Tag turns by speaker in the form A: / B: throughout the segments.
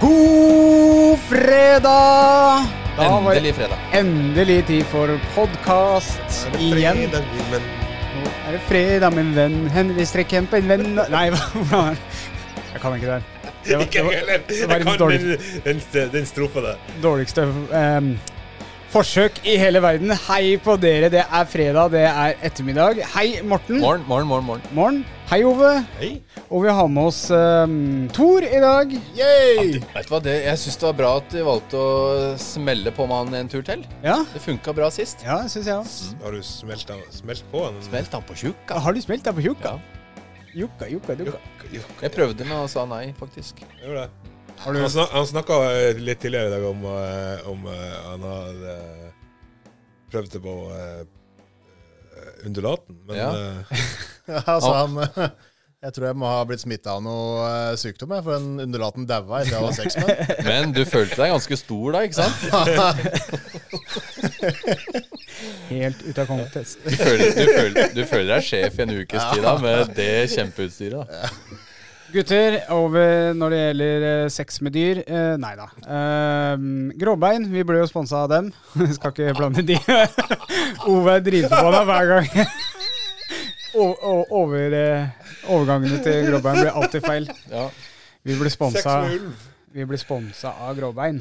A: God fredag! Da var det
B: Endelig fredag.
A: endelig tid for podkast igjen.
C: Fredag, men
A: Nå er det fredag, min venn. Henry Strekkjempe, en venn Nei, hva var det? Jeg kan ikke det her. Det var,
C: ikke
A: det
C: jeg
A: var
C: heller. Jeg
A: verdens
C: kan den, den, den strofa der.
A: dårligste ehm, forsøk i hele verden. Hei på dere, det er fredag, det er ettermiddag. Hei, Morten.
B: Morgen, morgen, morgen. morgen.
A: Morgen. Hei, Ove.
C: Hei.
A: Og vi har med oss ehm, Tor i dag.
C: Yay!
B: Vet du hva, det, Jeg syns det var bra at du valgte å smelle på med han en tur til.
A: Ja,
B: Det funka bra sist.
A: ja syns jeg òg.
C: Har du smelt, av- smelt på den?
B: Smelt han på tjukka.
A: Har du spilt der på Jukka?
B: Ja.
A: Jukka, jukka, jukka.
C: Jokk,
B: Jeg prøvde, men han sa nei, faktisk.
C: gjorde det.
A: Har
C: Han,
A: du
C: snak, han snakka litt tidligere i dag om, eh, om eh, han har eh, prøvd det på eh, undulaten, men
B: Ja.
C: eh,
D: altså, han, jeg tror jeg må ha blitt smitta av noe eh, sykdom, jeg, for en undulaten daua etter jeg var seks med.
B: Men du følte deg ganske stor da, ikke sant?
A: helt ute av kontekst?
B: Du føler, du føler, du føler deg sjef i en ukes tid da, med det kjempeutstyret. da.
A: Gutter, over når det gjelder eh, sex med dyr. Eh, nei da. Ehm, gråbein, vi ble jo sponsa av dem. Skal ikke blande de. Ove er dritforbanna hver gang. O- o- over, eh, overgangene til gråbein blir alltid feil.
B: Ja.
A: Vi ble
C: sex
A: sponsa,
C: med ulv.
A: vi ble sponsa av gråbein.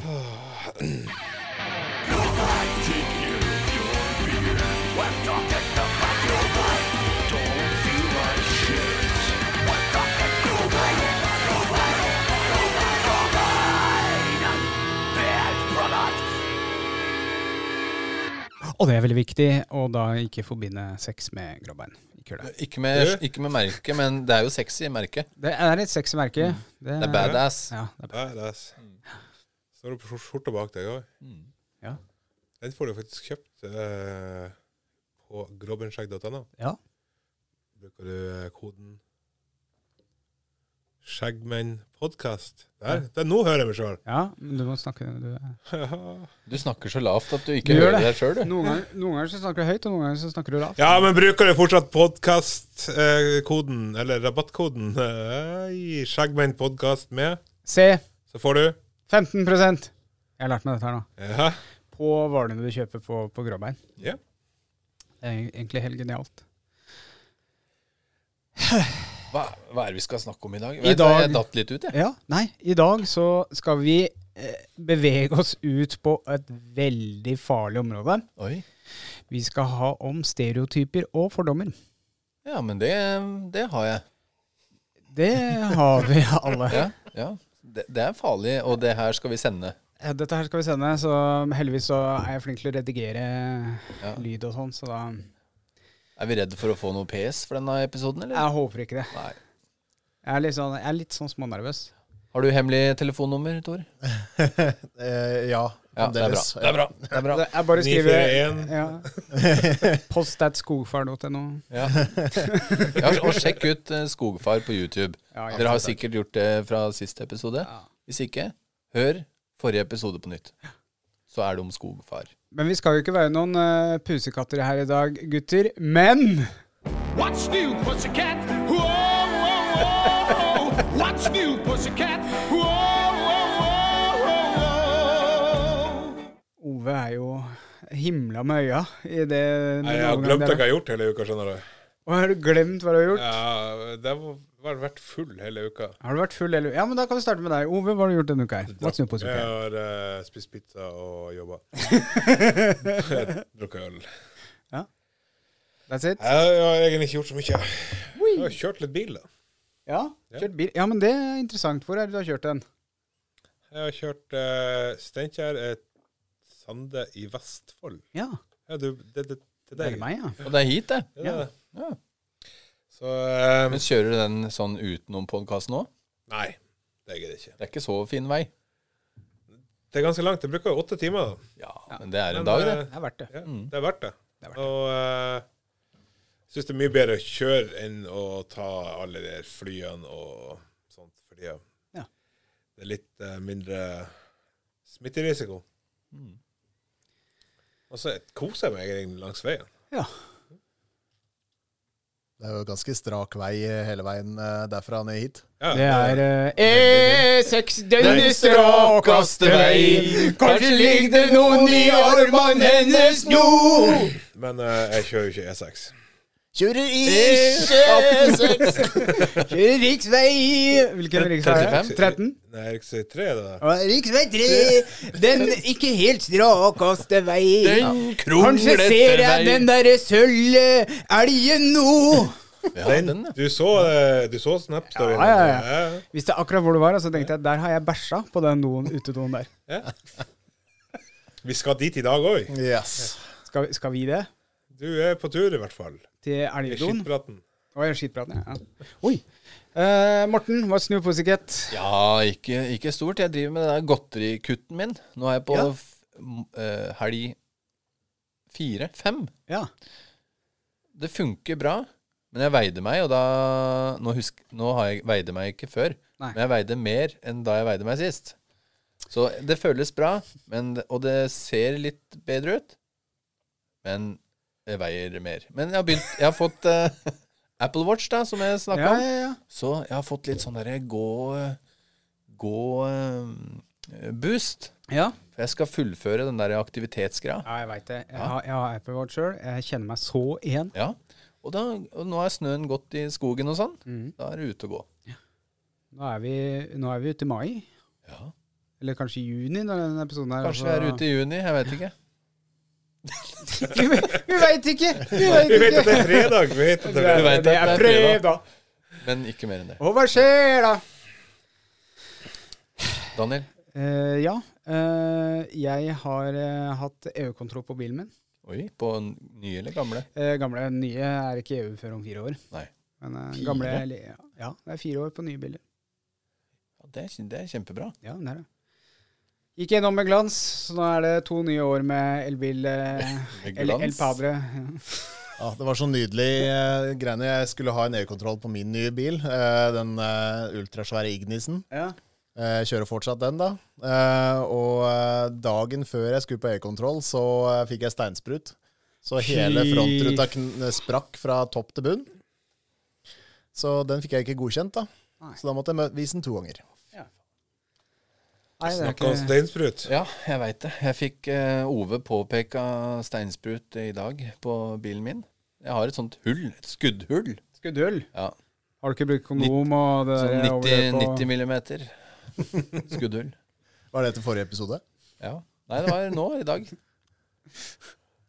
A: Og det er veldig viktig å da ikke forbinde sex med gråbein. Ikke gjør det.
B: Ikke, med, ikke med merke, men det er jo sexy merke.
A: Det er et sexy merke. Det
B: Det er badass.
A: Ja, det er bad.
C: Nei, det er s- Står du på skjor- skjorta bak deg òg?
B: Mm.
A: Ja.
C: Den får du faktisk kjøpt eh, på grobbenskjegg.no.
A: Ja.
C: bruker du eh, koden Skjeggmennpodkast. Der, der, nå hører jeg meg sjøl!
A: ja, men du må snakke du er
B: Du snakker så lavt at du
A: Du
B: ikke
A: gjør
B: hører
A: det.
B: deg sjøl, du.
A: Noen ganger, noen ganger så snakker du høyt, og noen ganger så snakker du lavt.
C: Ja, men bruker du fortsatt podkastkoden, eller rabattkoden, eh, i Skjeggmennpodkast med,
A: Se,
C: så får du
A: 15 Jeg har lært meg dette her nå.
C: Ja.
A: På varene du kjøper på, på Gråbein.
C: Ja.
A: Det er egentlig helt genialt.
B: Hva, hva er det vi skal snakke om i dag?
A: I
B: Vet du hva,
A: dag-
B: Jeg datt litt ut, jeg.
A: Ja, nei, i dag så skal vi eh, bevege oss ut på et veldig farlig område.
B: Oi.
A: Vi skal ha om stereotyper og fordommer.
B: Ja, men det, det har jeg.
A: Det har vi alle.
B: Ja, ja. Det, det er farlig, og det her skal vi sende.
A: Ja, Eh, Dette her skal vi sende, så heldigvis så er jeg flink til å redigere
B: Ja.
A: lyd og sånn, så da
B: Er vi redde for å få noe PS for denne episoden, eller?
A: Jeg håper ikke det.
B: Nei.
A: Jeg er litt sånn, jeg er litt sånn smånervøs.
B: Har du hemmelig telefonnummer, Tor?
D: Eh, ja,
B: Ja, det er bra.
D: fremdeles.
B: Det er bra. Det er bra.
A: Det- Jeg bare skriver
C: 941.
A: ja. Post at skogfar.no.
B: Ja. Ja, og sjekk ut eh, Skogfar på YouTube.
A: Ja, ja.
B: Dere har sikkert gjort det fra siste episode.
A: Ja.
B: Hvis ikke, hør forrige episode på nytt. Så er det om Skogfar.
A: Men vi skal jo ikke være noen eh, pusekatter her i dag, gutter. Men
E: What's new, pussycat? Whoa, whoa, whoa. What's new, pussycat? Whoa, whoa, whoa, whoa, whoa.
A: Ove er jo himla med øya i det
C: Nei, Jeg har glemt hva jeg har gjort hele uka, skjønner du.
A: Og har du glemt hva du har gjort?
C: Ja, det har vært- vært full hele uka.
A: Har du vært full eller Ja, men da kan vi starte med deg. Ove, hva har du gjort denne uka her? What's new,
C: Jeg
A: pussycat?
C: har eh, spist pizza og jobba. Drukket øl.
A: That's it?
C: Jeg har egentlig ikke gjort så mye. Jeg har kjørt litt bil, da.
A: Ja, kjørt bil. Ja, men det er interessant. Hvor er det du har kjørt den?
C: Jeg har kjørt uh, Steinkjer eh, Sande i Vestfold.
A: Ja,
C: Ja, du, det, det, det
A: det
C: er
A: er
C: deg.
A: meg, ja.
B: Og det er hit, det.
C: Ja, det er det.
B: Ja.
C: Så eh,
B: Men kjører du den sånn utenom podkasten òg?
C: Nei, det gidder jeg ikke.
B: Det er ikke så fin vei.
C: Det er ganske langt. Det bruker jo åtte timer. da.
B: Ja, men det er en
C: Men,
B: dag, det.
C: eh,
A: Det er verdt det.
C: Ja, Det er verdt det.
A: Det er verdt
C: Og eh, jeg syns det er mye bedre å kjøre enn å ta alle de flyene og sånt, fordi eh,
A: Ja.
C: det er litt eh, mindre smitterisiko. Og så koser jeg meg egentlig langs veien.
A: Ja.
D: Det er jo ganske strak vei eh, hele veien eh, derfra ned hit.
C: Ja,
A: Det er eh, E6 den strakaste vei. Kanskje ligger det noen i armene hennes nå.
C: Men eh, jeg kjører jo ikke E6.
D: Kjører ikke sex!
A: E Riksvei Hvilken riksvei er det?
B: 35?
A: 13?
C: Nei, Riksvei 3, det der.
A: Og Riksvei 3, den ikke helt strakaste vei.
B: Den
A: Kanskje
B: kronglete
A: ser jeg
B: vei.
A: den derre sølvelgen nå.
B: Ja, den, ja.
C: Du så, eh, du så Snapstory?
A: Ja, ja, ja. Visste akkurat hvor du var, og så tenkte jeg der har jeg bæsja på den doen, utedoen der.
C: Vi skal dit i dag òg.
D: Yes.
A: Skal, vi- skal vi det?
C: Du er på tur, i hvert fall.
A: Til
C: I
A: elgdoen?
C: Skittpraten.
A: Oi, skittpraten, ja. ja. Oi. Eh, Morten, hva snur pussycat?
B: ja ikke, ikke stort. Jeg driver med den der godterikutten min. Nå er jeg på
A: Ja.
B: f- m- eh, helg fire, fem.
A: Ja.
B: Det funker bra, men jeg veide meg, og da Nå, husk, nå har jeg veide meg ikke før,
A: Nei.
B: men jeg veide mer enn da jeg veide meg sist. Så det føles bra, men, og det ser litt bedre ut, men jeg veier mer. Men jeg har, begynt, jeg har fått eh, Apple Watch, da, som jeg snakka
A: Ja,
B: om.
A: ja, ja.
B: Så jeg har fått litt sånn derre gå gå eh, boost.
A: ja.
B: For jeg skal fullføre den der aktivitetsgreia.
A: Ja, jeg veit det. Jeg har, jeg har Apple Watch sjøl. Jeg kjenner meg så igjen.
B: Ja. Og, da, og nå er snøen gått i skogen og sånn.
A: Mm.
B: Da er det ute å gå.
A: Nå er vi, nå er vi ute i mai.
B: Ja.
A: Eller kanskje i juni, når denne episoden her
B: Kanskje vi er ute i juni, jeg vet ikke.
A: Vi, vi veit ikke! Vi veit
C: Vi vet
A: ikke.
C: at det er fredag! Vi vet at det er
B: Vi
C: fredag.
B: vet at
A: Det er fredag.
B: Men ikke mer enn det.
A: Og hva skjer, da?
B: Daniel?
A: Eh, ja, eh, jeg har eh, hatt EU-kontroll på bilen min.
B: Oi, på n- nye eller gamle?
A: Eh, gamle nye er ikke EU før om fire år.
B: Nei.
A: Men eh,
B: Fire?
A: gamle eller- ja, Ja, det er fire år på nye biler.
B: Ja, det, er, det er kjempebra.
A: Ja, det er det. Gikk gjennom med glans, så nå er det to nye år med elbil. Eh,
B: Med
A: El, El
B: glans.
A: Padre.
D: Ja, det var så nydelig eh, greiene. Jeg skulle ha en EU-kontroll på min nye bil, eh, den eh, ultrasvære Ignisen.
A: Ja.
D: Eh, Jeg kjører fortsatt den, da. Eh, Og eh, dagen før jeg skulle på e-kontroll, så eh, fikk jeg steinsprut. Så hele
A: Fy
D: frontruta kn- eh, sprakk fra topp til bunn. Så den fikk jeg ikke godkjent, da.
A: Nei.
D: Så da måtte jeg mø- vise den to ganger.
A: Nei, det er
C: Snakka om
A: ikke
C: steinsprut.
B: Ja, jeg veit det. Jeg fikk eh, Ove påpeka steinsprut i dag på bilen min. Jeg har et sånt hull, et skuddhull.
A: skuddhull.
B: Ja,
A: Har du ikke brukt kondom og det
B: Sånn
A: der overløpet og-
B: 90, 90 millimeter skuddhull.
D: Var det til forrige episode?
B: Ja. Nei, det var nå i dag.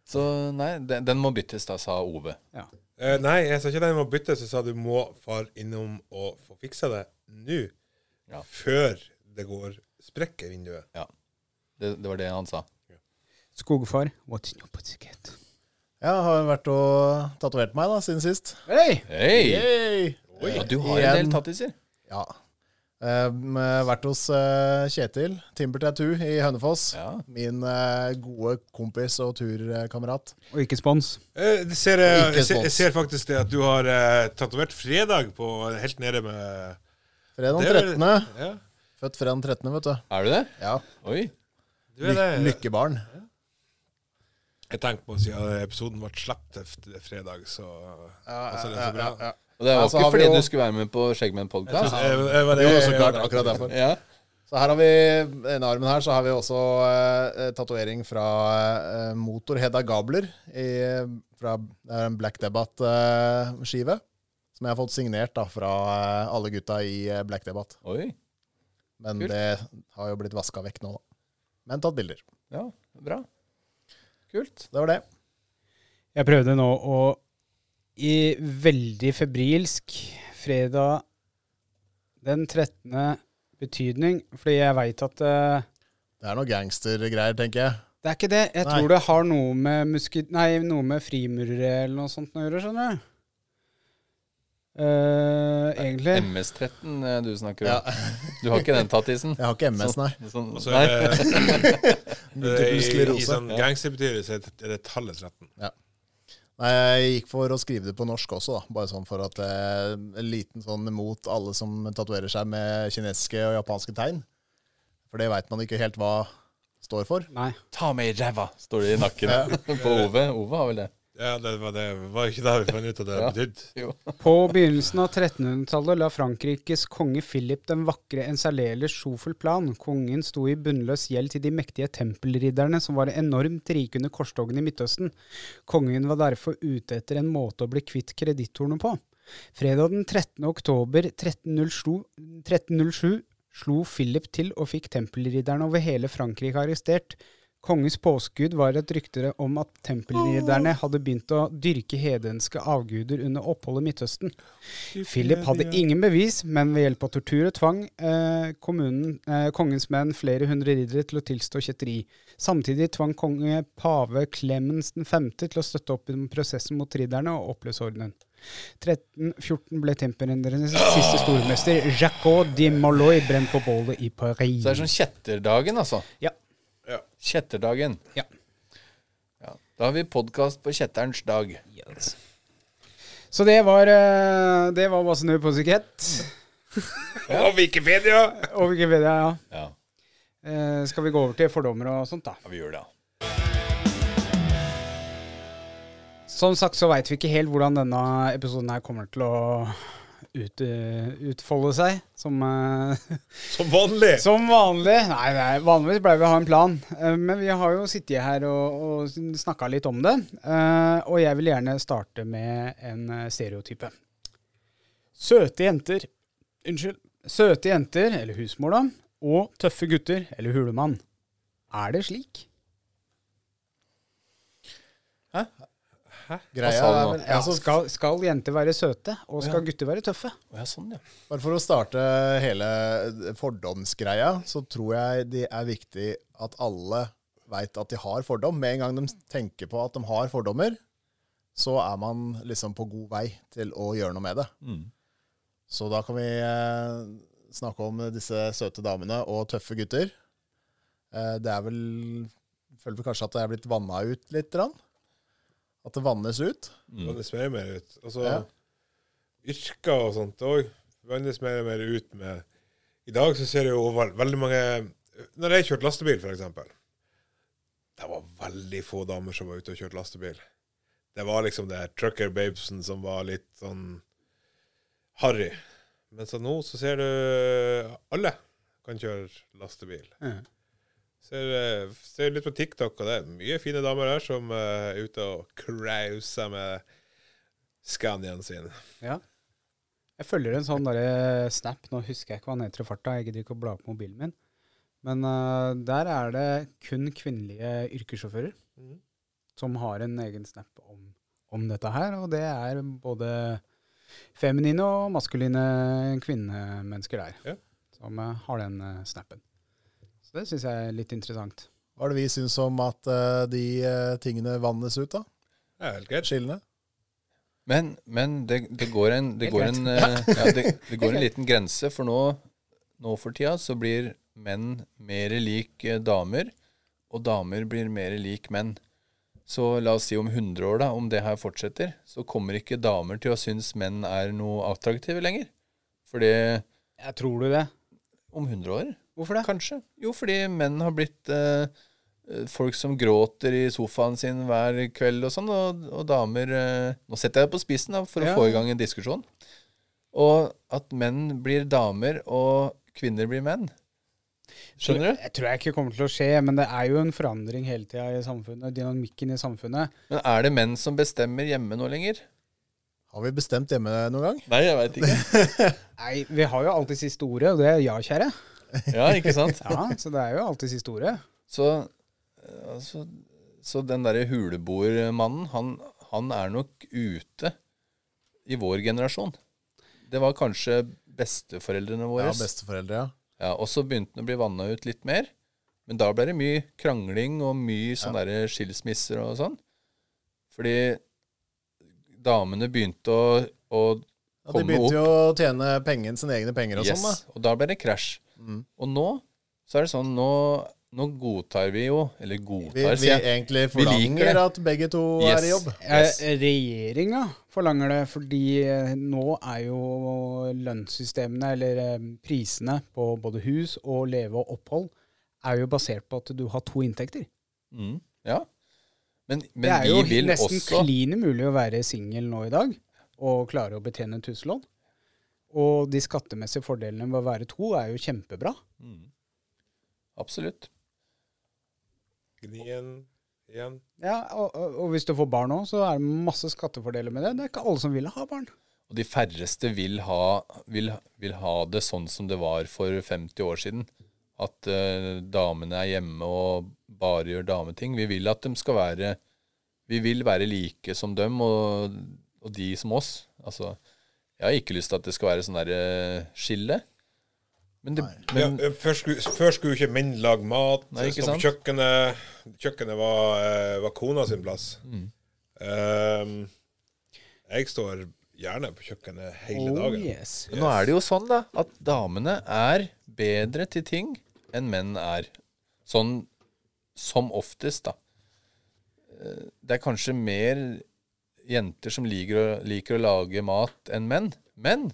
B: Så nei, den, den må byttes, da, sa Ove.
A: Ja.
C: Eh, nei, jeg sa ikke den må byttes. Jeg sa du må far innom og få fiksa det nå.
B: Ja.
C: Før det går sprekk i vinduet.
B: Det, det var det han sa.
A: Skogfar, what's your pussycat?
D: Ja, har vært og tatovert meg da, siden sist.
A: Hei!
B: Hei!
D: Yay!
B: Ja, du har en
D: Igjen.
B: del tattiser.
D: Ja. Eh, m- vært hos eh, Kjetil, Timber Tattoo i Hønefoss.
B: Ja.
D: Min eh, gode kompis og turkamerat.
A: Og ikke spons.
C: Eh, det ser, jeg,
D: Ikke
C: jeg, ser, jeg
D: spons.
C: ser faktisk det at du har eh, tatovert fredag på helt nede med
D: Fredag
C: Det er vel-
D: 13.
C: Ja,
D: Født fredag 13., vet du.
B: Er du det?
D: Ja.
B: Oi.
C: du er
D: Lyk-
C: det.
D: Lykkebarn.
C: Jeg tenkte på siden episoden ble sluppet f- fredag, så altså, det er så bra.
B: Og det var
D: Ja, så
B: ikke
D: har vi
B: fordi
D: jo-
B: du skulle være med på Skjeggmenn podcast
C: Jeg, jeg, Eh, var-
D: Det er jo så
C: jeg-
D: klart akkurat derfor.
B: Ja.
D: Så her har vi, denne armen her, så har vi også uh, tatovering fra eh, Motorhead av Gabler i, fra det er en Black Debate-skive. som jeg har fått signert da, fra eh, alle gutta i eh, Black Debate.
B: Oi.
D: Men
B: Kult.
D: det har jo blitt vaska vekk nå, da. Men tatt bilder.
B: Ja, bra. Kult.
D: Det var det.
A: Jeg prøvde nå å i veldig febrilsk fredag den 13. betydning, fordi jeg veit at eh,
D: Det er noe gangstergreier, tenker jeg.
A: det er ikke det. Jeg
D: Nei.
A: tror det har noe med, muske- nei, noe med frimurere eller noe sånt å gjøre, skjønner du. Eh, egentlig.
B: MS-13 eh, du snakker
D: Ja.
B: om. Du har ikke den tattisen?
D: Jeg har ikke MS, nei.
B: Sånn,
C: Og så
B: nei.
C: er det-
D: Multiple
C: det er i, i
D: sklerose.
C: sånn gangsterbetydelse er det- er det tallet 13.
D: Nei, jeg gikk for å skrive det på norsk også, da. Bare sånn for at eh, En liten sånn mot alle som tatoverer seg med kinesiske og japanske tegn. For det veit man ikke helt hva står for.
A: Nei.
B: Ta meg i ræva, står det i nakken på Ove. Ove har vel det.
C: Ja, det var det. Var ikke det vi fant ut at det
B: Ja.
C: betydde?
B: Jo.
A: På begynnelsen av 1300-tallet la Frankrikes konge Philip den vakre en særdeles sjofel plan. Kongen sto i bunnløs gjeld til de mektige tempelridderne, som var enormt rike under korstogene i Midtøsten. Kongen var derfor ute etter en måte å bli kvitt kreditorene på. Fredag den 13. oktober 1307, 1307 slo Philip til og fikk tempelridderne over hele Frankrike arrestert. Kongens påskudd var et rykte om at tempelridderne hadde begynt å dyrke hedenske avguder under oppholdet i Midtøsten. Philip hadde ingen bevis, men ved hjelp av tortur og tvang eh, kommunen, eh, kongens menn flere hundre riddere til å tilstå kjetteri. Samtidig tvang konge pave Clemens 5. til å støtte opp om prosessen mot ridderne og oppløse ordenen. 1314 ble temperendrenes siste stormester Jacques de Molloy brent på bålet i Paris.
B: Så det er sånn kjetterdagen, altså.
A: Ja.
C: Ja.
B: Kjetterdagen.
A: Ja.
B: Ja. Da har vi podkast på kjetterens dag.
A: Så det var, eh, det var Basse Nue Pussycat.
C: Og Wikipedia!
A: Og Wikipedia, ja.
B: Ja,
A: Eh, skal vi gå over til fordommer og sånt, da?
B: ja vi gjør det.
A: Som sagt så veit vi ikke helt hvordan denne episoden her kommer til å ut, eh, utfolde seg. Som, eh,
C: Som vanlig!
A: som vanlig. Nei, nei, vanligvis pleier vi å ha en plan. Eh, men vi har jo sittet her og, og snakka litt om det. Eh, og jeg vil gjerne starte med en eh, stereotype. Søte jenter Unnskyld. Søte jenter, eller husmor, da, og tøffe gutter, eller hulemann. Er det slik?
D: Greia
B: sa du
D: er
B: nå?
D: vel
A: Ja,
D: altså,
A: skal, skal jenter være søte, og skal gutter være tøffe?
B: Å ja, sånn, ja.
D: Bare for å starte hele fordomsgreia, så tror jeg det er viktig at alle veit at de har fordom. Med en gang de tenker på at de har fordommer, så er man liksom på god vei til å gjøre noe med det. Så da kan vi eh, snakke om disse søte damene og tøffe gutter. Eh, det er vel Føler vel kanskje at det er blitt vanna ut litt? grann? At det vannes ut?
C: Vannes mer og mer ut. Altså,
D: Ja.
C: Yrker og sånt òg vannes mer og mer ut med I dag så ser jeg jo vel- veldig mange Når jeg kjørte lastebil, f.eks. Det var veldig få damer som var ute og kjørte lastebil. Det var liksom det her trucker babesen som var litt sånn harry. Men så nå så ser du alle kan kjøre lastebil.
A: Mhm.
C: Ser, eh, ser litt på TikTok, og det er mye fine damer her som eh, er ute og krauser med Scandiaen sin.
A: Ja. Jeg følger en sånn derre snap, nå husker jeg ikke hva den heter i farta, jeg gidder ikke å bla opp mobilen min. Men eh, der er det kun kvinnelige yrkessjåfører som har en egen snap om, om dette her, og det er både feminine og maskuline kvinnemennesker der
C: Ja.
A: som eh, har den eh, snappen. Så det syns jeg er litt interessant.
D: Hva er det vi syns om at eh, de eh, tingene vannes ut, da?
C: Det er helt greit.
D: Skillene?
B: Men, men det, det går, en, det
A: Helt
B: går,
A: greit.
B: en, eh, ja, det, det går en liten grense, for nå, nå for tida så blir menn mer lik eh, damer, og damer blir mer lik menn. Så la oss si om 100 år, da, om det her fortsetter, så kommer ikke damer til å synes menn er noe attraktive lenger. For det
A: Jeg tror du det?
B: Om 100 år?
A: Hvorfor det?
B: Kanskje. Jo, fordi menn har blitt eh, eh, folk som gråter i sofaen sin hver kveld og sånn, og, og damer eh, Nå setter jeg det på spissen da, for
A: Ja.
B: å få i gang en diskusjon. Og at menn blir damer, og kvinner blir menn. Skjønner du?
A: Jeg tror jeg ikke kommer til å skje, men det er jo en forandring hele tida i samfunnet. Dynamikken i samfunnet.
B: Men er det menn som bestemmer hjemme nå lenger?
D: Har vi bestemt hjemme noen gang?
B: Nei, jeg veit ikke.
A: Nei, vi har jo alltid siste ordet, og det er ja, kjære.
B: Ja, ikke sant?
A: Ja, Så det er jo alltid siste ordet.
B: Så, eh, altså, så den derre huleboermannen, han, han er nok ute i vår generasjon. Det var kanskje besteforeldrene våre.
D: Ja, besteforeldre, ja.
B: Ja, og så begynte den å bli vanna ut litt mer. Men da ble det mye krangling og mye sånn derre skilsmisser og sånn. Fordi damene begynte å, å
D: ja de
B: komme opp.
D: begynte jo å tjene pengen, sine egne penger og sånn. da. Mm.
B: Yes, og da ble det krasj. Og nå så er det sånn Nå, nå godtar vi jo Eller
D: Vi,
B: godtar,
D: vi
B: sier jeg.
D: egentlig
B: Vi liker det.
D: forlanger at begge to er i jobb.
B: Yes.
A: Eh, Regjeringa forlanger det, fordi eh, nå er jo lønnssystemene, eller eh, prisene på både hus og leve og opphold, er jo basert på at du har to inntekter.
B: Mm, ja. Men,
A: Det
B: men
A: er jo
B: vi vil
A: nesten
B: også
A: klin umulig å være singel nå i dag og klare å betjene et huslån. Og de skattemessige fordelene ved å være to er jo kjempebra.
B: Absolutt.
C: Gnien igjen.
A: Ja, og, og, og hvis du får barn òg, så er det masse skattefordeler med det. Det er ikke alle som vil ha barn.
B: Og de færreste vil ha, vil, vil ha det sånn som det var for 50 år siden. At eh, damene er hjemme og bare gjør dameting. Vi vil at de skal være Vi vil være like som dem og, og de som oss. Altså, jeg har ikke lyst til at det skal være sånn derre skille. Men det,
C: Ja,
B: men,
C: eh, før, skulle, før skulle jo ikke menn lage mat.
B: Nei, ikke
C: stå på kjøkkenet. Kjøkkenet var, eh, var kona sin plass.
B: Mm.
C: Ehm, jeg står gjerne på kjøkkenet hele
A: Oh,
C: dagen.
A: yes.
B: nå er det jo sånn, da, at damene er bedre til ting enn menn er. Sånn som oftest, da. Eh, Det er kanskje mer jenter som liker å, liker å lage mat enn menn. Men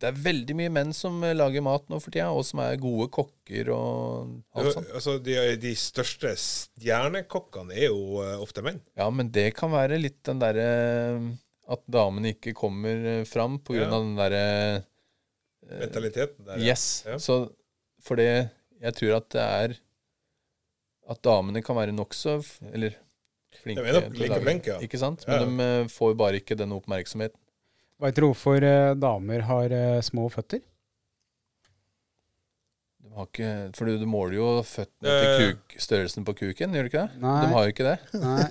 B: det er veldig mye menn som eh, lager mat nå for tida, og som er gode kokker og alt sånt.
C: Altså, de, de største stjernekokkene er jo eh, ofte menn.
B: Ja, men det kan være litt den derre eh, At damene ikke kommer eh, fram på grunn
C: Ja.
B: av den derre Eh,
C: Mentaliteten der. ja.
B: Yes.
C: Ja.
B: Så for det Jeg tror at det er At damene kan være nokså f- Eller flinke.
C: De er nok
B: til å
C: like
B: lage-
C: flinke, ja.
B: Ikke sant?
C: Ja,
B: Men de eh, får jo bare ikke den oppmerksomheten.
A: Veit dere hvorfor eh, damer har eh, små føtter?
B: De har ikke, for du, du måler jo føttene
C: Eh.
B: til kuk, størrelsen på kuken, gjør du ikke det?
A: Nei.
B: De har jo ikke det.
A: Nei.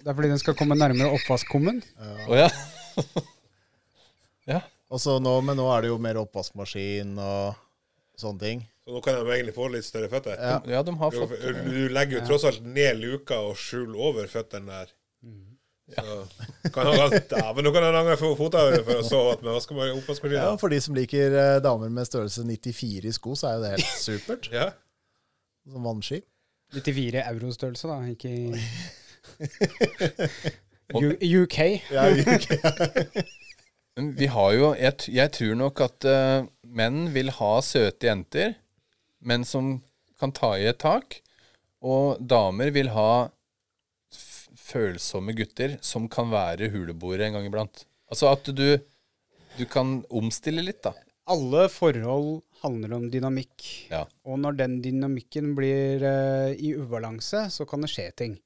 A: Det er fordi den skal komme nærmere oppvaskkummen.
B: Å ja. ja.
D: Og så nå, men nå er det jo mer oppvaskmaskin og sånne ting.
C: Så nå kan de egentlig få litt større føtter.
D: Ja.
B: Ja, de har
C: Du,
B: fått eh,
C: du legger jo tross alt ned luka og skjuler over føttene der.
B: Mm.
C: Så kan han, ja, men nå kan han angre for fotene for å sove med vaskema-
D: Ja,
C: oppvaskmaskinen.
D: For de som liker eh, damer med størrelse 94 i sko, så er jo det helt supert.
C: Ja.
D: Som vannski.
A: 94 eurostørrelse, da, ikke i U- UK.
D: Ja, ok.
B: Men Vi har jo Jeg, t- jeg tror nok at eh, menn vil ha søte jenter, men som kan ta i et tak. Og damer vil ha f følsomme gutter som kan være huleboere en gang iblant. Altså at du Du kan omstille litt, da.
A: Alle forhold handler om dynamikk.
B: Ja.
A: Og når den dynamikken blir eh, i ubalanse, så kan det skje ting.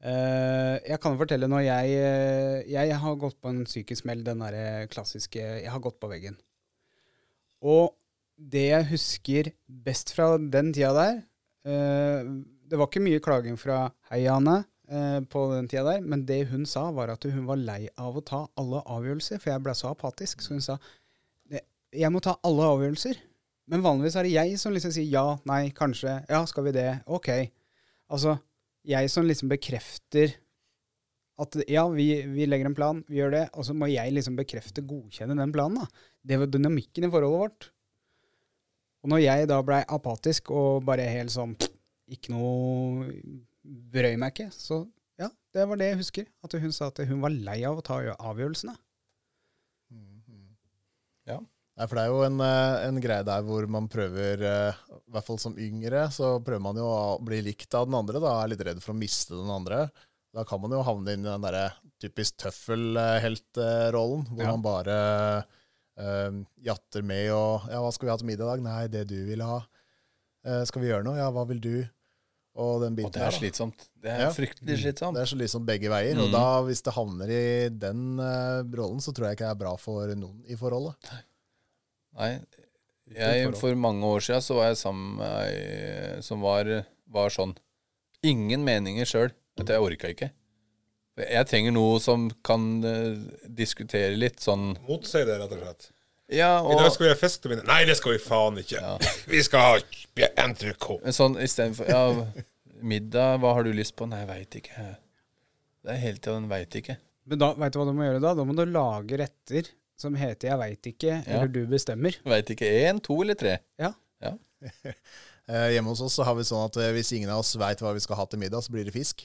A: Eh, jeg kan fortelle når jeg eh, Jeg har gått på en psykisk smell, den derre klassiske Jeg har gått på veggen. Og det jeg husker best fra den tida der eh, Det var ikke mye klaging fra Hei, Anne, eh, på den tida der, men det hun sa, var at hun var lei av å ta alle avgjørelser, for jeg ble så apatisk. Så hun sa jeg må ta alle avgjørelser. Men vanligvis er det jeg som liksom sier ja, nei, kanskje, ja, skal vi det, ok. Altså, jeg som liksom bekrefter at ja, vi, vi legger en plan, vi gjør det, og så må jeg liksom bekrefte, godkjenne den planen, da. Det var dynamikken i forholdet vårt. Og når jeg da blei apatisk og bare helt sånn ikke noe brøy meg ikke, så ja, det var det jeg husker. At hun sa at hun var lei av å ta avgjørelsene.
D: Nei, for det er jo en, eh, en greie der hvor man prøver, eh, i hvert fall som yngre, så prøver man jo å bli likt av den andre, da er litt redd for å miste den andre. Da kan man jo havne inn i den derre typisk tøffelheltrollen, hvor
A: Ja.
D: man bare eh, jatter med og Ja, hva skal vi ha til middag i dag? Nei, det du vil ha. Eh, skal vi gjøre noe? Ja, hva vil du? Og den
B: Og
D: biten
B: det er
D: der, da.
B: slitsomt. Det er
D: Ja.
B: fryktelig slitsomt.
D: Det er så liksom begge veier.
B: Mm.
D: Og da, hvis det havner i den eh, rollen, så tror jeg ikke det er bra for noen i forholdet.
B: Nei. Jeg, for mange år siden så var jeg sammen med ei som var, var sånn Ingen meninger sjøl. At jeg orka ikke. Jeg trenger noe som kan eh, diskutere litt sånn
C: Motsi det, rett og slett.
B: Ja,
C: I dag
B: og
C: skal vi ha fisk til middag. Nei, det skal vi faen ikke. Vi skal ha entrecôte.
B: men sånn istedenfor Ja, middag, hva har du lyst på? Nei, jeg veit ikke. Det er hele tida den veit ikke.
A: Men da, vet du hva du må gjøre da? Da må du lage retter som heter 'jeg veit ikke' eller 'du bestemmer'.
B: Veit ikke én, to eller tre.
A: Ja.
B: Ja.
D: Eh, hjemme hos oss så har vi sånn at eh, hvis ingen av oss veit hva vi skal ha til middag, så blir det fisk.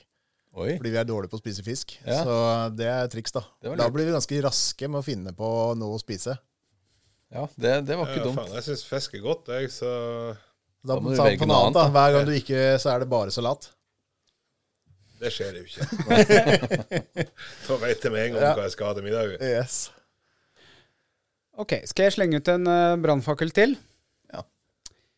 B: Oi.
D: Fordi vi er dårlige på å spise fisk.
B: Ja.
D: Så det er triks, da.
B: Det var
D: Da
B: lurt.
D: blir vi ganske raske med å finne på noe å spise.
B: Ja, det, det var ikke
C: Ja,
B: dumt.
C: faen, jeg syns fisk er godt, jeg, så
D: Da,
B: Da må du
D: ta
B: velge
D: på
B: noe
D: noe annet, da.
B: annet,
D: Hver gang du ikke, så er det bare salat.
C: Det skjer jo ikke. da vet jeg med en gang
D: Ja.
C: hva jeg skal ha til middag.
D: Yes.
A: Ok, skal jeg slenge ut en uh, brannfakkel til?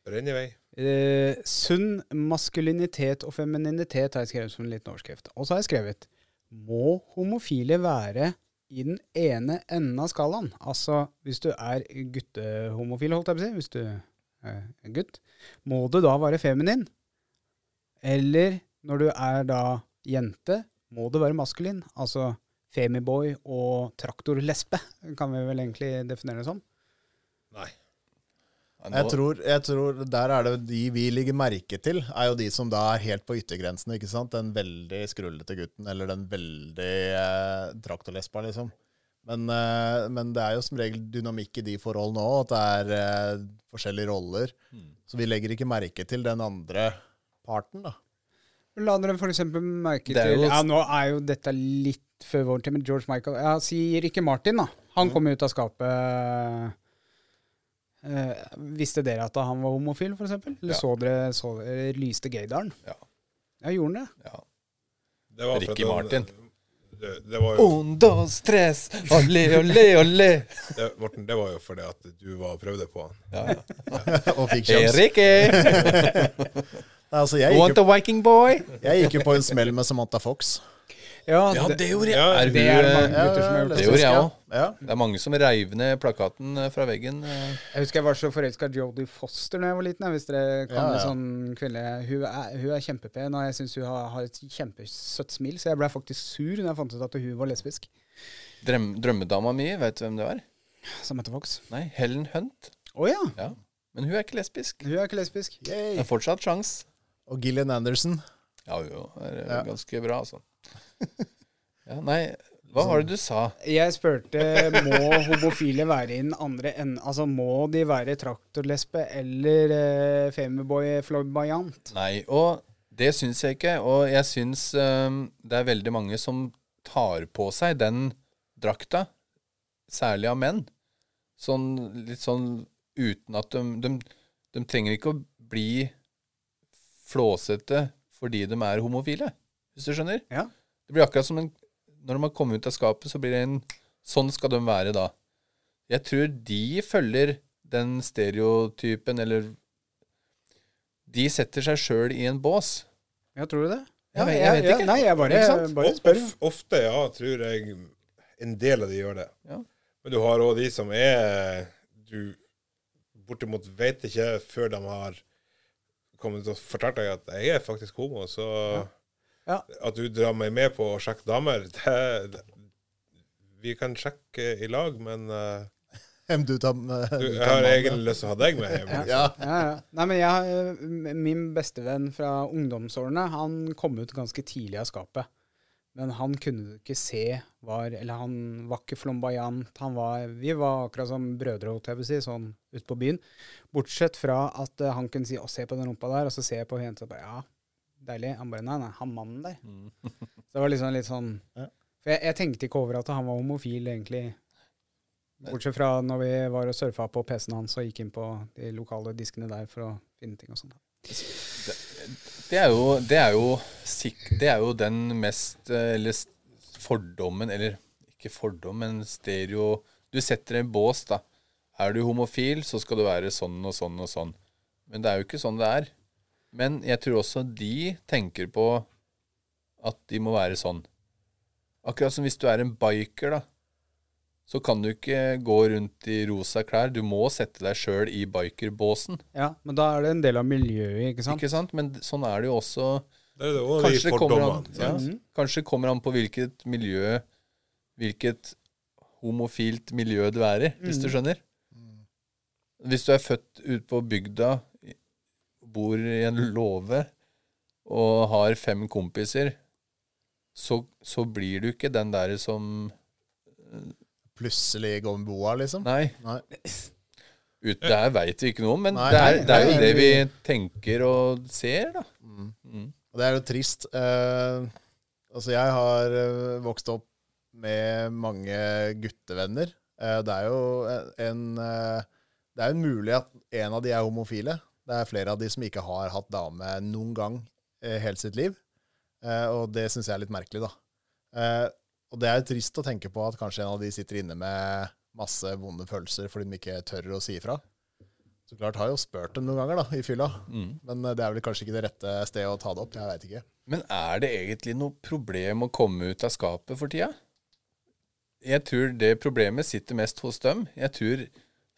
C: Renn i vei.
A: Eh, sunn maskulinitet og femininitet har jeg skrevet som en liten overskrift. Og så har jeg skrevet Må homofile være i den ene enden av skalaen? Altså hvis du er guttehomofil, holdt jeg på å si, hvis du eh, er gutt, må du da være feminin? Eller når du er da jente, må du være maskulin? Altså femiboy og traktorlesbe, kan vi vel egentlig definere det som.
C: Nei.
B: Ja, nå-
D: Jeg tror, jeg tror der er det de vi ligger merke til, er jo de som da er helt på yttergrensene, ikke sant? Den veldig skrullete gutten, eller den veldig eh, traktorlespa, liksom. Men, eh, men det er jo som regel dynamikk i de forholdene òg, at det er eh, forskjellige roller. Så vi legger ikke merke til den andre parten, da.
A: La dere for eksempel merke
B: Det er
A: til
B: jo-
A: Ja, nå er jo dette litt før vår tid, men George Michael Ja, sier ikke Martin, da. Han
B: Mm.
A: kom jo ut av skapet Eh, Visste dere at han var homofil, for eksempel? Eller
B: Ja.
A: så, dere, så dere lyste gaydaren?
B: Ja.
A: Ja, gjorde han det?
B: ja.
C: Det var for
B: Ricky
C: at han-
B: Martin. Oh.
C: Det, det var jo,
B: Un, dos, tres, olé, olé, olé.
C: det, Morten, det var jo fordi at du var og prøvde på han.
B: Ja, ja. eh.
D: Og fikk kjønns.
B: Erike,
D: Nei, altså, jeg gikk,
B: want a viking boy?
D: jo, jeg gikk jo på en smell med Samantha Fox.
B: Ja, det gjorde
C: Ja,
B: jeg. Er
A: det er det
B: hun,
A: mange
B: eh,
A: gutter som har gjort.
B: det gjorde jeg òg.
D: Ja.
B: Det er mange som reiv ned plakaten eh, fra veggen. eh.
A: Jeg husker jeg var så forelska i Jodie Foster da jeg var liten. jeg, Hvis dere kan
D: Ja,
A: en
D: ja.
A: sånn kvinnelig hun, er- hun er kjempepen, og jeg syns hun har, har et kjempesøtt smil, så jeg ble faktisk sur når jeg fant ut at hun var lesbisk.
B: Drøm, drømmedama mi, vet du hvem det var?
A: Som heter Fox.
B: Nei, Helen Hunt.
A: Å ja!
B: Ja. Men hun er ikke lesbisk.
A: Hun er ikke lesbisk.
B: Det
D: Yay.
B: er fortsatt sjans.
D: Og Gillian Anderson.
B: Ja, jo, det er
D: Ja.
B: ganske bra, altså. Ja, nei, hva var det du sa?
A: Jeg spurte må homofile være i den andre enden. Altså, må de være traktorlesbe eller eh, femiboy flamboyant?
B: Nei, og det syns jeg ikke. Og jeg syns øhm, det er veldig mange som tar på seg den drakta, særlig av menn. Sånn litt sånn uten at de De, de trenger ikke å bli flåsete fordi de er homofile, hvis du skjønner?
A: Ja.
B: Det blir akkurat som en Når de har kommet ut av skapet, så blir det en Sånn skal de være da. Jeg tror de følger den stereotypen, eller De setter seg sjøl i en bås.
A: Ja, tror du det?
B: Jeg vet- jeg vet ikke.
A: nei, jeg bare,
B: Ikke sant?
A: bare
C: Of-
A: spør.
C: of- ofte, ja, tror jeg en del av de gjør det.
B: Ja.
C: Men du har òg de som er Du bortimot vet ikke før de har kommet og fortalt deg at 'jeg er faktisk homo', så
A: Ja.
C: At du drar meg med på å sjekke damer det, det, Vi kan sjekke i lag, men eh,
D: Hvem du tar med.
C: du,
D: du
C: jeg
D: tar
C: har
D: med.
C: egentlig lyst til å ha deg med hjem. liksom.
D: Ja.
A: Ja, ja. Nei, men jeg, har, eh, min bestevenn fra ungdomsårene, han kom ut ganske tidlig av skapet. Men han kunne du ikke se var Eller han var ikke flamboyant. Han var, vi var akkurat som brødre, holdt jeg på å si, sånn ute på byen. Bortsett fra at eh, han kunne si 'Å, se på den rumpa der', og så ser jeg på jenta og bare 'Ja, deilig'. Han bare 'Nei, nei, han mannen der'. så det var liksom litt sånn
D: Ja.
A: For jeg, jeg tenkte ikke over at han var homofil, egentlig. Bortsett fra når vi var og surfa på PC-en hans og gikk inn på de lokale diskene der for å finne ting og sånn.
B: Det er jo, det er jo, sikk- det er jo den mest eh, Eller s- fordommen, eller ikke fordom, men stereo Du setter en bås, da. Er du homofil, så skal du være sånn og sånn og sånn. Men det er jo ikke sånn det er. Men jeg tror også de tenker på at de må være sånn. Akkurat som hvis du er en biker, da. Så kan du ikke gå rundt i rosa klær. Du må sette deg sjøl i bikerbåsen.
A: Ja, men da er det en del av miljøet, ikke sant?
B: Ikke sant? Men sånn er det jo også
C: Det er det også
B: Kanskje
C: de
B: det kommer an,
C: fordommene.
B: ja,
C: sant?
B: kanskje kommer an på hvilket miljø Hvilket homofilt miljø du er i, hvis
D: Mm.
B: du skjønner. Hvis du er født ute på bygda, bor i en låve og har fem kompiser, så, så blir du ikke den der som
D: Plutselig gå med boa, liksom.
B: Nei.
D: Nei.
B: Ut, det her veit vi ikke noe om, men
D: Nei,
B: det, er,
D: nei,
B: det er jo
D: nei,
B: det vi
D: vi-
B: tenker og ser, da.
D: Og det er jo trist. Eh, altså, jeg har eh, vokst opp med mange guttevenner. Eh, det er jo en eh, Det er jo en mulig at en av de er homofile. Det er flere av de som ikke har hatt dame noen gang eh, hele sitt liv. Eh, og det syns jeg er litt merkelig, da. Eh, og det er jo trist å tenke på at kanskje en av de sitter inne med masse vonde følelser fordi de ikke tør å si ifra. Så klart har jeg jo spurt dem noen ganger, da, i fylla. Men eh, det er vel kanskje ikke det rette stedet å ta det opp. Jeg veit ikke.
B: Men er det egentlig noe problem å komme ut av skapet for tida? Jeg tror det problemet sitter mest hos dem. Jeg tror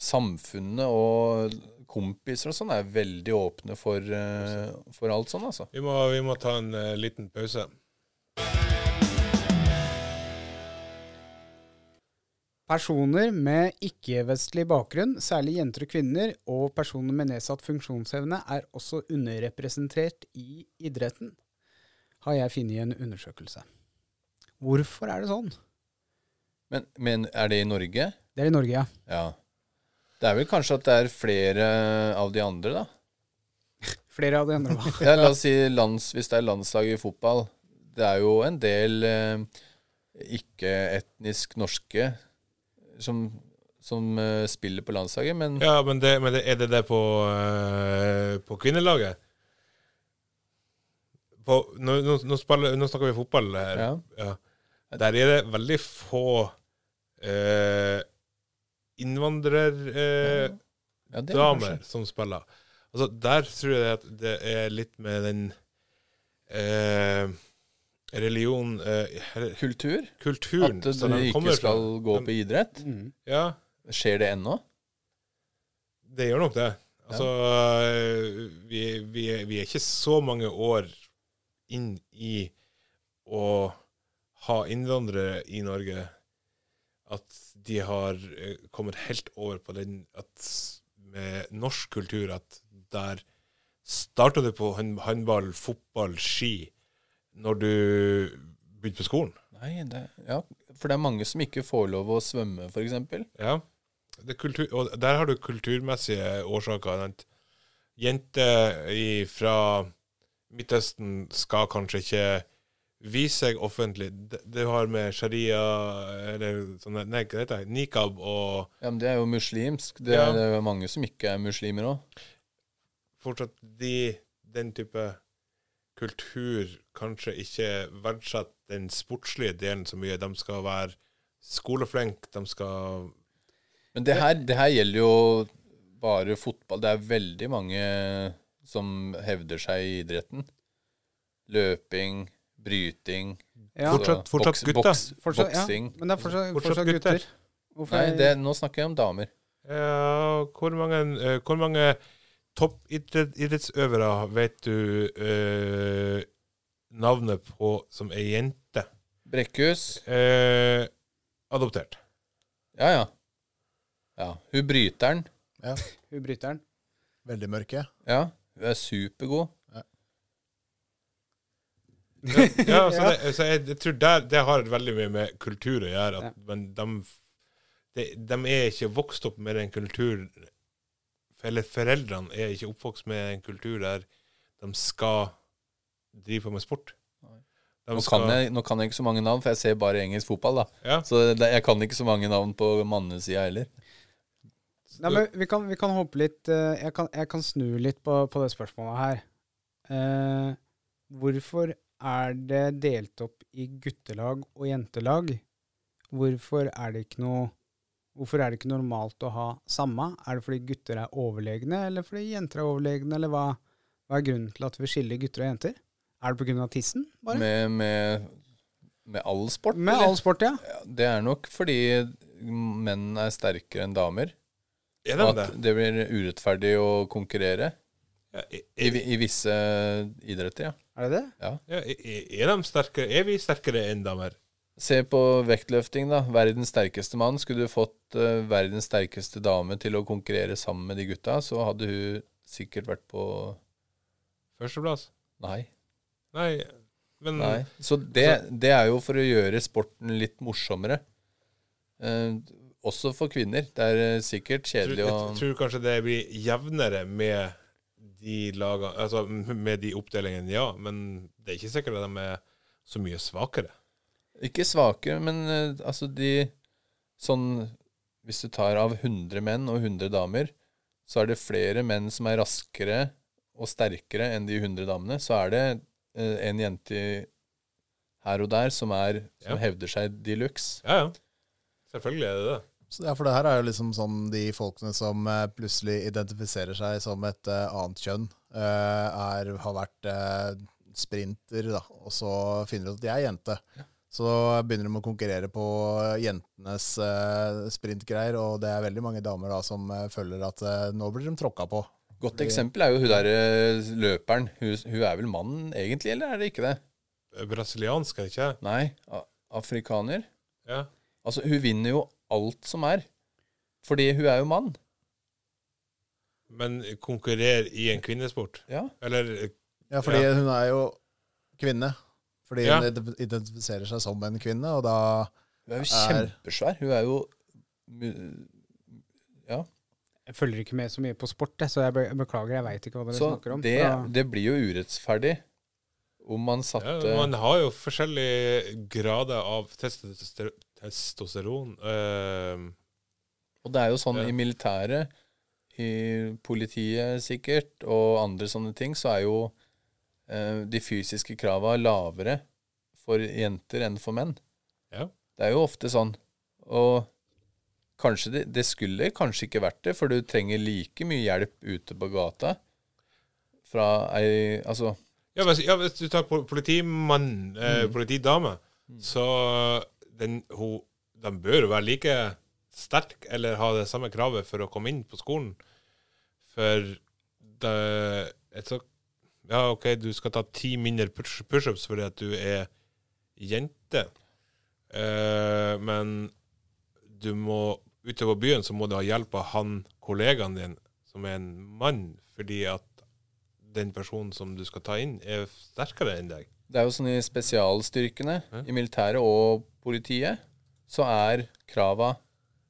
B: samfunnet og kompiser og sånn er veldig åpne for, eh, for alt sånn, altså.
C: Vi må, vi må ta en eh, liten pause.
A: Personer med ikke-vestlig bakgrunn, særlig jenter og kvinner, og personer med nedsatt funksjonsevne er også underrepresentert i idretten, har jeg funnet i en undersøkelse. Hvorfor er det sånn?
B: Men, men er det i Norge?
A: Det er i Norge, ja.
B: Ja. Det er vel kanskje at det er flere av de andre, da.
A: Flere av de andre var
B: Ja, la oss si lands, hvis det er landslag i fotball. Det er jo en del eh, ikke-etnisk norske som, som eh, spiller på landslaget, men
C: Ja, men, det, men det, er det det på, eh, på kvinnelaget? På, nå, nå, nå, spiller, nå snakker vi fotball her.
B: Ja.
C: Der er det veldig få eh, innvandrerdamer eh,
B: ja, det er
C: damer
B: kanskje-
C: som spiller. Altså, der tror jeg at det er litt med den eh, religion eh, her-
B: kultur.
C: Kulturen
B: At du
C: som de
B: ikke
C: kommer fra.
B: skal gå
C: De-
B: på idrett.
A: mm.
C: Ja,
B: Skjer det ennå?
C: Det gjør nok det. Altså, øh, vi, vi, er- vi er ikke så mange år inn i å ha innvandrere i Norge at de har øh, kommet helt over på den at med norsk kultur at der starta du på hånd- håndball, fotball, ski når du begynte på skolen.
B: Nei, det, ja. For det er mange som ikke får lov å svømme, f.eks.
C: Ja. Det er kultur, og der har du kulturmessige årsaker. sant? Jenter i- fra Midtøsten skal kanskje ikke vise seg offentlig. Det, det har med sharia eller sånne, Nei, hva heter det? Nikab og
B: Ja, men det er jo muslimsk. Det,
C: Ja.
B: det er jo mange som ikke er muslimer òg.
C: fortsatt de, den type kultur kanskje ikke verdsetter den sportslige delen så mye. De skal være skoleflinke, de skal
B: Men det her, det her gjelder jo bare fotball. Det er veldig mange som hevder seg i idretten. Løping, bryting
A: Ja.
B: så
C: Fortsatt- fortsatt
B: boks-
C: gutta.
B: boks-
A: Fortsatt, ja.
B: Boksing.
A: Men det er fortsatt,
C: Fortsatt
A: fortsatt
C: gutter.
A: gutter. Hvorfor
B: Nei,
A: er-
B: det, nå snakker jeg om damer.
C: Ja, hvor mange, eh, hvor mange toppidrettsøvere vet du eh, navnet på som er jente?
B: Brekkhus.
C: Eh, adoptert.
B: Ja, ja. Ja, Hun bryteren.
A: Hun bryteren.
D: Veldig mørke.
B: Ja, hun er supergod.
C: Ja, så det, så jeg, jeg tror det, det har veldig mye med kultur å gjøre. At, Men de, de, de er ikke vokst opp med den kulturen Eller foreldrene er ikke oppvokst med en kultur der de skal drive på med sport. De
B: Nå kan, jeg, nå kan jeg ikke så mange navn, for jeg ser bare engelsk fotball. da.
C: Ja.
B: Så det, jeg kan ikke så mange navn på mannesida heller.
A: Nei, men vi kan, vi kan håpe litt eh, jeg, kan, jeg kan snu litt på, på det spørsmålet her. Eh, hvorfor er det delt opp i guttelag og jentelag? Hvorfor er det ikke noe Hvorfor er det ikke normalt å ha samme? Er det fordi gutter er overlegne, eller fordi jenter er overlegne, eller hva, hva er grunnen til at vi skiller gutter og jenter? Er det pga. tissen, bare?
B: Med, med, med all sport.
A: Med
B: eller?
A: all sport, ja.
B: Ja, Det er nok fordi menn er sterkere enn damer.
C: er de
B: Og
C: det?
B: at det blir urettferdig å konkurrere
C: Ja, er-
B: i, vi- i visse idretter. ja.
A: Er det det?
C: Ja, er- er, de sterkere? er vi sterkere enn damer?
B: Se på vektløfting, da. Verdens sterkeste mann. Skulle du fått eh, verdens sterkeste dame til å konkurrere sammen med de gutta, så hadde hun sikkert vært på
C: Førsteplass?
B: Nei.
C: Nei. Men
B: Nei. Så det, det er jo for å gjøre sporten litt morsommere. Eh, også for kvinner. Det er eh, sikkert
C: jeg, tror,
B: kjedelig å
C: jeg tror kanskje det blir jevnere med de lagene Altså med de oppdelingene, ja. Men det er ikke sikkert at de er så mye svakere.
B: Ikke svake, men eh, altså de Sånn Hvis du tar av 100 menn og 100 damer, så er det flere menn som er raskere og sterkere enn de 100 damene. Så er det eh, en jente i her og der som, er, som hevder seg de luxe.
C: Ja, ja. Selvfølgelig er det det.
D: Så, ja, for det her er jo liksom sånn de folkene som eh, plutselig identifiserer seg som et eh, annet kjønn, eh, er, har vært eh, sprinter, da, og så finner de ut at de er jente. Så begynner de å konkurrere på jentenes eh, sprintgreier, og det er veldig mange damer da som eh, føler at eh, nå blir de tråkka på.
B: Godt eksempel er jo hun der eh, løperen. Hun, hun er vel mannen egentlig, eller er det ikke det?
C: Brasiliansk, er det ikke?
B: Nei, a- afrikaner.
C: Ja.
B: Altså, hun vinner jo alt som er. Fordi hun er jo mann.
C: Men konkurrerer i en kvinnesport?
B: Ja.
C: Eller
D: Ja, fordi
C: Ja.
D: hun er jo kvinne. Fordi
C: Ja.
D: hun ident- identifiserer seg som en kvinne, og da
B: Hun er jo
D: Er-
B: kjempesvær. Hun er jo mu-
A: Jeg følger ikke med så mye på sport, jeg, så jeg be- beklager, jeg veit ikke hva dere
B: Så
A: snakker om.
B: det,
A: Ja.
B: det blir jo urettferdig om man
C: ja,
B: satte
C: Man har jo forskjellige grader av testoster testosteron. eh,
B: Og det er jo sånn
C: Ja.
B: i militæret, i politiet sikkert, og andre sånne ting, så er jo eh, de fysiske krava lavere for jenter enn for menn.
C: Ja.
B: Det er jo ofte sånn. Og kanskje det, det skulle kanskje ikke vært det, for du trenger like mye hjelp ute på gata fra ei Altså,
C: Ja, men, ja, hvis du tar po- politimann, eh, politidame, så den, hun, de bør jo være like sterk eller ha det samme kravet for å komme inn på skolen. For det et så, Ja, OK, du skal ta ti mindre push- pushups fordi at du er jente, eh, men du må ute på byen så må du ha hjelp av han kollegaen din, som er en mann, fordi at den personen som du skal ta inn, er sterkere enn deg.
B: Det er jo sånn i spesialstyrkene, i militæret og politiet, så er krava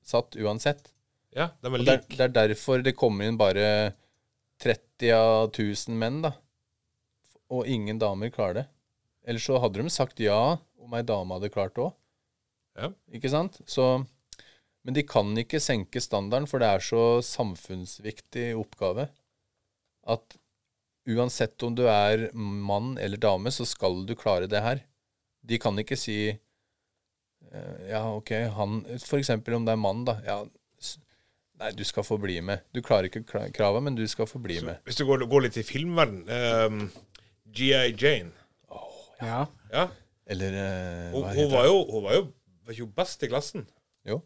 B: satt uansett.
C: Ja, de er
B: Og det, er,
C: like.
B: det er derfor det kommer inn bare 30 av 1000 menn, da. Og ingen damer klarer det. Ellers så hadde de sagt ja om ei dame hadde klart det òg.
C: Ja.
B: Ikke sant? Så, men de kan ikke senke standarden, for det er så samfunnsviktig oppgave at uansett om du er mann eller dame, så skal du klare det her. De kan ikke si eh, ja, OK, han For eksempel om det er mann, da. Ja, s- nei, du skal få bli med. Du klarer ikke kra- krava, men du skal få bli med.
C: Hvis du går, går litt i filmverden ehm, G.I. Jane.
A: Ja.
C: Ja,
B: Eller eh,
C: hun,
B: hva
C: hun,
B: heter det?
C: var jo, hun var jo var ikke hun best i klassen.
B: Jo.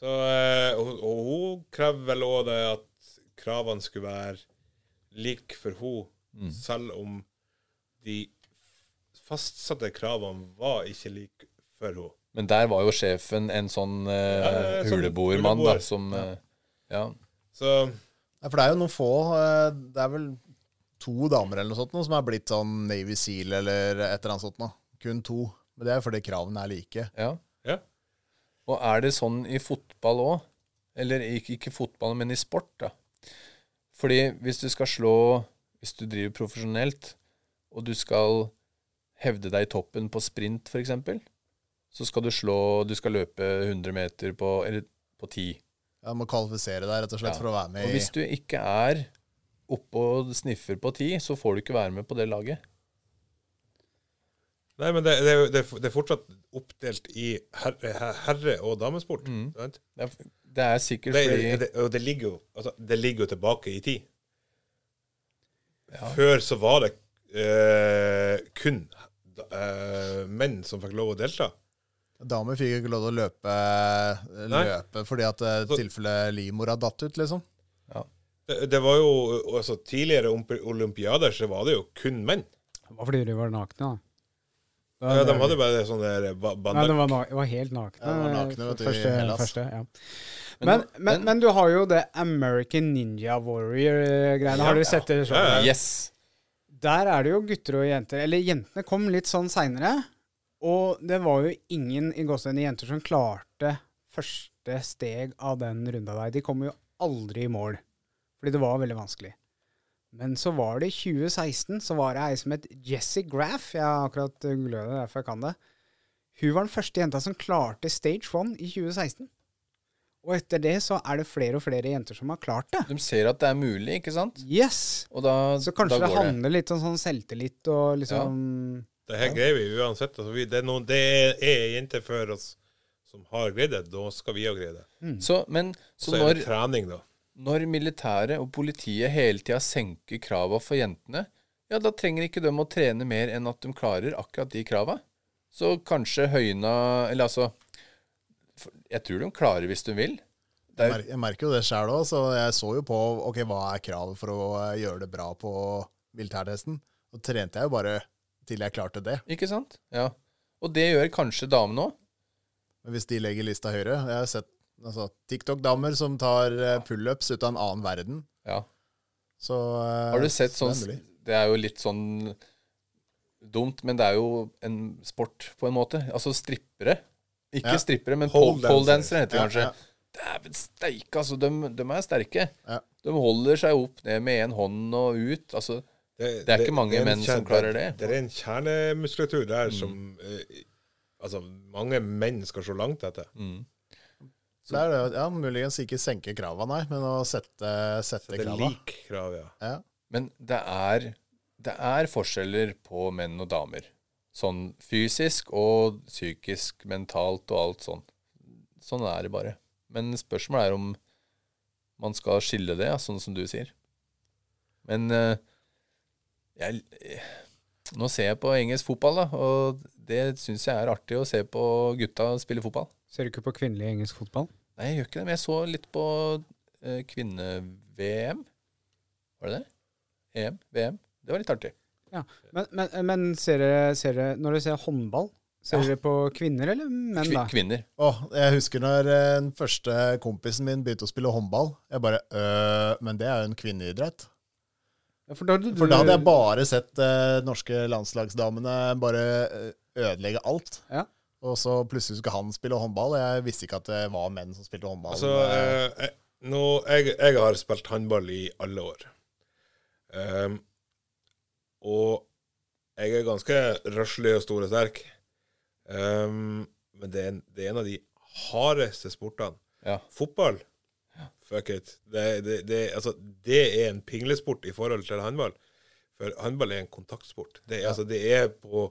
C: Så, eh, og, og hun krevde vel òg det at kravene skulle være like for hun, selv om de fastsatte kravene var ikke like for hun.
B: Men der var jo sjefen en sånn eh,
C: ja, sånn
B: huleboermann, da,
C: huleboer.
B: som eh, Ja.
C: Så
D: Ja, for det er jo noen få eh, Det er vel to damer eller noe sånt nå, som er blitt sånn Navy Seal eller et eller annet sånt nå. Kun to. Men det er fordi kravene er like.
B: ja.
C: ja.
B: Og er det sånn i fotball òg? Eller ikke, ikke fotball, men i sport, da. Fordi hvis du skal slå Hvis du driver profesjonelt, og du skal hevde deg i toppen på sprint, f.eks., så skal du slå Du skal løpe 100 meter på Eller på 10.
D: Ja, må kvalifisere deg rett og slett
B: Ja.
D: for å være
B: Og
D: med i
B: hvis du ikke er oppe og sniffer på 10, så får du ikke være med på det laget.
C: Nei, men det, det, er jo- det, er f- det er fortsatt oppdelt i herre, herre- og damesport. Sant?
B: Det er, det er sikkert
C: Det,
B: fordi
C: det, og det ligger, jo, altså, det ligger jo tilbake i tid. Før så var det eh, kun eh, menn som fikk lov å delta.
D: Damer fikk jo ikke lov til å løpe, eh,
C: Nei.
D: løpe fordi at eh,
C: Så-
D: tilfelle livmora datt ut, liksom.
C: Det, det var jo, altså Tidligere omp- olympiader så var det jo kun menn.
A: Det var fordi de var nakne, da.
C: Ja, de hadde bare sånn der ba-
A: Nei,
C: banner.
A: de var, na var helt nakne.
D: Ja, de var nakne, vet du, i
A: første,
D: Hellas.
A: første, ja. men, men, men du har jo det American Ninja Warrior-greiene. Har dere sett det?
C: Ja, ja.
B: Yes!
A: Der er det jo gutter og jenter. Eller jentene kom litt sånn seinere. Og det var jo ingen i gåsehudene jenter som klarte første steg av den runda der. De kom jo aldri i mål, fordi det var veldig vanskelig. Men så var det i 2016, så var det ei som het Jesse Graff. Jeg har akkurat googla det, derfor jeg kan det. Hun var den første jenta som klarte stage one i 2016. Og etter det så er det flere og flere jenter som har klart det.
B: De ser at det er mulig, ikke sant?
A: Yes!
B: Og da,
A: Så kanskje det
B: da går det.
A: handler litt om sånn selvtillit og liksom
C: Det her greier vi uansett. Altså, vi, det, er noen, det er- er jenter før oss som har greid det. Da skal vi òg greie det.
B: Så, men, så
C: Så er
B: når,
C: det trening, da.
B: når militæret og politiet hele tida senker krava for jentene, ja, da trenger ikke de å trene mer enn at de klarer akkurat de krava. Så kanskje høyna Eller altså for- Jeg tror de klarer hvis de vil. Det
D: Jeg
B: er,
D: mer- Jeg merker jo det sjøl òg, så jeg så jo på ok, hva er kravet for å eh, gjøre det bra på militærtesten. Og trente jeg jo bare til jeg klarte det.
B: jo- ikke sant? Ja. Og det gjør kanskje damene òg.
D: Men hvis de legger lista høyere Jeg har sett altså, TikTok-damer som tar eh, pullups ut av en annen verden.
B: Ja.
D: Så eh,
B: Har du sett
D: så
B: sånn
D: det er mulig.
B: Det er jo litt sånn dumt, men det er jo en sport, på en måte. Altså strippere. Ikke
D: Ja.
B: strippere, men
C: Pole
B: pole- poledancere heter det
D: Ja,
B: kanskje.
D: ja.
B: Dæven steike, altså. De, er sterke.
D: Ja.
B: De holder seg opp ned med én hånd og ut. Altså, Det er ikke mange
C: en
B: menn som
C: kjerne-
B: klarer det. Mm.
C: Det er en kjernemuskulatur der som eh, Altså, mange menn skal se langt etter.
B: Mm.
D: Så det er det, ja, muligens ikke senke krava, nei, men å sette, sette
C: Det er
D: krava.
C: lik krav, ja.
D: Ja.
B: men det er, det er forskjeller på menn og damer. Sånn fysisk og psykisk, mentalt og alt sånn. Sånn er det bare. Men spørsmålet er om man skal skille det, ja, sånn som du sier. Men eh, jeg eh, Nå ser jeg på engelsk fotball, da, og det syns jeg er artig å se på gutta spille fotball.
A: Ser du ikke på kvinnelig engelsk fotball?
B: Nei, jeg gjør ikke det, men jeg så litt på eh, kvinne-VM. Var det E det? EM? VM? Det var litt artig.
A: Ja. Men, men, men ser dere, ser dere Når dere ser håndball, ser
B: Ja.
A: dere på kvinner eller menn,
B: Kvi
A: da?
B: kvinner.
D: Åh, jeg husker når eh, den første kompisen min begynte å spille håndball. Jeg bare øh, Men det er jo en kvinneidrett.
A: For da, hadde du-
D: For da hadde jeg bare sett eh, norske landslagsdamene bare eh, ødelegge alt.
A: Ja.
D: Og så plutselig skulle han spille håndball. og Jeg visste ikke at det var menn som spilte håndball.
C: Altså,
D: Eh,
C: eh, eh, nå, jeg, jeg har spilt håndball i alle år. Ehm, og jeg er ganske røslig og stor og sterk. Ehm, men det er, en- det er en av de hardeste sportene.
B: Ja.
C: Fotball, fuck it. Det, det, det, altså, det er en pinglesport i forhold til håndball. For håndball er en kontaktsport. Det, er- altså, det er på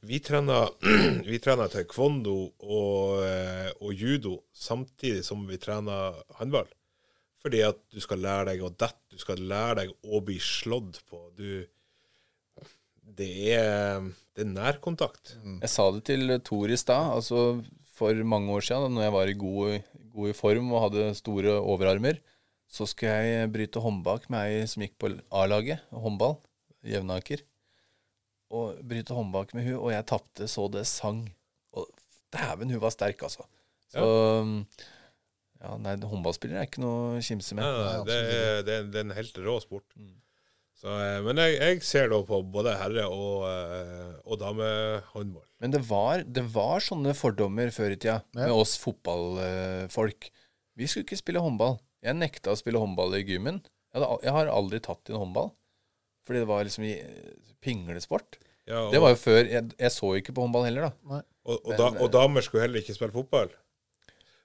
C: Vi trener, vi trener taekwondo og, eh, og judo samtidig som vi trener håndball. Fordi at du skal lære deg å dette, du skal lære deg å bli slått på. Du, det, er, det er nærkontakt.
B: Jeg sa det til Tor i stad, altså for mange år siden, da når jeg var i god, god i form og hadde store overarmer, så skulle jeg bryte håndbak med ei som gikk på A-laget, håndball, Jevnaker. Og bryte håndbak med hun, og jeg tapte så det sang. Og dæven, hun var sterk, altså. Så ja, nei, håndballspillere er ikke noe å kimse med.
C: Ja, det, er, det, er, det er en helt rå sport. Så, eh, men jeg, jeg ser da på både herre- og, eh, og damehåndball.
B: Men det var, det var sånne fordommer før i tida med oss fotballfolk. Vi skulle ikke spille håndball. Jeg nekta å spille håndball i gymmen. Jeg, hadde, al- jeg har aldri tatt inn håndball. Fordi det var liksom i pinglesport.
C: Ja, og,
B: Det var jo før Jeg, jeg så jo ikke på håndball heller, da.
C: og, og, da, og damer skulle heller ikke spille fotball.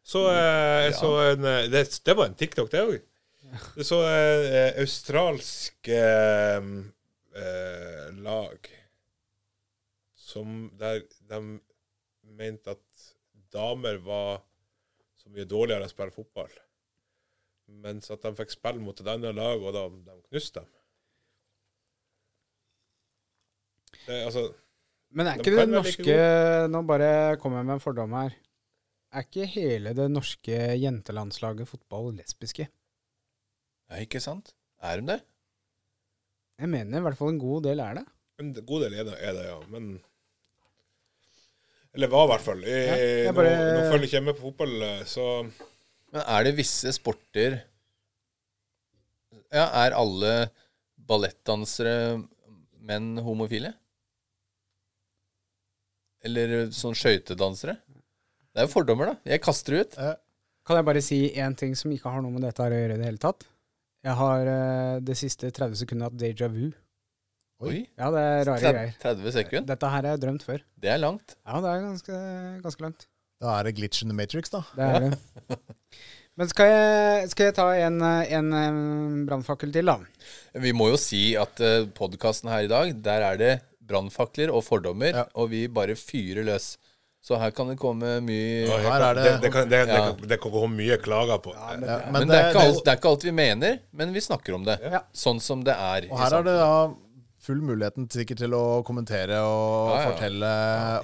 C: Så eh, jeg så en eh, det, det var en TikTok, det òg. Det så eh, australsk eh, eh, lag som der de mente at damer var så mye dårligere å spille fotball. Mens at de fikk spille mot et annet lag, og da de knuste dem. Det, altså,
A: Men er
C: De
A: ikke
C: kan
A: det
C: være like
A: norske Nå bare kommer jeg med en fordom her. Er ikke hele det norske jentelandslaget fotball lesbiske?
B: Ja, ikke sant? Er de det?
A: Jeg mener i hvert fall en god del er det.
C: En god del er det, er det ja. Men Eller var i hvert fall. Jeg,
A: Ja, jeg
C: nå,
A: bare-
C: nå følger ikke jeg med på fotball, så
B: Men er det visse sporter Ja, er alle ballettdansere menn homofile? Eller sånn skøytedansere? Det er jo fordommer, da. Jeg kaster det ut.
D: eh,
A: Kan jeg bare si én ting som ikke har noe med dette her å gjøre i det hele tatt? Jeg har eh, det siste 30 sekundet hatt déjà vu.
B: Oi.
A: Ja, det er rare
B: 30,
A: greier.
B: 30 sekunder.
A: Dette her har jeg drømt før.
B: Det er langt.
A: Ja, det er ganske, ganske langt.
D: da er det glitch in the matrix, da.
A: Det er det. Men skal jeg, skal jeg ta en, eh, en eh, brannfakkel til, da?
B: eh, Vi må jo si at uh, podkasten her i dag, der er det brannfakler og fordommer,
D: Ja.
B: og vi bare fyrer løs. Så her kan det komme mye
C: Ja, jeg
D: her
C: kan-
D: er det-
C: det, det, kan, det, det,
B: Ja.
C: kan- det kan gå mye klager på.
D: Ja,
B: Men, det, er ikke alt, det er ikke alt vi mener, men vi snakker om det.
A: Ja.
B: Sånn som det er.
D: Og her er det da full muligheten sikkert til å kommentere og
B: Ja, ja.
D: fortelle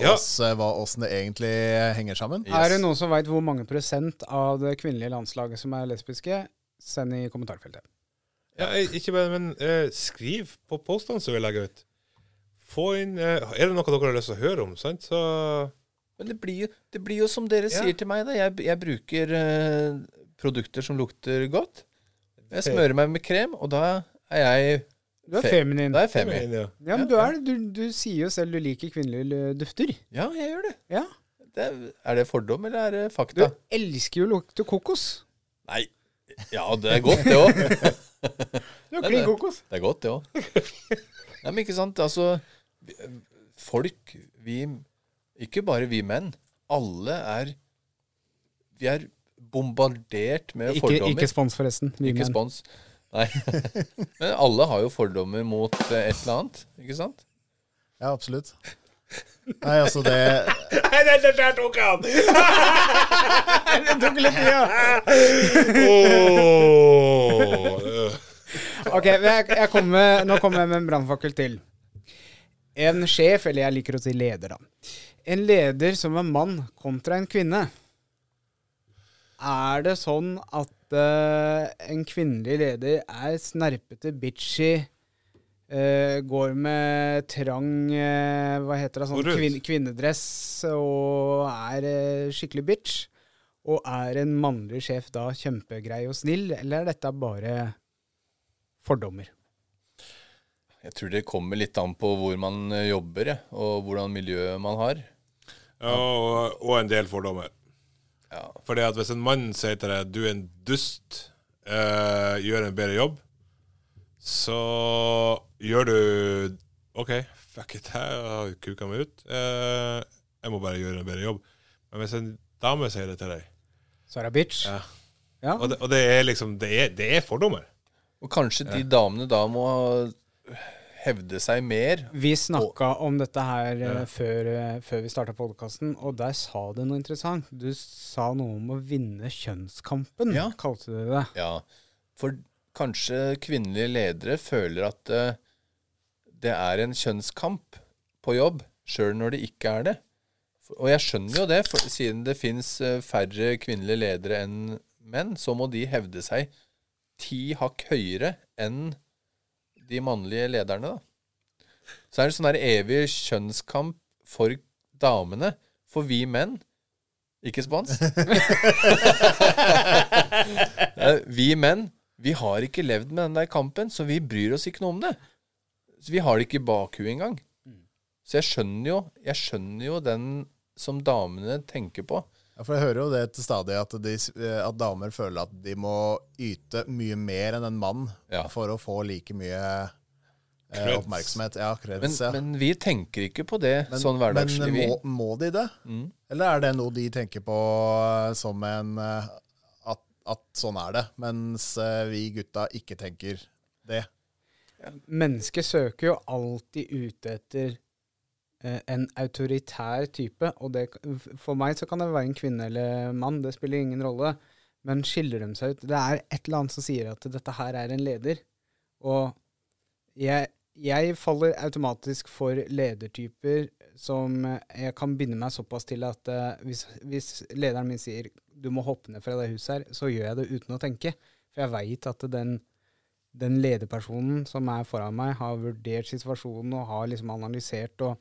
C: Ja.
D: oss eh, hva åssen det egentlig henger sammen.
B: Yes.
A: Er det noen som veit hvor mange prosent av det kvinnelige landslaget som er lesbiske? Send i kommentarfeltet.
C: Ja, jeg- ikke bare, men eh, skriv på postene som vi legger ut. Få inn eh, Er det noe dere har lyst til å høre om, sant? Så
B: Men det blir, jo- det blir jo som dere
C: Ja.
B: sier til meg, da. Jeg, jeg bruker eh, produkter som lukter godt. Jeg smører meg med krem, og da er jeg
A: Du er
B: Fe-
A: feminin.
B: Da er jeg femi.
C: inn, ja.
A: Ja, men du, er, det. du, du sier jo selv du liker kvinnelige dufter.
B: Ja, jeg gjør det.
A: Ja.
B: det. er- Er det fordom, eller er det
A: Du
B: fakta?
A: elsker jo å lukte kokos.
B: Nei. Ja, det er godt, det òg.
A: Du er
B: Nei,
A: klin
B: det-
A: kokos.
B: Det er godt, det òg. Nei, men ikke sant. Altså, vi- folk Vi Ikke bare vi menn. Alle er Vi er bombardert med
A: Ikke,
B: fordommer.
A: ikke spons, forresten. Vi
B: Ikke
A: menn.
B: spons. Nei. Men alle har jo fordommer mot eh, et eller annet, ikke sant?
D: Ja, absolutt. Nei, altså det
C: Nei, den den der tok han!
A: Det tok litt tid, ja.
C: Åh.
A: Ok, men jeg, jeg kommer, med- Nå kommer jeg med en brannfakkel til. En sjef, eller jeg liker å si leder, da. En leder som er mann kontra en kvinne. Er det sånn at eh, en kvinnelig leder er snerpete, bitchy, eh, går med trang eh, Hva heter det?
C: Og
A: Sånn
C: rød.
A: kvin kvinnedress og er eh, skikkelig bitch. Og er en mannlig sjef da kjempegrei og snill, eller er dette bare fordommer.
B: Jeg tror det kommer litt an på hvor man eh, jobber, jeg, og hvordan miljø man har.
C: Ja, og, og en del fordommer.
B: Ja.
C: Fordi at hvis en mann sier til deg du er en dust, eh, gjør en bedre jobb, så gjør du OK, fuck it, jeg har kuka meg ut. Eh, jeg må bare gjøre en bedre jobb. Men hvis en dame sier det til deg
A: Sara bitch.
C: Ja.
A: Ja.
C: Og det, og det er liksom Det er, det er fordommer.
B: Og kanskje de damene da må hevde seg mer.
A: Vi snakka om dette her eh, før, eh, før vi starta podkasten, og der sa du noe interessant. Du sa noe om å vinne kjønnskampen,
B: Ja.
A: kalte du det.
B: Ja, for kanskje kvinnelige ledere føler at eh, det er en kjønnskamp på jobb, sjøl når det ikke er det. For- Og jeg skjønner jo det, for siden det fins færre kvinnelige ledere enn menn, så må de hevde seg ti hakk høyere enn de mannlige lederne, da. Så er det sånn der evig kjønnskamp for damene. For vi menn Ikke spons. Eh, Vi menn, vi har ikke levd med den der kampen, så vi bryr oss ikke noe om det. Så vi har det ikke i bakhuet engang. Så jeg skjønner jo, jeg skjønner jo den som damene tenker på.
D: ja, For jeg hører jo det til stadig at, de, s- eh, at damer føler at de må yte mye mer enn en mann
B: Ja.
D: for å få like mye eh,
C: Creds.
D: oppmerksomhet. Ja, kreds,
B: Men,
D: ja.
B: men vi tenker ikke på det
D: Men-
B: sånn hverdagslig. vi. Mm.
D: Men må, må de det? Eller er det noe de tenker på eh, som en eh, at, at sånn er det, mens eh, vi gutta ikke tenker det?
A: Mennesket søker jo alltid ute etter eh, en autoritær type, og det, for meg så kan det være en kvinne eller mann, det spiller ingen rolle. Men skiller de seg ut? Det er et eller annet som sier at dette her er en leder. Og jeg, jeg faller automatisk for ledertyper som jeg kan binde meg såpass til at eh, hvis, hvis lederen min sier du må hoppe ned fra det huset her, så gjør jeg det uten å tenke. For jeg veit at den, den lederpersonen som er foran meg, har vurdert situasjonen og har liksom analysert og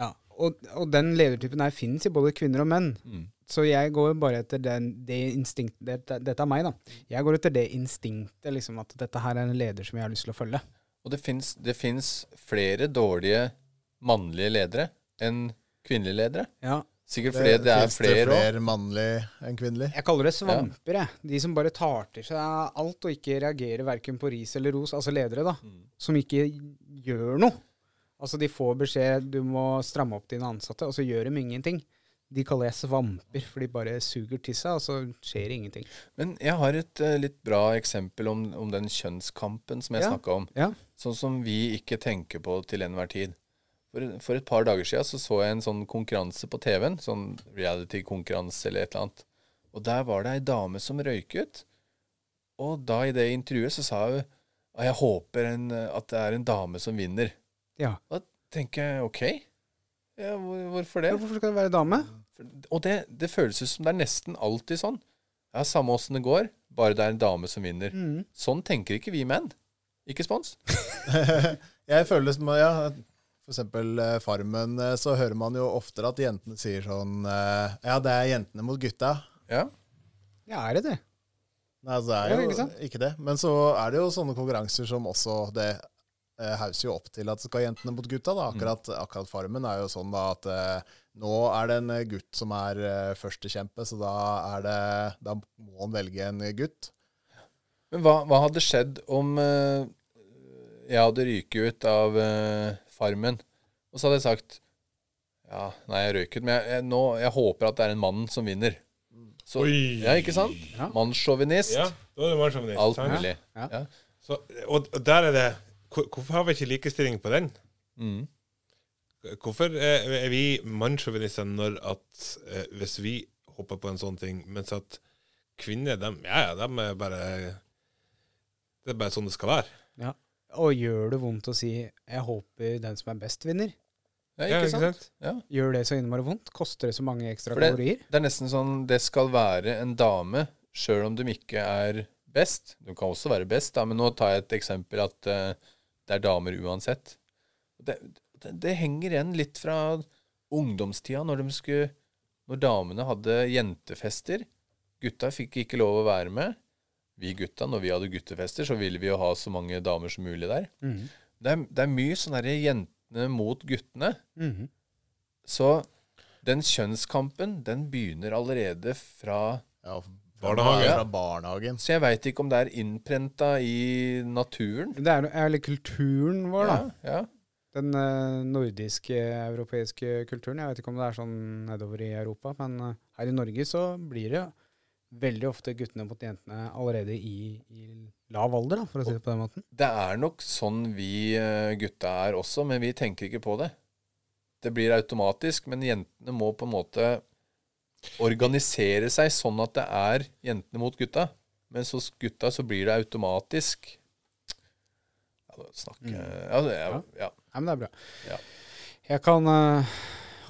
A: ja, og, og den ledertypen her finnes i både kvinner og menn. Så jeg går bare etter den, det instinktet dette, dette er meg, da. Jeg går etter det instinktet, liksom, at dette her er en leder som jeg har lyst til å følge.
B: Og det fins, det fins flere dårlige mannlige ledere enn kvinnelige ledere.
A: Ja,
B: Sikkert fordi det, er
D: Finnes
B: flere òg.
D: flere mannlig enn kvinnelig?
A: Jeg kaller det svamper, jeg. De som bare tar til seg alt og ikke reagerer verken på ris eller ros. Altså ledere, da.
B: Mm.
A: Som ikke gjør noe. Altså, de får beskjed du må stramme opp dine ansatte, og så gjør de ingenting. De kaller jeg svamper, for de bare suger til seg, og så skjer det ingenting.
B: Men jeg har et eh, litt bra eksempel om, om den kjønnskampen som jeg
A: Ja.
B: snakka om.
A: Ja.
B: Sånn som vi ikke tenker på til enhver tid. For, for et par dager siden så, så jeg en sånn konkurranse på TV-en. Sånn reality-konkurranse eller et eller annet. Og der var det ei dame som røyket. Og da i det intervjuet så sa hun at jeg håper en, at det er en dame som vinner.
A: ja.
B: Da tenker jeg OK. Ja, hvor, hvorfor det?
A: Ja, Hvorfor skal det være dame?
B: Og det, det føles ut som det er nesten alltid sånn. Ja, Samme åssen det går, bare det er en dame som vinner.
A: Mm.
B: Sånn tenker ikke vi menn. Ikke spons?
D: Jeg føler det som ja, For eksempel eh, Farmen, eh, så hører man jo oftere at jentene sier sånn eh, Ja, det er jentene mot gutta.
B: Ja.
A: Ja, er det det?
D: Nei, altså, det
A: Ja,
D: er jo
A: ikke
D: ikke,
A: sant?
D: det. Men så er det jo sånne konkurranser som også det eh, hauser jo opp til at skal jentene mot gutta.
A: Mm.
D: da. Akkurat, akkurat Farmen er jo sånn da at eh, nå er det en eh, gutt som er eh, førstekjempe, så da, er det, da må han velge en gutt.
B: Men hva, hva hadde skjedd om eh, jeg hadde ryket ut av eh, Farmen, og så hadde jeg sagt Ja, nei, jeg røyk ut, men jeg, jeg, nå, jeg håper at det er en mann som vinner. Så,
C: Oi.
B: Ja, ikke sant?
A: Ja.
B: Mannssjåvinist.
C: Ja, da er det mannssjåvinist.
B: Alt
C: sant?
B: mulig.
A: Ja.
B: Ja.
C: Så, og, og der er det hvor- Hvorfor har vi ikke likestilling på den?
B: Mm.
C: Hvorfor er er vi mannssjåvinister når at eh, hvis vi hopper på en sånn ting, mens at kvinner, dem, ja, ja, dem er bare Det er bare sånn det skal være.
A: Ja. Og gjør det vondt å si 'jeg håper den som er best, vinner'?
B: ja,
C: Ja,
B: ikke sant? Ja.
A: Gjør det så innmari vondt? Koster det så mange ekstra
B: For det-
A: kalorier?
B: Det er nesten sånn det skal være en dame, sjøl om de ikke er best. Du kan også være best, da, men nå tar jeg et eksempel at eh, det er damer uansett. Det, det, det henger igjen litt fra ungdomstida, når, de skulle, når damene hadde jentefester. Gutta fikk ikke lov å være med. Vi gutta, når vi hadde guttefester, så ville vi jo ha så mange damer som mulig der.
A: Mhm.
B: Det er, det er mye sånn derre jentene mot guttene.
A: Mhm.
B: Så den kjønnskampen, den begynner allerede fra
D: Ja,
C: Barnehage.
D: Fra barnehagen.
B: Så jeg veit ikke om det er innprenta i naturen.
A: Det er, er litt kulturen vår, da.
B: Ja, ja.
A: Den eh, nordiske, europeiske kulturen. Jeg vet ikke om det er sånn nedover i Europa, men eh, her i Norge så blir det veldig ofte guttene mot jentene allerede i, i lav alder, da, for å si det på den måten.
B: Det er nok sånn vi eh, gutta er også, men vi tenker ikke på det. Det blir automatisk, men jentene må på en måte organisere seg sånn at det er jentene mot gutta. Mens hos gutta så blir det automatisk ja, da snakker ja, det er, ja.
A: Nei, men det er bra.
B: Ja.
A: Jeg kan eh,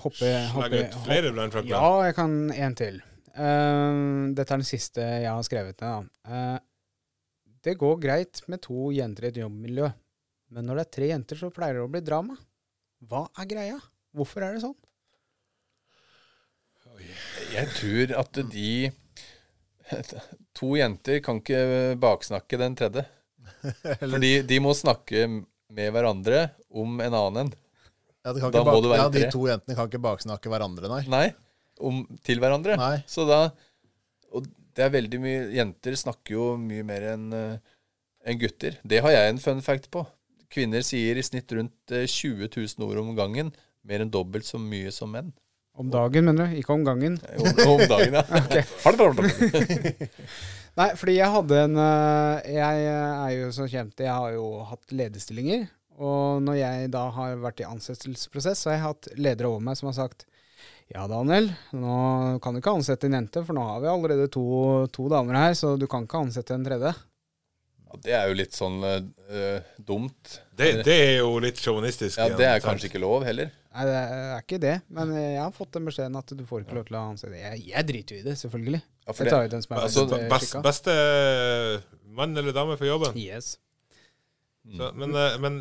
A: hoppe, hoppe,
C: Legge ut flere brannfakler.
A: Ja, jeg kan en til. Eh, dette er den siste jeg har skrevet ned. da. Eh, det går greit med to jenter i et jobbmiljø, men når det er tre jenter, så pleier det å bli drama. Hva er greia? Hvorfor er det sånn?
B: Jeg tror at de To jenter kan ikke baksnakke den tredje. Fordi de må snakke med hverandre om en annen en.
D: Ja, det kan
B: Da
D: ikke
B: må
D: bak,
B: det være
D: ja, de
B: tre.
D: to jentene kan ikke baksnakke hverandre,
A: Mm.
D: nei.
B: Nei, om, til hverandre.
D: Nei.
B: Så da Og det er veldig mye Jenter snakker jo mye mer enn eh, enn gutter. Det har jeg en fun fact på. Kvinner sier i snitt rundt eh, 20 000 ord om gangen. Mer enn dobbelt så mye som menn.
A: Om dagen, mener du? Ikke om gangen.
B: Eh, Om, om dagen, ja.
A: Nei, fordi jeg hadde en øh, Jeg er jo så kjent Jeg har jo hatt lederstillinger. Og når jeg da har vært i ansettelsesprosess, så har jeg hatt ledere over meg som har sagt ja, Daniel, nå kan du ikke ansette en jente, for nå har vi allerede to, to damer her, så du kan ikke ansette en tredje.
B: Ja, Det er jo litt sånn eh, eh, dumt.
C: Det, det er jo litt sjåvinistisk.
B: Ja,
C: igjen,
B: Det er
C: sant?
B: kanskje ikke lov heller.
A: Nei, det er ikke det, men jeg har fått den beskjeden at du får ikke lov til å ansette Jeg, jeg driter jo i det, selvfølgelig.
B: Ja, for
A: Jeg tar ut den som er
C: altså,
A: best,
C: be-
A: øh,
C: best,
A: skikka.
C: Beste eh, mann eller dame for jobben.
A: Yes.
B: Mm.
C: Så, men, eh, men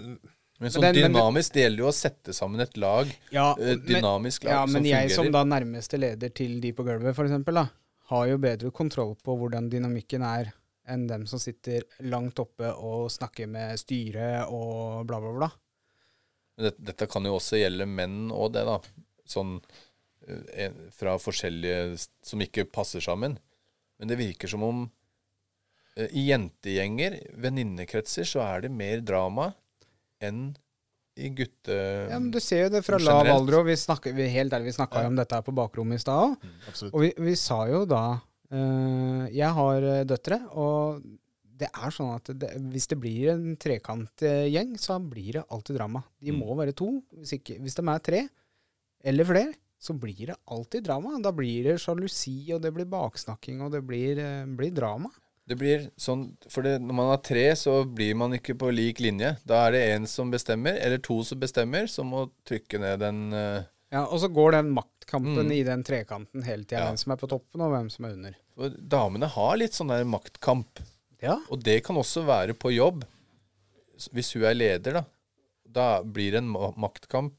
B: Men
A: Men
B: sånn
A: den- men-
B: dynamisk, det gjelder jo å sette sammen et lag.
A: Ja,
B: eh, dynamisk lag
A: Ja,
B: som
A: men jeg
B: fungerer.
A: som da nærmeste leder til de på gulvet, for eksempel, da, har jo bedre kontroll på hvordan dynamikken er enn dem som sitter langt oppe og snakker med styret og bla, bla, bla.
B: Men Dette, dette kan jo også gjelde menn og det, da. Sånn eh, en- fra forskjellige s- som ikke passer sammen. Men det virker som om eh, i jentegjenger, venninnekretser, så er det mer drama enn i gutte...
A: Ja, men du ser jo det fra lav
B: Generelt.
A: alder, og vi snakker, vi, helt ærlig, vi snakka jo om dette her på bakrommet i stad òg.
D: Absolutt.
A: Og vi, vi sa jo da eh, Jeg har eh, døtre, og det er sånn at det, hvis det blir en trekantgjeng, så blir det alltid drama. De
B: Mm.
A: må være to. Hvis, ikke, hvis de er tre eller flere, så blir det alltid drama. Da blir det sjalusi, og det blir baksnakking, og det blir, eh, blir drama.
B: Det blir sånn, for det, når man har tre, så blir man ikke på lik linje. Da er det én som bestemmer, eller to som bestemmer, som må trykke ned den eh,
A: Ja, og så går den maktkampen
B: Mm.
A: i den trekanten hele tida.
B: Ja.
A: Hvem som er på toppen, og hvem som er under.
B: for Damene har litt sånn der maktkamp,
A: Ja,
B: og det kan også være på jobb. S- Hvis hun er leder, da. Da blir det en ma- maktkamp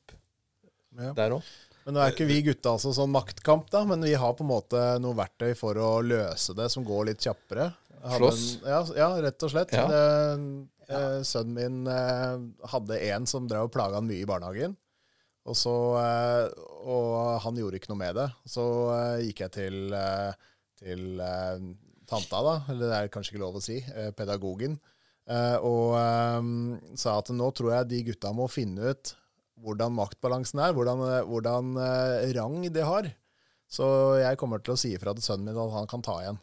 D: Ja.
B: der òg.
D: Men nå er ikke vi gutta altså sånn maktkamp, da, men vi har på en måte noe verktøy for å løse det som går litt kjappere. Jeg hadde
B: Slåss?
D: en- Ja, ja, rett og slett.
B: Ja.
D: Det- eh, sønnen min eh, hadde en som drev og plaga han mye i barnehagen. Og, så, eh, og han gjorde ikke noe med det. Så eh, gikk jeg til, eh, til eh, tanta, da, eller det er kanskje ikke lov å si, eh, pedagogen, eh, og eh, sa at nå tror jeg de gutta må finne ut hvordan maktbalansen er, hvordan, eh, hvordan eh, rang de har. Så jeg kommer til å si ifra til sønnen min at han kan ta igjen.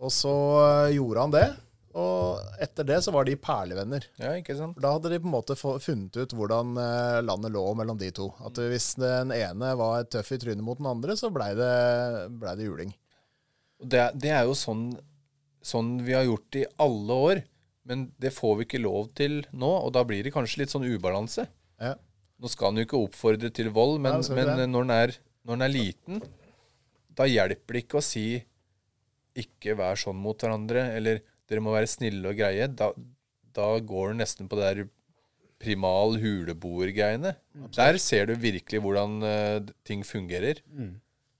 D: Og så eh, gjorde han det, og etter det så var de perlevenner.
B: Ja, ikke sant?
D: For Da hadde de på en måte få- funnet ut hvordan eh, landet lå mellom de to. At hvis den ene var tøff i trynet mot den andre, så blei det, ble det juling.
B: Og det, er- det er jo sånn, sånn vi har gjort i alle år, men det får vi ikke lov til nå, og da blir det kanskje litt sånn ubalanse.
D: Ja.
B: Nå skal han jo ikke oppfordre til vold, men,
D: Nei, skal ikke
B: men
D: det.
B: når, han er, når han er liten, da hjelper det ikke å si 'ikke vær sånn mot hverandre', eller 'dere må være snille og greie'. Da, da går det nesten på det der primal huleboer-greiene. Der ser du virkelig hvordan eh, ting fungerer.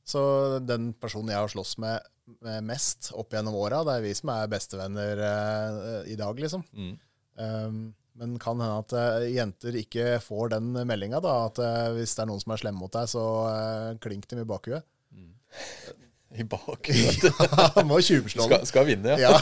D: Så den personen jeg har slåss med, med mest opp gjennom åra, det er vi som er bestevenner eh, i dag, liksom.
B: Mm.
D: Um, men kan hende at eh, jenter ikke får den meldinga, da. At eh, hvis det er noen som er slemme mot deg, så eh, klink dem i bakhuet.
B: I bak. Du
D: Må tjuvslå
B: skal,
D: den.
B: skal vinne, ja.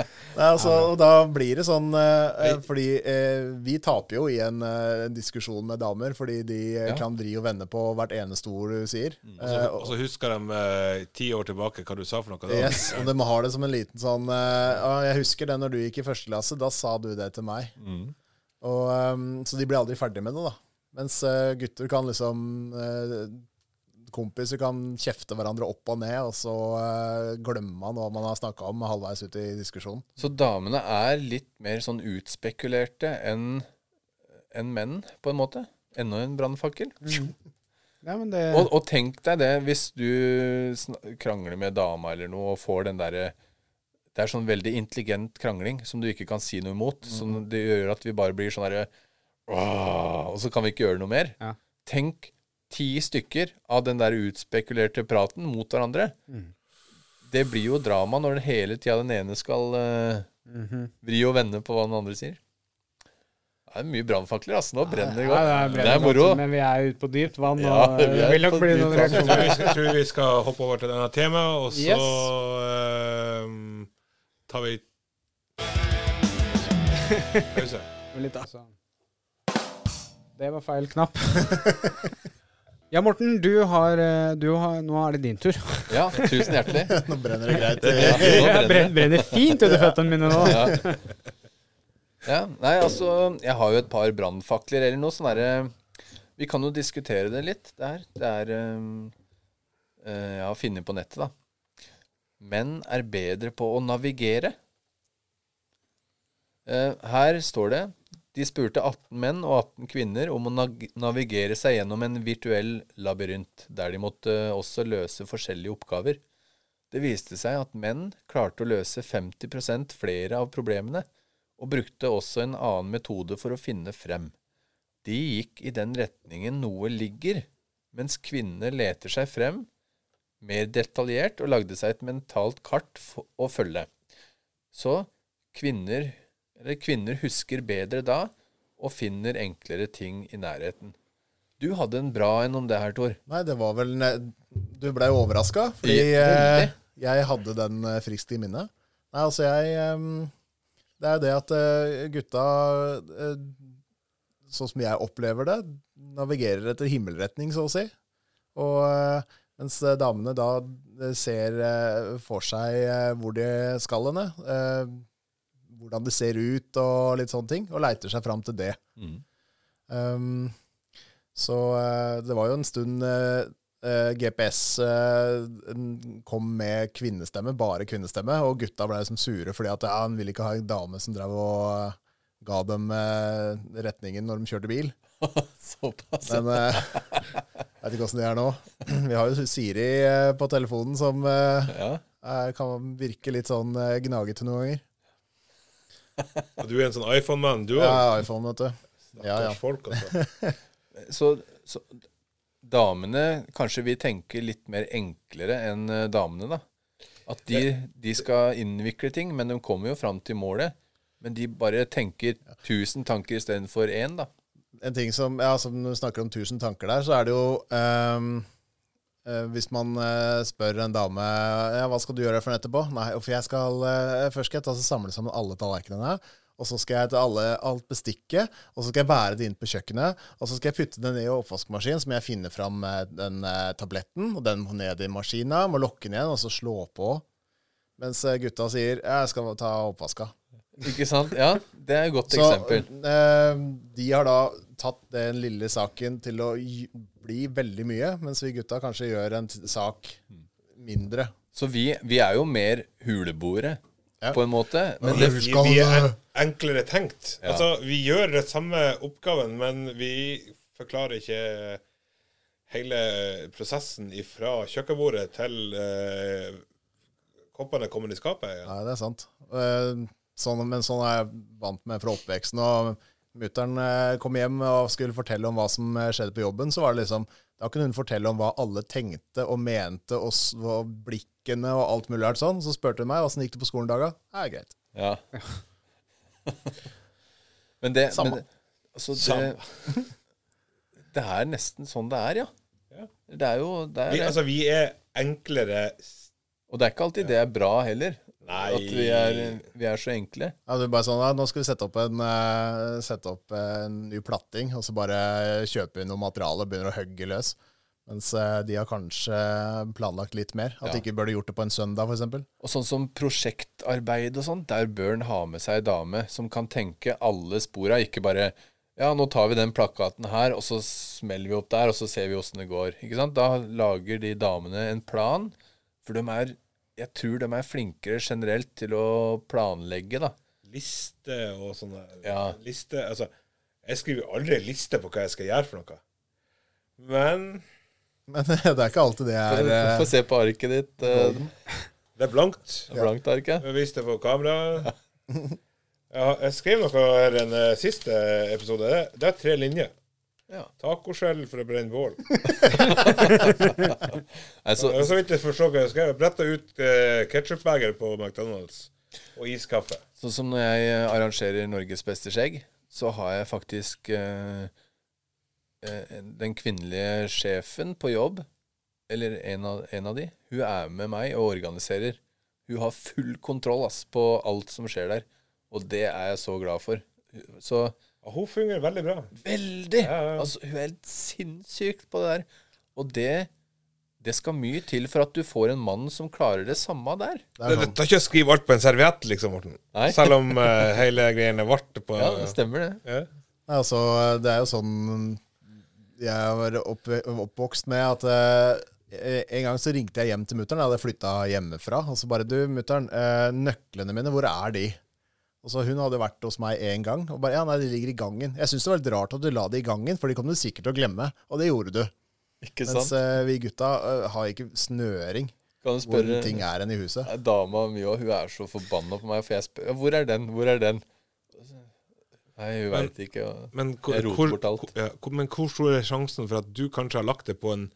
D: Ja. Nei, altså, og da blir det sånn eh, eh, Fordi eh, vi taper jo i en eh, en diskusjon med damer, fordi de eh,
B: Ja.
D: kan vri og vende på hvert eneste ord du sier.
C: Mm, Og så-
D: Eh,
C: Og så husker de eh, ti år tilbake hva du sa for noe. da.
D: Yes, og de har det som en liten sånn eh, «Å, Jeg husker det når du gikk i første klasse, da sa du det til meg.
C: Mm.
D: Og, ehm, så de blir aldri ferdig med det, da. Mens eh, gutter kan liksom eh, Kompiser kan kjefte hverandre opp og ned, og så eh, glemmer man hva man har snakka om halvveis ut i diskusjonen.
B: Så damene er litt mer sånn utspekulerte enn enn menn, på en måte. Enda en brannfakkel.
A: ja men det
B: Og, og tenk deg det, hvis du sn- krangler med dama eller noe, og får den derre Det er sånn veldig intelligent krangling som du ikke kan si noe imot. Som det gjør at vi bare blir sånn derre «Åh», Og så kan vi ikke gjøre noe mer.
A: Ja.
B: Tenk ti stykker av den der utspekulerte praten mot hverandre. Det blir jo drama når det hele tida den ene skal eh, vri og vende på hva den andre sier. Det er mye brannfakler, altså. Nå brenner det godt.
A: Ja,
B: det er moro.
A: Men vi er ute på dypt vann,
B: Ja,
A: og eh,
B: vi
A: det
B: er
A: vil nok
B: på
A: bli
B: dypt
A: noen
B: vann.
C: Jeg
A: reaksjoner.
C: tror, vi, jeg tror vi skal hoppe over til denne temaet, og så eh, tar vi pause.
A: Litt, altså. Det var feil knapp. ja, Morten, du har, eh, du har Nå er det din tur.
B: Ja, tusen hjertelig.
D: Nå brenner det greit.
B: Ja, nå brenner
A: Jeg
B: det.
A: brenner, brenner fint under føttene mine nå.
B: ja. ja. Nei, altså, jeg har jo et par brannfakler eller noe sånn derre Vi kan jo diskutere det litt, det her. Det er ehm, eh, Jeg har funnet på nettet, da. Menn er bedre på å navigere. Eh, her står det De spurte 18 menn og 18 kvinner om å nag- navigere seg gjennom en virtuell labyrint, der de måtte eh, også løse forskjellige oppgaver. Det viste seg at menn klarte å løse 50 flere av problemene, og brukte også en annen metode for å finne frem. De gikk i den retningen noe ligger, mens kvinnene leter seg frem mer detaljert og lagde seg et mentalt kart f- å følge. Så kvinner, eller kvinner husker bedre da og finner enklere ting i nærheten. Du hadde en bra en om det her, Tor.
D: Nei, det var vel ne- Du blei overraska, fordi
B: Ja, veldig.
D: eh, jeg hadde den eh, friskt i minnet. Nei, altså, jeg eh, Det er jo det at eh, gutta eh, sånn som jeg opplever det, navigerer etter himmelretning, så å si. Og eh, mens eh, damene da eh, ser eh, for seg eh, hvor de skal henne, eh, hvordan det ser ut og litt sånne ting, og leiter seg fram til det.
B: Mm.
D: Um, så eh, det var jo en stund eh, eh, GPS eh, en- kom med kvinnestemme, bare kvinnestemme, og gutta ble liksom sure fordi at ja, han ville ikke ha en dame som drev og eh, ga dem eh, retningen når de kjørte bil.
B: Såpass.
D: Men eh, jeg vet ikke åssen det er nå. Vi har jo Siri eh, på telefonen som eh,
B: Ja.
D: er- kan virke litt sånn eh, gnagete noen ganger.
C: Og du er en sånn iPhone-mann, du
D: Ja,
C: òg.
D: iPhone, vet du. Ja, ja.
C: Folk, altså.
B: Så, så damene Kanskje vi tenker litt mer enklere enn eh, damene, da. At de, de skal innvikle ting, men de kommer jo fram til målet. Men de bare tenker tusen tanker istedenfor én, da.
D: en ting som Ja, som du snakker om tusen tanker der, så er det jo ehm, eh, Hvis man eh, spør en dame ja, hva skal du gjøre for noe etterpå, Nei, for jeg skal eh, først skal jeg ta så samle sammen alle tallerkenene. Og så skal jeg ta alle, alt bestikket, og så skal jeg bære det inn på kjøkkenet. Og så skal jeg putte det ned i oppvaskmaskinen, som jeg finner fram eh, den eh, tabletten. Og den må ned i maskina, må lokke den igjen, og så slå på. Mens eh, gutta sier 'jeg skal ta oppvaska'.
B: Ikke sant? Ja, det er et godt
D: Så
B: eksempel.
D: eh, de har da tatt den lille saken til å gj- bli veldig mye, mens vi gutta kanskje gjør en t- sak mindre.
B: Så vi, vi er jo mer huleboere,
D: Ja.
B: på en måte. Men det,
D: Vi
C: Vi,
D: skal-
C: vi er en- enklere tenkt.
B: Ja.
C: Altså, vi gjør den samme oppgaven, men vi forklarer ikke hele prosessen fra kjøkkenbordet til eh, koppene kommer i skapet. igjen.
D: Nei, det er sant. Eh, sånn, men sånn er jeg vant med fra oppveksten. Og mutter'n eh, kom hjem og skulle fortelle om hva som eh, skjedde på jobben, så var det liksom Da kunne hun fortelle om hva alle tenkte og mente, og, s- og blikkene og alt mulig rart sånn. Så spurte hun meg åssen gikk det på skolen i dag, da. Det er greit.
B: ja. men det,
D: Samme.
B: Men, altså, det, det er nesten sånn det er, ja.
C: Ja.
B: Det er jo det er,
C: Vi, altså, vi er enklere s-
B: Og det er ikke alltid det er bra heller.
C: Nei.
B: At vi er, vi er så enkle.
D: Ja, det er bare sånn, ja, Nå skal vi sette opp, en, eh, sette opp eh, en ny platting, og så bare kjøpe inn noe materiale og begynner å hogge løs. Mens eh, de har kanskje planlagt litt mer. At de
B: Ja.
D: ikke burde gjort det på en søndag, f.eks.
B: Og sånn som prosjektarbeid og sånn, der bør en ha med seg ei dame som kan tenke alle spora, ikke bare ja, nå tar vi den plakaten her, og så smeller vi opp der, og så ser vi åssen det går. Ikke sant? Da lager de damene en plan, for de er Jeg tror de er flinkere generelt til å planlegge, da.
C: liste og sånne
B: Ja.
C: liste, altså, Jeg skriver aldri liste på hva jeg skal gjøre for noe. Men
D: Men det er ikke alltid det er eh,
B: Få se på arket ditt. eh,
C: det er blankt.
B: Det blankt arket.
C: Jeg viste det på kamera. Jeg, jeg skrev noe her den eh, siste episode. Det, det er tre linjer.
B: Ja.
C: Tacoskjell for å brenne bål.
B: Nei, så,
C: Jeg så vidt jeg forstår hva jeg skrev. Jeg bretta ut eh, ketsjupbeger på McDonald's og iskaffe.
B: Sånn som når jeg eh, arrangerer Norges beste skjegg, så har jeg faktisk eh, eh, den kvinnelige sjefen på jobb, eller en av, en av de, hun er med meg og organiserer. Hun har full kontroll ass, på alt som skjer der, og det er jeg så glad for. Hun- Så
C: Og hun fungerer veldig bra.
B: veldig!
C: Ja, ja.
B: Altså, hun er helt sinnssykt på det der. Og det, det skal mye til for at du får en mann som klarer det samme der.
D: det er sånn.
C: tar ikke å skrive alt på en serviett, liksom, Morten.
B: Nei.
C: Selv om eh, hele greiene ble på
B: Ja, det stemmer det.
C: Ja.
D: Nei, altså, det er jo sånn jeg var opp, oppvokst med at eh, en gang så ringte jeg hjem til mutter'n. Jeg hadde flytta hjemmefra. Og så bare Du, mutter'n, eh, nøklene mine, hvor er de? Og så Hun hadde vært hos meg én gang. Og bare, ja, nei, de ligger i gangen. Jeg syns det var litt rart at du la de i gangen, for de kom du sikkert til å glemme. Og det gjorde du.
B: Ikke
D: Mens
B: sant?
D: eh, vi gutta eh, har ikke snøring
B: Kan du
D: hvor
B: spørre
D: ting er enn i huset.
B: Ja, Dama mi òg, hun er så forbanna på meg, for jeg spør «Ja, hvor er den, hvor er den? Nei, hun
C: Men-
B: veit ikke. og-
C: Men, hvor,
B: Jeg roter
C: hvor,
B: bort alt.
C: ja, hvor, men hvor stor er sjansen for at du kanskje har lagt det på en,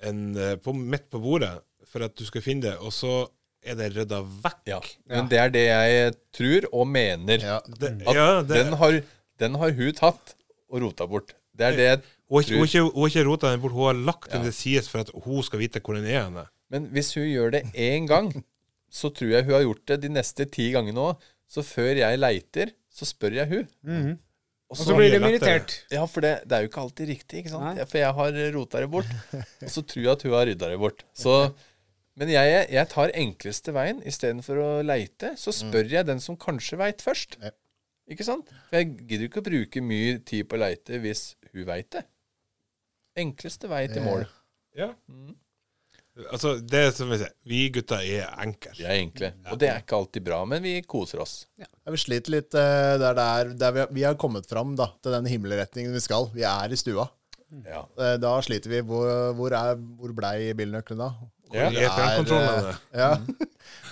C: en eh, på, midt på bordet for at du skal finne det, og så er det rydda vekk?
B: Ja. Men det er det jeg tror og mener.
D: Ja.
C: Det,
B: Mm. At
C: ja, det,
B: Den, har, den har hun tatt og rota bort. Det er det jeg
C: hun har ikke- hun har
B: tror.
C: ikke, hun har ikke rota den bort, hun har lagt den
B: Ja.
C: til sides for at hun skal vite hvor den er. henne.
B: Men hvis hun gjør det én gang, så tror jeg hun har gjort det de neste ti gangene òg. Så før jeg leiter, så spør jeg hun. Og
A: Og så blir de
C: lettere.
A: irritert.
B: Ja, for det, det er jo ikke alltid riktig, ikke sant?
A: Nei.
B: Ja, For jeg har rota det bort, og så tror jeg at hun har rydda det bort. Så, men jeg, jeg tar enkleste veien. Istedenfor å leite, så spør jeg den som kanskje veit først.
D: Mm. Ja.
B: Ikke sant? For jeg gidder ikke å bruke mye tid på å leite hvis hun veit det. Enkleste vei til mål.
C: Ja.
B: Mm.
C: Altså, det er som vi sier, vi gutter er enkle.
B: Vi er enkle. Og det er ikke alltid bra, men vi koser oss.
D: Ja, vi sliter litt eh, der, det er- der vi, har- vi har kommet fram da, til den himmelretningen vi skal. Vi er i stua.
B: Ja.
D: Eh, Da sliter vi. Hvor, hvor, er, hvor blei bilnøklene da? Hvor
C: Ja, i fjernkontrollene.
D: eh, Ja.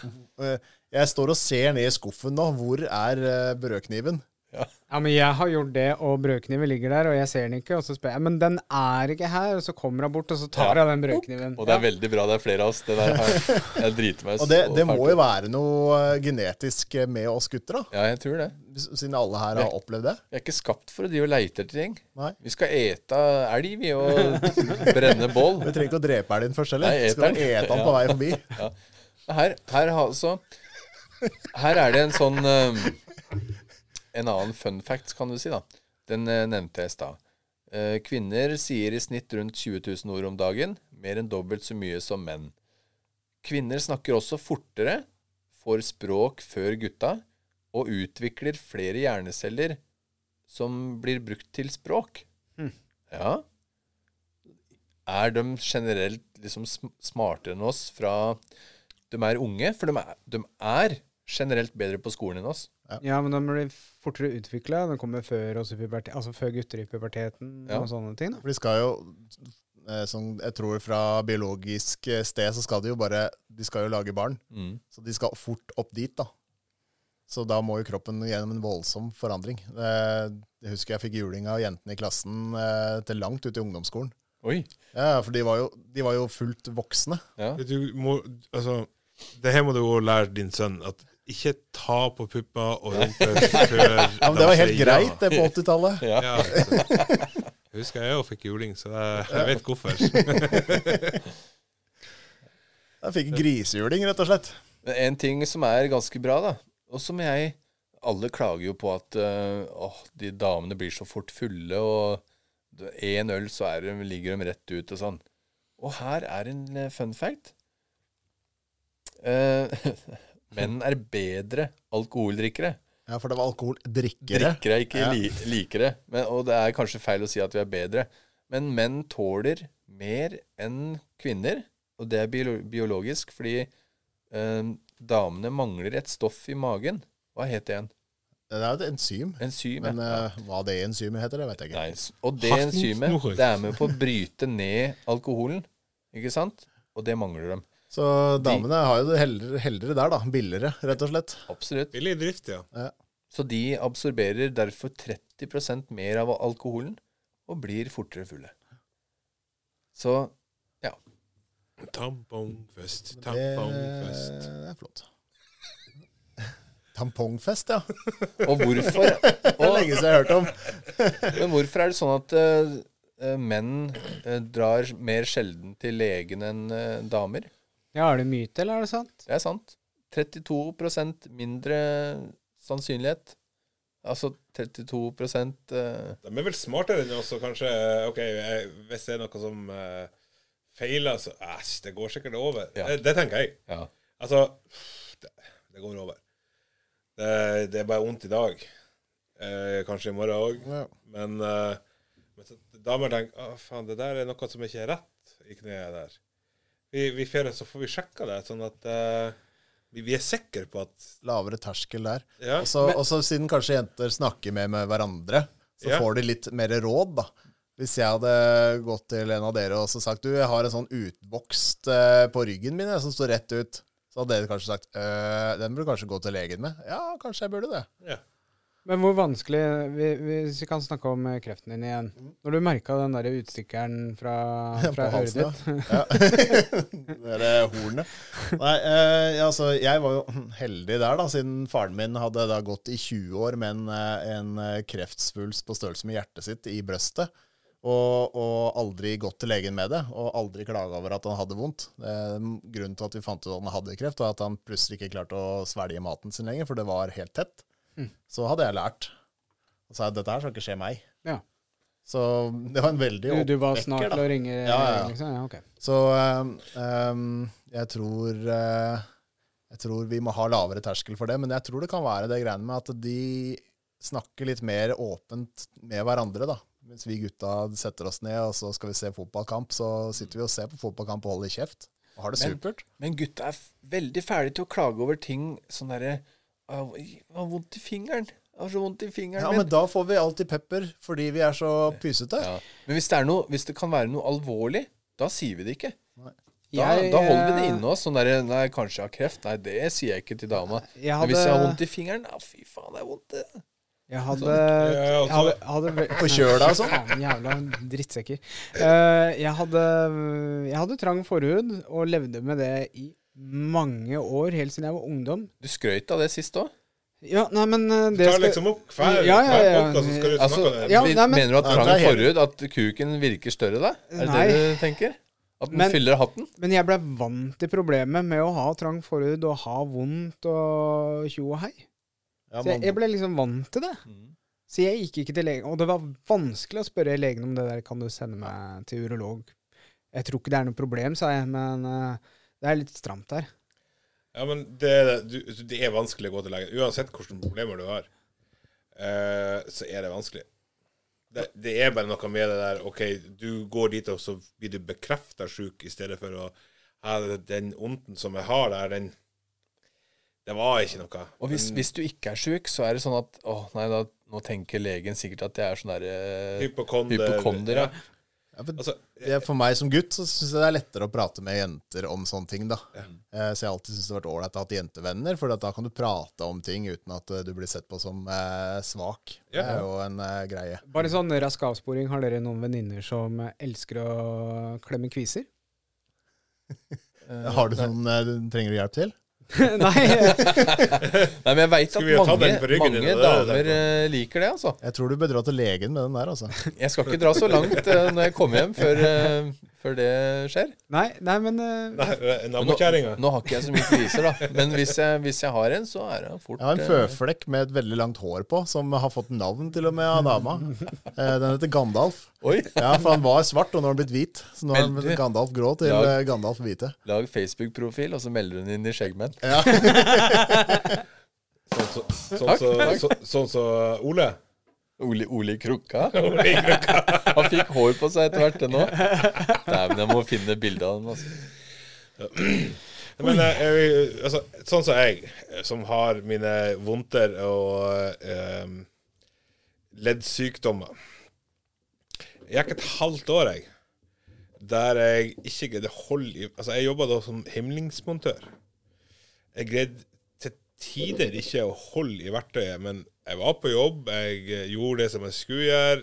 D: Eh, Jeg står og ser ned i skuffen nå. Hvor er eh, brødkniven?
A: Ja, men jeg har gjort det, og brødkniven ligger der, og jeg ser den ikke, og så spør jeg, men den er ikke her, og så kommer hun bort, og så tar
B: Ja.
A: hun den brødkniven.
B: Og det er
A: Ja.
B: veldig bra det er flere av oss. Det der har, jeg driter meg
D: Mm. Og det,
B: så
D: det må
B: fælt
D: jo
B: ut.
D: være noe eh, genetisk eh, med oss gutter, da.
B: Ja, jeg tror det.
D: s- Siden alle her har opplevd det.
B: Vi er ikke skapt for å drive og leite etter ting.
D: Nei.
B: Vi skal ete elg, vi, og brenne bål.
D: Vi trenger ikke å drepe elgen først heller.
B: Nei, eter
D: Skal du
B: den.
D: ete den på vei forbi?
B: Her, her, har- så, her er det en sånn eh, En annen fun fact, kan du si, da. Den eh, nevnte jeg i stad. Eh, Kvinner sier i snitt rundt 20 000 ord om dagen. Mer enn dobbelt så mye som menn. Kvinner snakker også fortere, får språk før gutta, og utvikler flere hjerneceller som blir brukt til språk. Ja. Er de generelt liksom sm- smartere enn oss fra de er unge? For de er, de er generelt bedre på skolen enn oss.
A: Ja, men den blir fortere utvikla. Den kommer før, oss i puberte- altså før gutter i puberteten
B: Ja.
A: og sånne ting. da.
D: For de skal jo, eh, som jeg tror fra biologisk eh, sted, så skal de jo bare De skal jo lage barn. Så de skal fort opp dit, da. Så da må jo kroppen gjennom en voldsom forandring. Eh, Jeg husker jeg fikk juling av jentene i klassen eh, til langt ut i ungdomsskolen.
B: Oi.
D: Ja, For de var jo, de var jo fullt voksne.
B: Ja.
C: Du må, altså, det her må du jo lære din sønn, at ikke ta på puppa og rumper før
D: Ja, men Det var helt greit, det, på 80-tallet.
B: Ja.
C: Ja, altså. Jeg husker jeg òg fikk juling, så jeg, jeg vet hvorfor.
D: Jeg fikk grisejuling, rett og slett.
B: Men en ting som er ganske bra, da, og som jeg Alle klager jo på at øh, åh, de damene blir så fort fulle, og én øl, så er de, ligger de rett ut og sånn. Og her er en eh, fun fact. Eh, menn er bedre alkoholdrikkere.
D: Ja, For det var alkoholdrikkere.
B: Drikkere, ikke li likere. Men, og det er kanskje feil å si at vi er bedre. Men menn tåler mer enn kvinner, og det er biolo biologisk fordi eh, damene mangler et stoff i magen. Hva het det igjen?
D: Det er jo et enzym.
B: Enzym.
D: Men
B: ja.
D: eh, hva det enzymet heter, det vet jeg ikke.
B: Nei, s- og det
C: Harten
B: enzymet
C: snor.
B: det er med på å bryte ned alkoholen, ikke sant? Og det mangler dem.
D: Så damene har jo det heldere, heldere der, da. Billigere, rett og slett.
B: Absolutt.
C: Billig drift, ja.
B: Så de absorberer derfor 30 mer av alkoholen og blir fortere fulle. Så ja.
C: Tampongfest,
D: Det
C: tampongfest.
D: Eh, er flott. Tampongfest, ja. Det
B: Og hvorfor,
D: er
B: og,
D: lenge siden jeg har hørt om.
B: men hvorfor er det sånn at eh, eh, menn eh, drar mer sjelden til legen enn eh, damer?
A: Ja, Er det myte, eller er det sant?
B: Det er sant. 32 mindre sannsynlighet. Altså 32 eh,
C: De er vel smartere enn oss, og kanskje OK, jeg, hvis det er noe som eh, feiler, så Æsj, det går sikkert over.
B: Ja.
C: Det, det tenker jeg.
B: ja.
C: Altså Det, det går over. Det, det er bare vondt i dag. Eh, kanskje i morgen òg.
D: Ja.
C: Men, eh, men så, damer tenker Å, faen, det der er noe som ikke er rett i kneet der. Vi, vi ferie, så får vi sjekka det, sånn at eh, vi, vi er sikre på at
D: Lavere terskel der.
C: Ja.
D: Og så og så siden kanskje jenter snakker mer med hverandre, så
C: Ja.
D: får de litt mer råd, da. Hvis jeg hadde gått til en av dere og så sagt du, jeg har en sånn utvokst eh, på ryggen min jeg, som står rett ut, så hadde dere kanskje sagt «Øh, den burde du kanskje gå til legen med. Ja, kanskje jeg burde det.
C: ja.
A: Men hvor vanskelig vi, Hvis vi kan snakke om eh, kreften din igjen. Når du merka den der utstikkeren fra, fra
D: Mm. På
A: øret
D: halsen,
A: ditt
D: ja. Ja. Det er eh, hornet. Nei, eh, ja, altså, jeg var jo heldig der, da, siden faren min hadde da gått i 20 år med en, eh, en eh, kreftsvulst på størrelse med hjertet sitt i brøstet. Og, og aldri gått til legen med det, og aldri klaga over at han hadde vondt. Eh, grunnen til at vi fant ut at han hadde kreft, var at han
A: Mm.
D: plutselig ikke klarte å svelge maten sin lenger, for det var helt tett. Så hadde jeg lært. Og sa at dette her skal ikke skje meg.
A: Ja.
D: Så det var en veldig
A: Du, du var
D: oppvekker,
A: snart
D: da.
A: til å ringe?
D: Ja, ja.
A: Liksom. ja ok.
D: Så um, um, jeg tror eh, Jeg tror vi må ha lavere terskel for det, men jeg tror det kan være det greiene med at de snakker litt mer åpent med hverandre, da. Mens vi gutta setter oss ned, og så skal vi se fotballkamp, så sitter vi og ser på fotballkamp og holder kjeft. Og har det
B: Men-
D: supert.
B: Men gutta er f- veldig fæle til å klage over ting sånn derre «Au, Jeg har vondt i fingeren. Jeg har så vondt i fingeren
D: Ja,
B: min.
D: men da får vi alltid pepper, fordi vi er så pysete.
B: Ja. Men hvis det, er noe, hvis det kan være noe alvorlig, da sier vi det ikke. Da,
A: Jeg,
B: da holder vi det
A: eh,
B: inne oss. Sånn der, nei, kanskje jeg har kreft. Nei, det sier jeg ikke til dama.
A: Jeg
B: Men hvis jeg har
A: hadde-
B: vondt i fingeren, ja, fy faen, det er vondt. det.
A: Jeg hadde,
C: Ja, altså-
A: jeg hadde, hadde vel-
D: På kjøla og sånn.
A: Faen, jævla drittsekker. Eh, jeg, hadde, jeg hadde trang forhud og levde med det i mange år, helt siden jeg var ungdom.
B: Du skrøt av det sist òg.
A: Ja, nei, men eh,
C: Du
A: det
C: tar
A: skal-
C: liksom opp hver,
A: Ja, ja,
C: hver
A: ja.
C: podcast, så skal du snakke
B: Altså,
C: om det.
A: Ja,
B: vi-
A: nei, men-
B: mener du at
D: Nei,
B: trang
D: det er helt-
B: forhud, at kuken virker større da? Er det
A: Nei.
B: det du tenker? At den
A: Men-
B: fyller hatten?
A: Men jeg ble vant til problemet med å ha trang forhud og ha vondt og tjo og hei.
D: Ja,
A: Så jeg, jeg
D: man, Mm.
A: ble liksom vant til det. Så jeg gikk ikke til legen. Og det var vanskelig å spørre legen om det der, kan du sende meg til urolog? Jeg tror ikke det er noe problem, sa jeg, men eh, det er litt stramt her.
C: Ja, men det, er det. du, altså, det er vanskelig å gå til legen. Uansett hvilke problemer du har, eh, så er det vanskelig. Det, det er bare noe med det der OK, du går dit, og så blir du bekrefta sjuk, i stedet for å ha den onden som jeg har der, den Det var ikke noe.
B: Og hvis, hvis du ikke er sjuk, så er det sånn at Å, nei, da, nå tenker legen sikkert at jeg er sånn derre
C: Hypokonder.
B: Hypokonder, ja.
D: ja, men
C: Altså,
D: det er for meg som gutt så syns jeg det er lettere å prate med jenter om sånne ting, da. Eh, Så jeg har alltid syntes det har vært ålreit å ha hatt jentevenner, for da kan du prate om ting uten at eh, du blir sett på som eh, svak. Det
C: Ja.
D: er jo en eh, greie.
A: Bare sånn rask avsporing, har dere noen venninner som eh, elsker å klemme kviser?
D: Har du
A: sånn-
D: noen eh, du trenger du hjelp til?
A: Nei,
B: Nei, men jeg veit at
C: Skulle vi ha tatt
B: mange,
C: den på ryggen din,
B: mange
C: det er derfor.
B: damer eh, liker det, altså.
D: Jeg tror du bør dra til legen med den der, altså.
B: Jeg skal ikke dra så langt eh, når jeg kommer hjem, før, eh, før det skjer.
A: nei, nei men eh,
C: nei,
B: Men Nå,
C: Nabokjerringa.
B: nå har ikke jeg så mye kviser, da. Men hvis jeg, hvis jeg har en, så er det fort
D: Jeg har en
B: eh,
D: føflekk med et veldig langt hår på, som har fått navn til og med av dama. Eh, Den heter Gandalf.
B: Oi!
D: Ja, for han var svart, og nå har han blitt hvit. Så nå har han
B: Veldig.
D: blitt Gandalf grå til
B: Lag.
D: eh, Gandalf hvite.
B: Lag Facebook-profil, og så melder hun inn i Skjeggmenn.
C: Sånn som sånn, så, så, sånn, så Ole.
B: Oli, Oli Krukka.
C: Ole
B: Han fikk hår på seg etter hvert, den òg. Dæven, jeg må finne bilde av den. Altså.
C: Men eh, jeg, altså, sånn som jeg, eh, som har mine vondter og eh, leddsykdommer Jeg gikk et halvt år, jeg, der jeg ikke greide å holde i Altså, jeg jobba da som himlingsmontør. Jeg greide til tider ikke å holde i verktøyet, men jeg var på jobb, jeg eh, gjorde det som jeg skulle gjøre,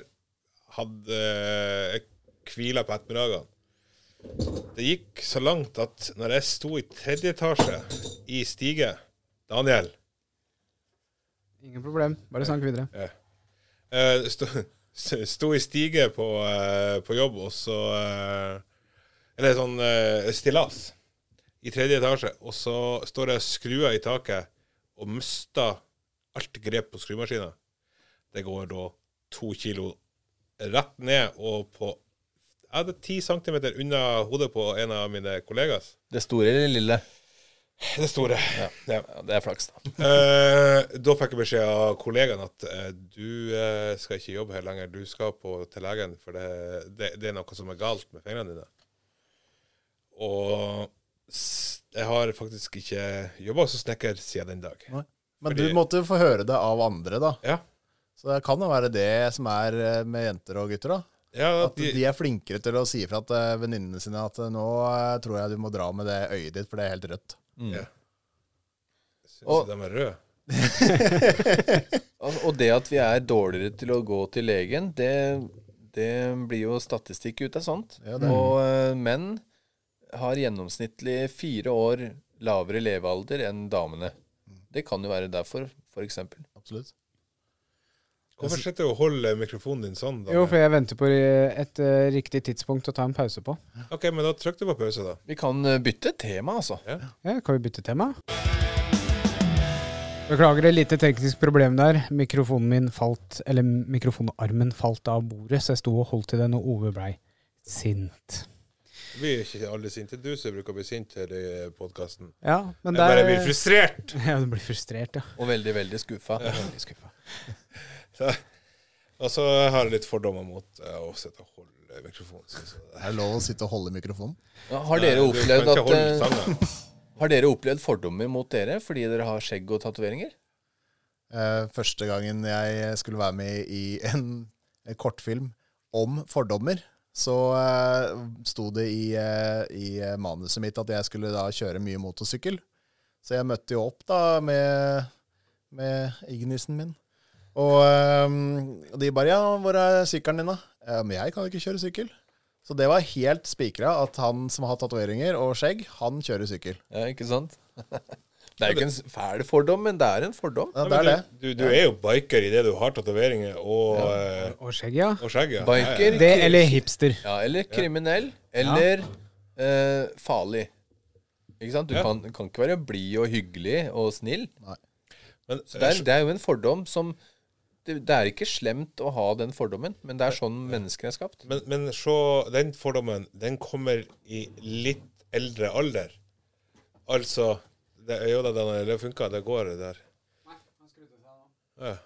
C: hadde eh, Jeg hvila på ettermiddagene. Det gikk så langt at når jeg sto i tredje etasje i stige Daniel
A: ingen problem. Bare snakk videre.
C: eh, sto, sto i stige på, eh, på jobb, og så eh, Eller sånn eh, stillas i tredje etasje, og så står jeg og skrur i taket og mister alt grep på skrumaskina. Det går da to kilo rett ned og på Jeg hadde ti centimeter unna hodet på en av mine kollegas.
B: Det store eller det lille?
C: Det store. Ja.
B: Ja, det er flaks, da.
C: Eh, da fikk jeg beskjed av kollegaen at eh, du eh, skal ikke jobbe her lenger, du skal på til legen, for det, det, det er noe som er galt med fingrene dine. Og s- jeg har faktisk ikke jobba som snekker siden den dag.
D: Men
C: Fordi-
D: du måtte jo få høre det av andre, da.
C: Ja,
D: Så det kan jo være det som er eh, med jenter og gutter, da.
C: ja
D: At
C: de,
D: de er flinkere til å si fra til eh, venninnene sine at eh, nå eh, tror jeg du må dra med det øyet ditt, for det er helt rødt.
C: ja. Syns
B: Og-
C: og, de er røde.
B: Altså, Og det at vi er dårligere til å gå til legen, det, det blir jo statistikk ut av sånt.
D: Ja, det er-
B: Og eh, menn har gjennomsnittlig fire år lavere levealder enn damene. Det kan jo være derfor, f.eks.
D: Absolutt.
C: Hvorfor sitter du og holder mikrofonen din sånn? Da?
A: Jo, for jeg venter på eh, et eh, riktig tidspunkt å ta en pause på.
C: OK, men da trykk du på pause, da.
B: Vi kan eh, bytte tema, altså.
A: Ja, kan vi bytte tema? Beklager et lite teknisk problem der. Mikrofonen min falt, eller mikrofonarmen falt av bordet, så jeg sto og holdt i den, og Ove blei sint.
C: Vi er ikke alle sinte. Du som bruker å bli sint her i podkasten.
A: Ja, men
C: Jeg
A: der,
C: bare blir frustrert.
A: Ja, du blir frustrert, ja.
B: Og veldig, veldig skuffa.
A: Veldig skuffa.
C: Og så har jeg litt fordommer mot eh, å sitte og holde mikrofonen. Så, så.
D: Er det lov å sitte og holde i mikrofonen?
B: Ja, Har dere
C: Du kan
B: opplevd
C: ikke
B: at
C: holde
B: eh,
C: stanga.
B: Har dere opplevd fordommer mot dere fordi dere har skjegg og tatoveringer?
D: Eh, første gangen jeg skulle være med i en, en kortfilm om fordommer, så eh, sto det i, eh, i manuset mitt at jeg skulle da kjøre mye motorsykkel. Så jeg møtte jo opp da med, med Ignisen min. Og eh, de bare Ja, hvor er sykkelen din, da? «Ja, Men jeg kan jo ikke kjøre sykkel. Så det var helt spikra at han som har tatoveringer og skjegg, han kjører sykkel.
B: Ja, ikke sant? Det er jo ikke en s- fæl fordom, men det er en fordom.
D: Ja, det er det.
C: Du, du, du er jo biker i det du har tatoveringer og, eh,
A: Og skjegg, ja.
C: og skjegg. ja. Ja,
B: Biker
A: Det eller hipster.
B: ja, eller kriminell eller eh, farlig. Ikke sant? Du kan, kan ikke være blid og hyggelig og snill.
C: ja. Men, eh,
B: Det er, det er jo en fordom som det, det er ikke slemt å ha den fordommen, men det er sånn mennesker er skapt.
C: men, men se, den fordommen den kommer i litt eldre alder. Altså det, Jo da, Daniel, det funka. Det går, det der. Ja.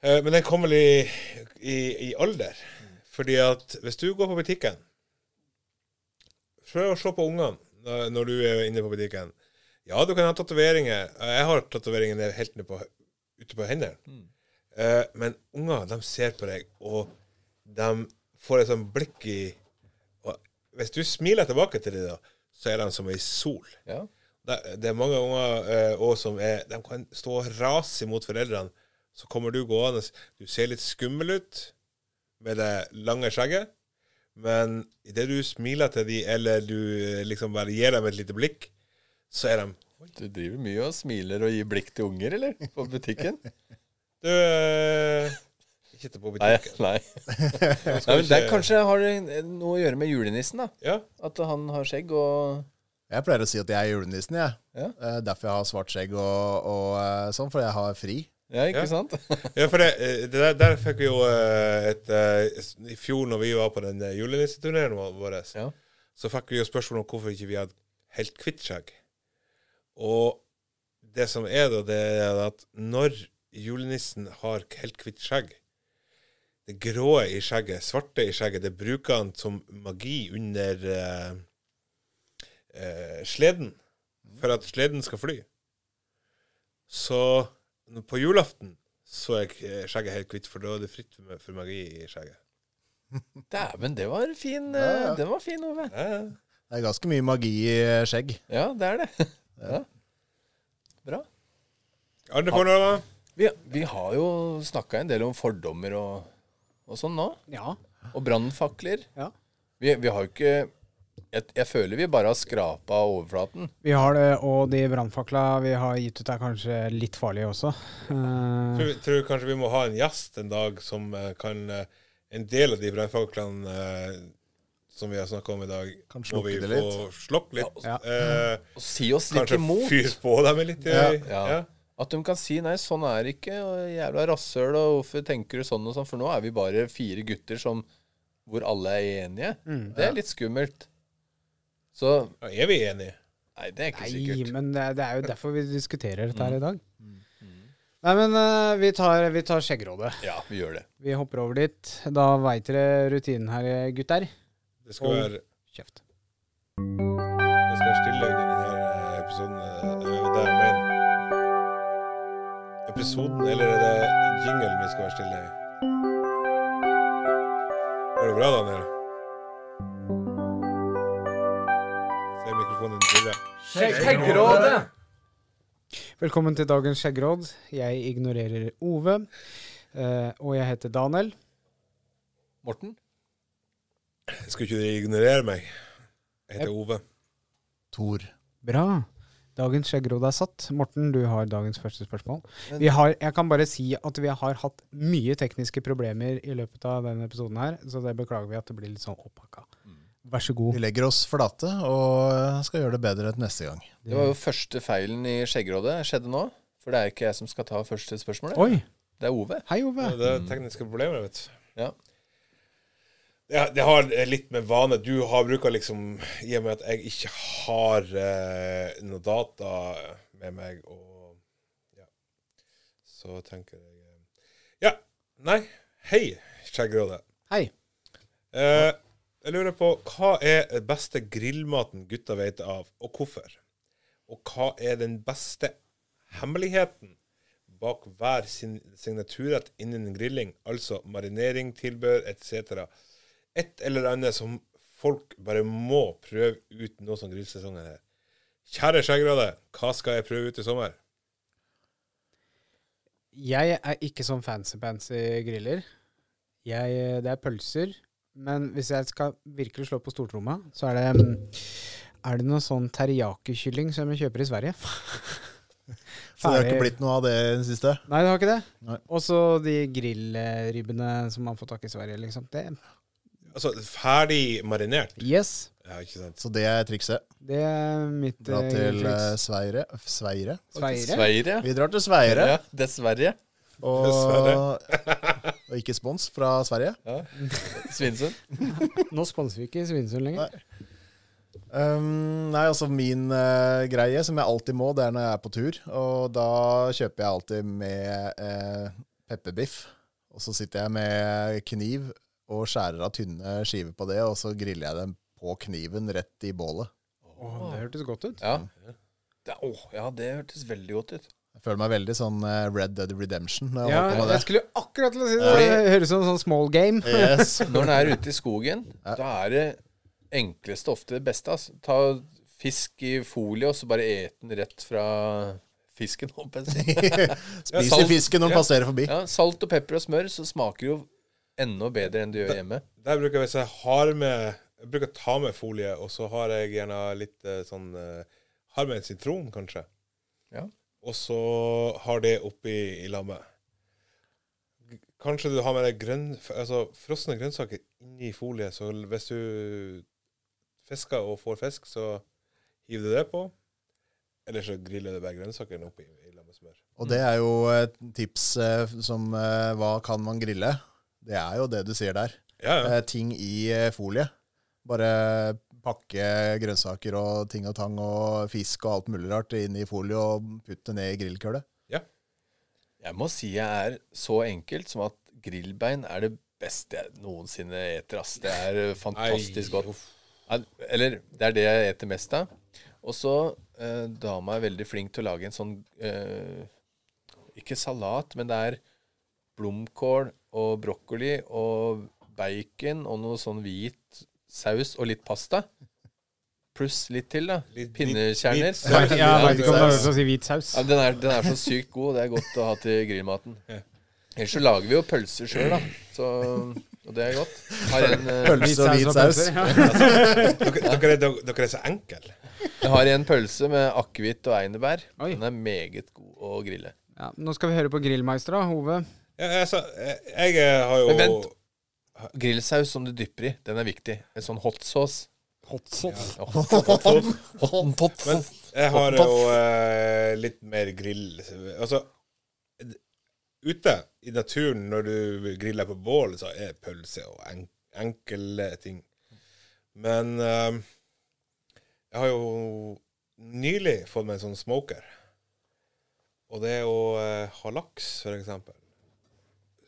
C: Eh, Men den kommer i, i, i alder. Fordi at hvis du går på butikken Prøv å se på ungene når- når du er inne på butikken. Ja, du kan ha tatoveringer. Eh, Jeg har tatoveringer ned- helt ned på, ute på hendene. Eh, men unger, de ser på deg, og de får et sånt blikk i og Hvis du smiler tilbake til dem, da, så er de som ei sol.
B: Ja.
C: Det, det er mange unger eh, også som er, de kan stå og rase imot foreldrene. Så kommer du gående Du ser litt skummel ut med det lange skjegget, men idet du smiler til dem, eller du eh, liksom bare gir dem et lite blikk, så er de
B: Du driver mye og smiler og gir blikk til unger, eller? På butikken?
C: Du eh, Ikke til på
B: Nei.
C: butikken.
B: nei.
C: Nå
B: Nei,
C: skal
B: men
C: vi
B: det
C: ikke-
B: kanskje har det noe å gjøre med julenissen, da.
C: Ja.
B: At han har skjegg og
D: Jeg pleier å si at jeg er julenissen, jeg.
B: Ja.
D: Eh, derfor jeg har svart skjegg og, og eh, sånn, for jeg har fri.
B: Ja, ikke
C: Ja.
B: sant?
C: Ja, for det, eh, det der, der fikk vi jo eh, et eh, s- I fjor når vi var på den eh, julenisseturneen vår, vår,
B: Ja.
C: så fikk vi jo spørsmål om hvorfor ikke vi hadde helt kvitt skjegg. Og det som er da, det er at når julenissen har helt kvitt skjegg Det grå i skjegget, svarte i skjegget, det bruker han som magi under eh, eh, sleden. For at sleden skal fly. Så på julaften så er k- skjegget helt hvitt, for da er det fritt for for magi i skjegget.
B: Dæven, det var fin,
D: Ja, ja.
B: eh, den var fin, Ove.
C: Ja, ja.
D: Det er ganske mye magi i eh, skjegg.
B: Ja, det er det. Ja. Bra.
C: Arne Fornova,
B: Vi, vi har jo snakka en del om fordommer og, og sånn nå.
A: Ja.
B: Og brannfakler.
A: Ja.
B: Vi, vi har jo ikke jeg, jeg føler vi bare har skrapa overflaten.
A: Vi har det, og de brannfakla vi har gitt ut, er kanskje litt farlige også. Eh,
C: tror, tror du kanskje vi må ha en gjest en dag som eh, kan eh, En del av de brannfaklene eh, som vi har snakka om i dag,
D: Kan
C: må
D: slukke
C: vi
D: det
C: få slokke litt.
A: Ja.
C: Eh,
B: Og si oss litt
C: kanskje
B: imot.
C: fyre på dem litt.
D: Ja.
C: eh,
B: Ja.
C: ja.
B: At de kan si 'nei, sånn er det ikke', og 'jævla rasshøl', og 'hvorfor tenker du sånn' og sånn, for nå er vi bare fire gutter som, hvor alle er enige.
A: Mm,
B: det er litt skummelt. Så
C: Ja, er vi enige?
B: Nei, det er ikke
A: Nei,
B: sikkert.
A: men det, er- det er jo derfor vi diskuterer dette her i dag. Nei, men eh, vi tar, vi tar Skjeggrådet.
B: Ja, vi gjør det.
A: Vi hopper over dit. Da veit dere rutinen her, gutter.
C: Det skal
A: Og-
C: være
A: Kjeft.
C: Det skal være stille under denne episoden. eh, Det er jo det jeg mener. Episoden, eller er det jinglen vi skal være stille i? Går det bra, Daniel? Ser mikrofonen din trille.
A: Velkommen til dagens skjeggråd. Jeg ignorerer Ove. eh, og jeg heter Daniel.
B: Morten?
C: Skal ikke du ignorere meg? Jeg heter Ove.
D: Tor.
A: Bra. Dagens skjeggråd er satt. Morten, du har dagens første spørsmål. Vi har, jeg kan bare si at vi har hatt mye tekniske problemer i løpet av denne episoden her, så det beklager vi at det blir litt sånn opphakka. Vær så
D: Vi
A: god.
D: legger oss flate og eh, skal gjøre det bedre til neste gang.
A: Mm.
B: Det var jo første feilen i Skjeggerådet. Skjedde nå. For det er ikke jeg som skal ta første spørsmålet.
A: Oi.
B: Det er Ove.
A: Hei, Ove.
C: Det er tekniske problemer, vet du.
B: Ja.
C: Det, det har litt med vane. Du har bruker liksom I og med at jeg ikke har eh, noe data med meg og Ja. Så tenker jeg eh, Ja. Nei. Hei, Skjeggråde.
A: Hei.
C: Eh, jeg lurer på hva er den beste grillmaten gutta vet av, og hvorfor? Og hva er den beste hemmeligheten bak hver sin signaturrett innen grilling, altså marinering, tilbehør etc.? Et eller annet som folk bare må prøve ut nå som grillsesongen er. Kjære skjeggrade, hva skal jeg prøve ut i sommer?
A: Jeg er ikke sånn fancy-pansy griller. Jeg, eh, det er pølser. Men hvis jeg skal virkelig slå på stortromma, så er det mm, Er det noe sånn teriyaki-kylling som jeg kjøper i Sverige?
D: Så det har ikke
A: Ferdig.
D: blitt noe av det i det siste?
A: Nei, det har ikke
D: Nei.
A: det. Og så de grillribbene som man får tak i i Sverige, liksom. Det,
C: Altså, ferdig marinert?
A: yes.
C: Ja, ikke sant?
D: Så det er trikset.
A: Det er mitt
D: Dra
A: eh,
D: til eh,
A: triks.
D: Sveire. Sveire?
A: Sveire.
B: Sverige.
D: Vi drar til Sveire.
B: Ja, dessverre.
D: Og, og ikke spons fra Sverige.
B: Ja. Svinesund.
A: Nå sponser vi ikke Svinesund lenger.
D: Nei. Um, nei, altså min eh, greie som jeg alltid må, det er når jeg er på tur. Og da kjøper jeg alltid med eh, pepperbiff. Og så sitter jeg med kniv og skjærer av tynne skiver på det, og så griller jeg dem på kniven rett i bålet.
A: Åh, det hørtes godt ut.
B: Ja. Det, åh, ja, det hørtes veldig godt ut.
D: Jeg føler meg veldig sånn eh, Red Dead Redemption når jeg
A: Ja,
D: holder på med
A: jeg
D: det.
A: skulle akkurat til å si det.
B: Fordi-
A: Det høres ut som en sånn small game.
D: Yes.
B: Når den er ute i skogen, da er det enkleste ofte det beste. Altså. Ta fisk i folie, og så bare et den rett fra fisken. holdt jeg på å si.
D: Spiser
B: salt.
D: fisken når den
B: Ja.
D: passerer forbi.
B: Ja, salt og pepper og smør, så smaker det jo enda bedre enn det gjør hjemme.
C: Der bruker jeg, hvis jeg har med Jeg bruker å ta med folie, og så har jeg gjerne litt eh, sånn eh, Har med en sitron, kanskje.
B: Ja.
C: Og så har det oppi i lammet. G- Kanskje du har med deg grønn, f- altså, frosne grønnsaker inni folie, så l- hvis du fisker og får fisk, så hiver du det på. Eller så griller du bare grønnsakene oppi i lammet med smør.
D: Og det er jo et tips eh, som eh, hva kan man grille? Det er jo det du sier der.
C: Ja, ja.
D: Eh, ting i eh, folie. Bare pakke grønnsaker og ting og tang og fisk og alt mulig rart inn i folie og putte ned i grillkøle.
B: Jeg må si jeg er så enkelt som at grillbein er det beste jeg noensinne eter. Ass. Det er eh, fantastisk
C: Ei,
B: godt. Nei, Eller det er det jeg eter mest av. Og så eh, dama er veldig flink til å lage en sånn eh, Ikke salat, men det er blomkål og brokkoli og bacon og noe sånn hvit saus og litt pasta. Pluss litt til, da.
C: Litt-
B: Pinnekjerner.
C: litt-
A: Ja,
C: litt-
A: jeg vet ikke om det
D: Hvit
A: høres ut som å si hvit saus.
B: Ja, den, er, den er så sykt god. Det er godt å ha til grillmaten. Ellers så lager vi jo pølser sjøl, da. Så, og det er godt. Har en, eh,
D: Pølse og hvit saus.
A: pølser, ja.
C: Dere, dere, er- dere, dere er så enkle.
B: jeg har en pølse med akevitt og einebær.
A: Oi.
B: Den er meget god å grille.
A: Ja, nå skal vi høre på Grillmeister, da, Hove.
C: Ja, altså, jeg, jeg eh, har jo
B: Men vent. Grillsaus som du dypper i, den er viktig. En sånn hot sauce.
A: Hot sauce.
B: Ja, hot sauce.
C: Men jeg har jo eh, litt mer grill Altså Ute i naturen, når du griller på bål, så er pølse og en, enkle ting. Men eh, jeg har jo nylig fått meg en sånn smoker. Og det å eh, ha laks, for eksempel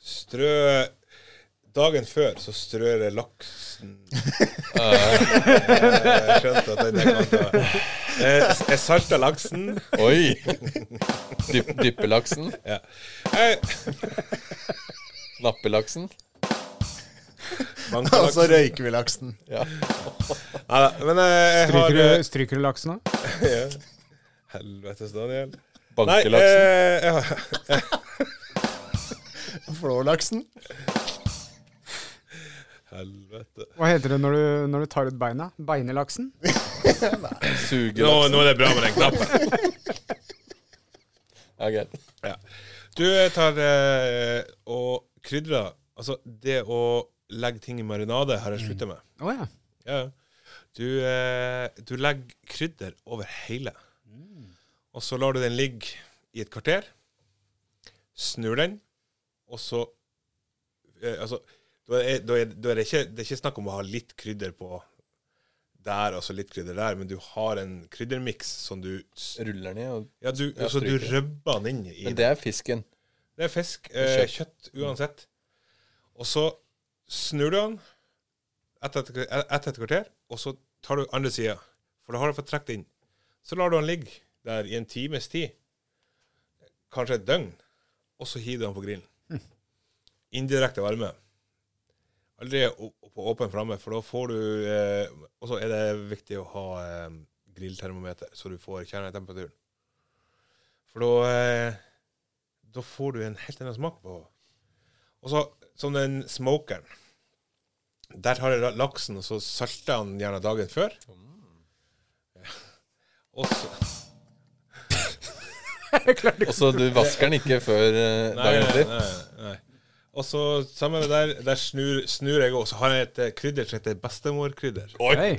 C: Strø Dagen før så strør jeg laksen Eh, Jeg skjønte at den der kom til å- Eh, Jeg salter laksen.
B: Oi! Dyp, dyppelaksen.
C: Ja. Jeg,
B: Nappelaksen.
C: manker
D: Og så
C: laksen.
D: røyker vi laksen.
B: Ja.
C: Nei da, men eh, jeg har
A: Stryker
C: eh,
A: du, stryker du laksen, da?
C: ja. Helvetes, Daniel. Nei, eh,
B: Bankelaksen.
C: jeg har-
D: Flålaksen.
C: Helvete.
A: Hva heter det når du, når du tar ut beina? Beinelaksen?
C: Nå,
B: Sugelaksen.
C: nå er det bra med den knappen.
B: Ja, greit.
C: Ja. Du jeg tar eh, og krydrer. Altså, det å legge ting i marinade har jeg slutta med.
A: Å ja.
C: Ja. ja. Du, eh, du legger krydder over hele.
B: Mm.
C: Og så lar du den ligge i et kvarter. Snur den, og så eh, Altså, da er, da er, da er det, ikke, det er ikke snakk om å ha litt krydder på der og så litt krydder der, men du har en kryddermiks som du s-
B: Ruller ned og
C: Ja, du,
B: Ja,
C: altså, du
B: stryker.
C: rubber den inn i
B: Men det er fisken.
C: det er fisk. Eh,
B: Kjøtt.
C: kjøtt uansett. Og så snur du den etter et, etter et kvarter, og så tar du andre sida. For da har du fått trukket inn. Så lar du den ligge der i en times tid, kanskje et døgn, og så hiver du den på grillen. Indirekte varme. Aldri å- på åpen flamme, for da får du eh, Og så er det viktig å ha eh, grilltermometer, så du får kjernetemperaturen. For da eh, da får du en helt annen smak på. Og så, som den smokeren. Der har jeg la- laksen, og så salter jeg den gjerne dagen før. Mm. Og så,
B: Og så du vasker den ikke før eh,
C: nei,
B: dagen
C: nei,
B: etter.
C: nei, nei. Og så sammen med der, der snur, snur jeg også. Så har jeg et eh, krydder som heter bestemorkrydder.
A: Hei.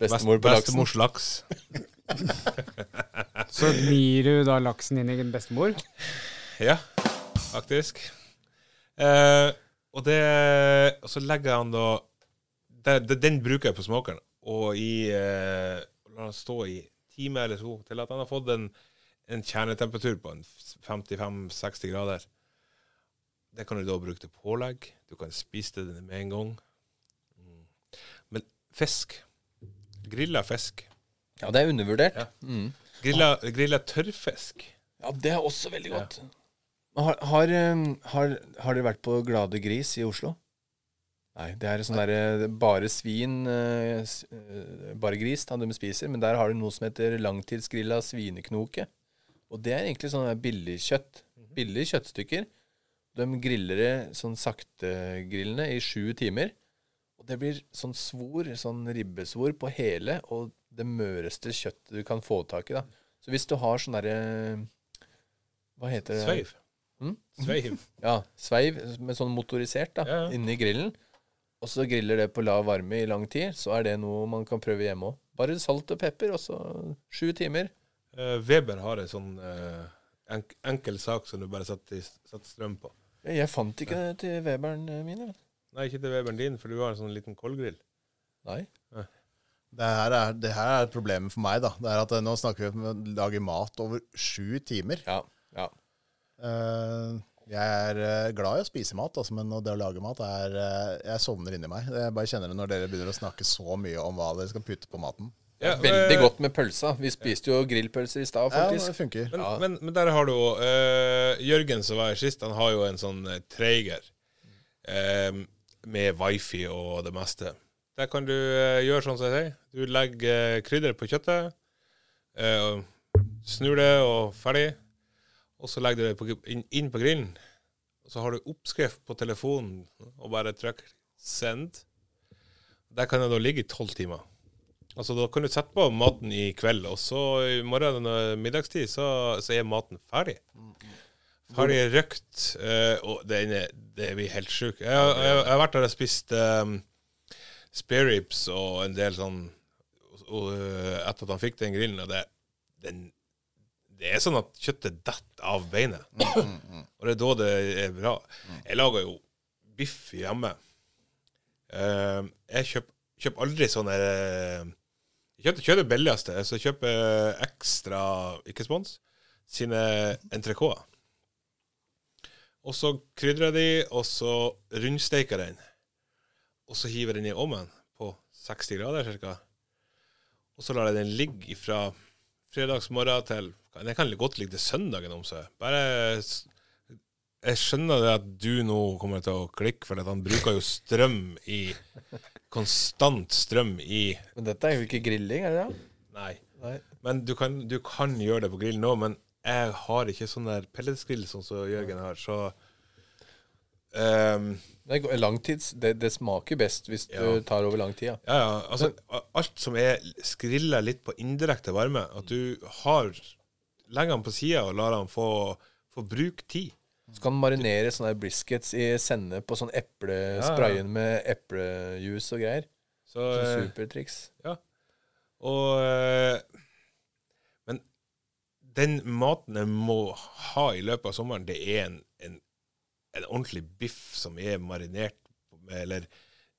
B: Bestemor på laksen.
C: Bestemors laks.
A: Så gnir du da laksen inn i din bestemor?
C: Ja, faktisk. Eh, og det Og så legger jeg han da det, det, Den bruker jeg på smokeren. Og i eh, lar han stå i time eller to til at han har fått en, en kjernetemperatur på en 55-60 grader. Det kan du da bruke til pålegg. Du kan spise det med en gang. Mm. Men fisk Grilla fisk.
B: Ja, det er undervurdert.
C: Ja.
B: Mm.
C: Grilla, grilla tørrfisk.
B: Ja, det er også veldig godt. Har, har, eh, har, har dere vært på Glade Gris i Oslo? Nei, det er sånn derre bare svin eh, s- eh, Bare gris, da, de spiser. Men der har de noe som heter langtidsgrilla svineknoke. Og det er egentlig sånn der billig kjøtt. Billige kjøttstykker. De griller det sånn saktegrillende i sju timer. Og det blir sånn svor, sånn ribbesvor på hele, og det møreste kjøttet du kan få tak i, da. Så hvis du har sånn derre Hva heter det?
C: Sveiv.
B: Mm?
C: Sveiv.
B: Ja, sveiv med sånn motorisert da,
C: Ja, ja.
B: inni grillen. Og så griller det på lav varme i lang tid, så er det noe man kan prøve hjemme òg. Bare salt og pepper, og så sju timer.
C: Eh, Weber har en sånn eh, enk enkel sak som du bare setter, i- setter strøm på.
B: Jeg, jeg fant ikke det til eh, Weberen min. jeg.
C: Nei, ikke til Weberen din, for du har en sånn liten koldgrill.
B: Nei.
D: Det her, er, det her er problemet for meg, da. Det er at eh, Nå snakker vi om å lage mat over sju timer.
B: Ja. ja.
D: Eh, jeg er eh, glad i å spise mat, altså, men det å lage mat er eh, Jeg sovner inni meg. Jeg bare kjenner det når dere begynner å snakke så mye om hva dere skal putte på maten.
C: Ja,
B: Veldig
C: eh,
B: godt med pølsa. Vi spiste jo grillpølser i stad,
D: Ja, det
B: faktisk.
D: funker.
C: Men,
B: Ja.
C: men, men der har du jo eh, Jørgen som var her sist, han har jo en sånn eh, Traeger eh, med wifi og det meste. Der kan du eh, gjøre sånn som jeg sier. Du legger eh, krydder på kjøttet, eh, og snur det og ferdig. Og så legger du det på, gr- inn, inn på grillen. Og så har du oppskrift på telefonen, og bare trykk 'send'. Der kan det da ligge i tolv timer. Altså Da kan du sette på maten i kveld, og så i morgen når middagstid så, så er maten ferdig. Ferdig røkt, eh, og det, ene, det blir helt sjukt. Jeg, jeg, jeg har vært der og spist um, spareribs og en del sånn og, og, eh, Etter at han fikk den grillen, og det, den, det er sånn at kjøttet detter av beinet. Og det er da det er bra. Jeg lager jo biff hjemme. Eh, jeg kjøper, kjøper aldri sånne eh, Jeg kjøper, kjøper det billigste. Så jeg kjøper ekstra, ikke spons, sine entrecôter. Og så krydrer jeg de, og så rundsteiker jeg den. Og så hiver jeg den i ovnen på 60 grader ca. Og så lar jeg den ligge fra fredagsmorgen til Den kan godt ligge til søndagen om seg. Bare s- jeg skjønner det at du nå kommer til å klikke, for at han bruker jo strøm i Konstant strøm i
B: Men dette er jo ikke grilling, er det det?
C: Nei.
B: Nei.
C: Men du kan, du kan gjøre det på grillen nå, men jeg har ikke sånn der pelletsgrill sånn som Jørgen har, så ehm,
B: Det, er go- langtids, det, det smaker best hvis
C: Ja.
B: du tar over lang tid. Ja.
C: Ja, ja. Altså, a- alt som er skrilla litt på indirekte varme, at du har Legger den på sida og lar den få, få bruke tid.
B: Så kan du marinere sånne her briskets i sennep og sånn eplesprayen med eplejus og greier.
C: Så, eh,
B: Supertriks.
C: og eh, Men den maten jeg må ha i løpet av sommeren, det er en, en, en ordentlig biff som er marinert med eller,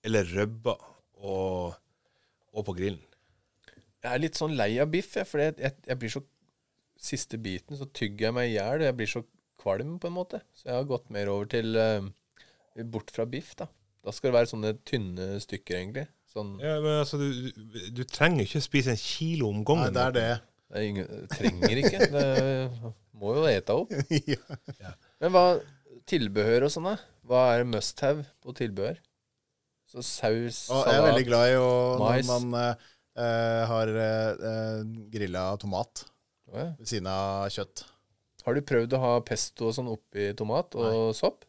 C: eller røbba og, og på grillen.
B: Jeg er litt sånn lei av biff, jeg, for jeg, jeg, jeg blir så Siste biten så tygger jeg meg i hjel. Jeg blir så kvalm, på en måte. Så jeg har gått mer over til eh, Bort fra biff, da. Da skal det være sånne tynne stykker, egentlig. Sånn
C: Ja, men altså, du, du, du trenger ikke spise en kilo om
D: Nei,
C: gangen.
D: det er det.
B: det er ingen, Trenger ikke. Det må jo ete opp.
D: ja.
B: Men hva tilbehør og sånn, da? Hva er must have på tilbehør? Så saus,
D: Og jeg er veldig glad i å, når
B: mais.
D: man eh, eh, har uh, grilla tomat
B: Å, ja.
D: ved siden av kjøtt.
B: Har du prøvd å ha pesto og sånn oppi tomat og sopp?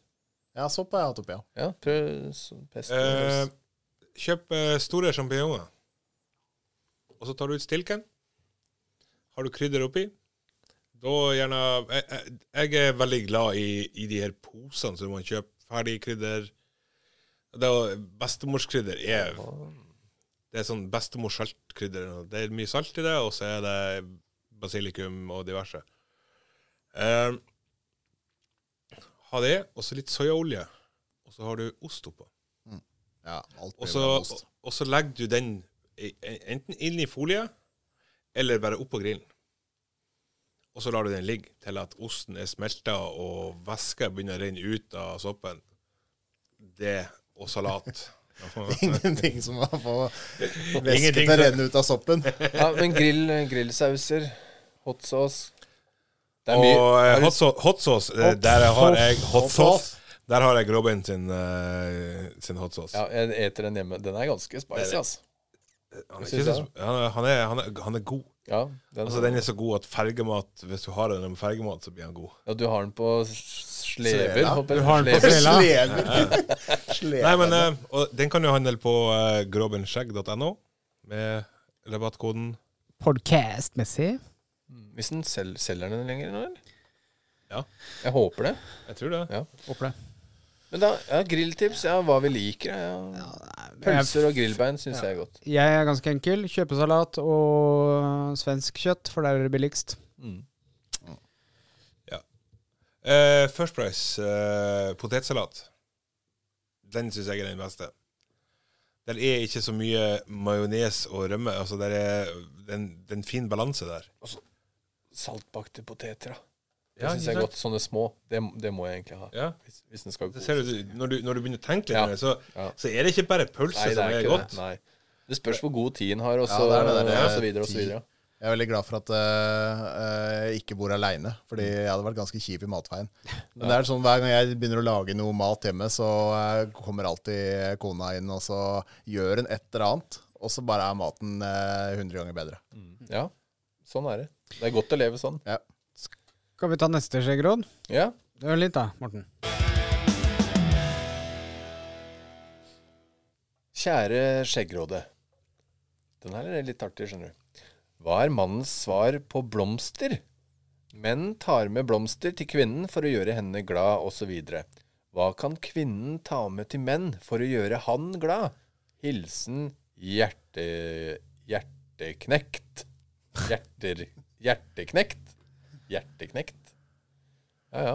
D: Ja, sopp har jeg hatt oppi, ja.
B: Ja, prøv s- pesto.
C: Eh,
B: og s-
C: kjøp eh, store sjampinjonger. Og så tar du ut stilken. Har du krydder oppi? Da gjerne Jeg, jeg, jeg er veldig glad i, i de her posene som man kjøper ferdig krydder. Det å- Bestemorskrydder er Det er sånn bestemorsaltkrydder. Det er mye salt i det, og så er det basilikum og diverse. Eh, ha det, og så litt soyaolje. Og så har du ost oppå.
D: ja alt
C: Og
D: blir
C: så,
D: bra med ost.
C: og så legger du den i- enten inn i folie, eller bare oppå grillen. Og så lar du den ligge til at osten er smelta og væska begynner å renne ut av soppen. Det og salat.
D: Ingenting som å få væske
C: Ingenting
D: til å
C: som-
D: renne ut av soppen.
B: Ja, men grill, grillsauser, hot sauce Det er mye.
C: og eh,
B: har du-
C: hot sauce, hot sauce eh, der har jeg hot sauce. Der har jeg Robin sin, eh, sin hot sauce.
B: ja, jeg eter den hjemme. Den er ganske spicy, altså.
C: Han er,
B: synes
C: ikke så, han, er, han, er, han, er, han er god.
B: Ja, den,
C: Altså, den er så god at fergemat, hvis du har den med fergemat, så blir han god.
B: ja, du har den på s- slever.
D: Sleva.
A: Du
B: håper jeg.
A: har den på
B: Slever.
A: Sleva.
D: Slever.
C: Nei, men
D: Slever.
C: eh, og Den kan du handle på eh, grobenskjegg.no med rabattkoden
A: Podcast-messig.
B: Hvis den sel selger den lenger nå, eller?
C: Ja.
B: Jeg håper det.
C: Jeg tror det.
B: Ja.
A: Håper det.
B: Men da, ja, grilltips, ja, hva vi liker. Ja. Pølser og grillbein syns jeg er godt.
A: Jeg er ganske enkel. Kjøpesalat og svensk kjøtt, for der er det billigst.
B: Mm.
C: Eh, First Price eh, potetsalat. Den syns jeg er den beste. Der er ikke så mye majones og rømme. Altså, der er det er en det er en fin balanse der.
B: Saltbakte poteter, da. Det
C: Ja,
B: syns
C: ikke
B: jeg er
C: sant?
B: godt. Sånne små. Det, det må jeg egentlig ha.
C: Ja.
B: Hvis, hvis den skal
C: Det
B: kose.
C: ser du, når, du, når du begynner å tenke litt,
B: Ja.
C: mer, så,
B: Ja.
C: så er det ikke bare pølse
B: Nei, det
C: som
B: er
C: er
B: ikke
C: godt.
B: det. Nei. Det spørs hvor god tid en har, og
D: Ja,
B: så,
D: det er det, det er det.
B: og så videre og så
D: Tid.
B: videre.
D: Jeg er veldig glad for at eh, eh, jeg ikke bor aleine, fordi jeg hadde vært ganske kjip i matveien. Men det er sånn, hver gang jeg begynner å lage noe mat hjemme, så eh, kommer alltid eh, kona inn, og så gjør hun et eller annet, og så bare er maten eh, 100 ganger bedre.
B: Ja, sånn er det. Det er godt å leve sånn.
D: Ja.
A: Skal vi ta neste skjeggråd?
B: Ja.
A: Hør litt, da, Morten.
B: Kjære Skjeggråde. Den her er litt artig, skjønner du. Hva er mannens svar på blomster? Menn tar med blomster til kvinnen for å gjøre henne glad, osv. Hva kan kvinnen ta med til menn for å gjøre han glad? Hilsen hjerte... hjerteknekt. Hjerter... Hjerteknekt? Hjerteknekt? Ja, ja.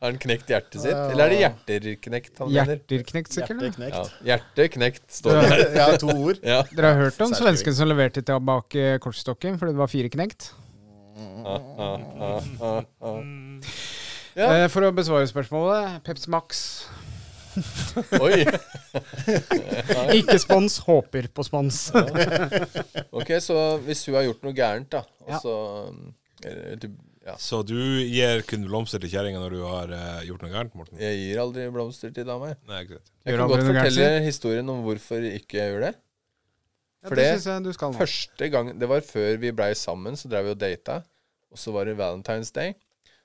B: Har han knekt hjertet sitt, eller er det hjerterknekt han mener?
A: Hjerter knekt, sikkert? da?
B: Ja,
D: Hjerteknekt.
B: hjerteknekt, står det.
D: Ja. ja, to ord.
B: Ja.
A: Dere har hørt om
D: Særskriving.
A: svensken som leverte tilbake kortstokken fordi det var fire knekt? Eh, For å besvare spørsmålet Peps Max.
B: Oi.
A: Ikke spons, håper på spons.
B: Ok, så hvis hun har gjort noe gærent, da, og
A: Ja.
B: så um, eller, du, ja.
C: Så du gir kun blomster til kjerringa når du har eh, gjort noe gærent, Morten?
B: Jeg gir aldri blomster til dama. jeg.
C: Nei, ikke sant.
B: Jeg
A: Gjør
B: kan
A: aldri
B: godt
A: noe gærent,
B: fortelle historien om hvorfor ikke jeg gjør det.
A: Ja,
B: For
A: det
B: det-
A: syns jeg du skal nå.
B: Første gang, Det var før vi blei sammen, så drev vi og data. Og så var det Valentine's Day.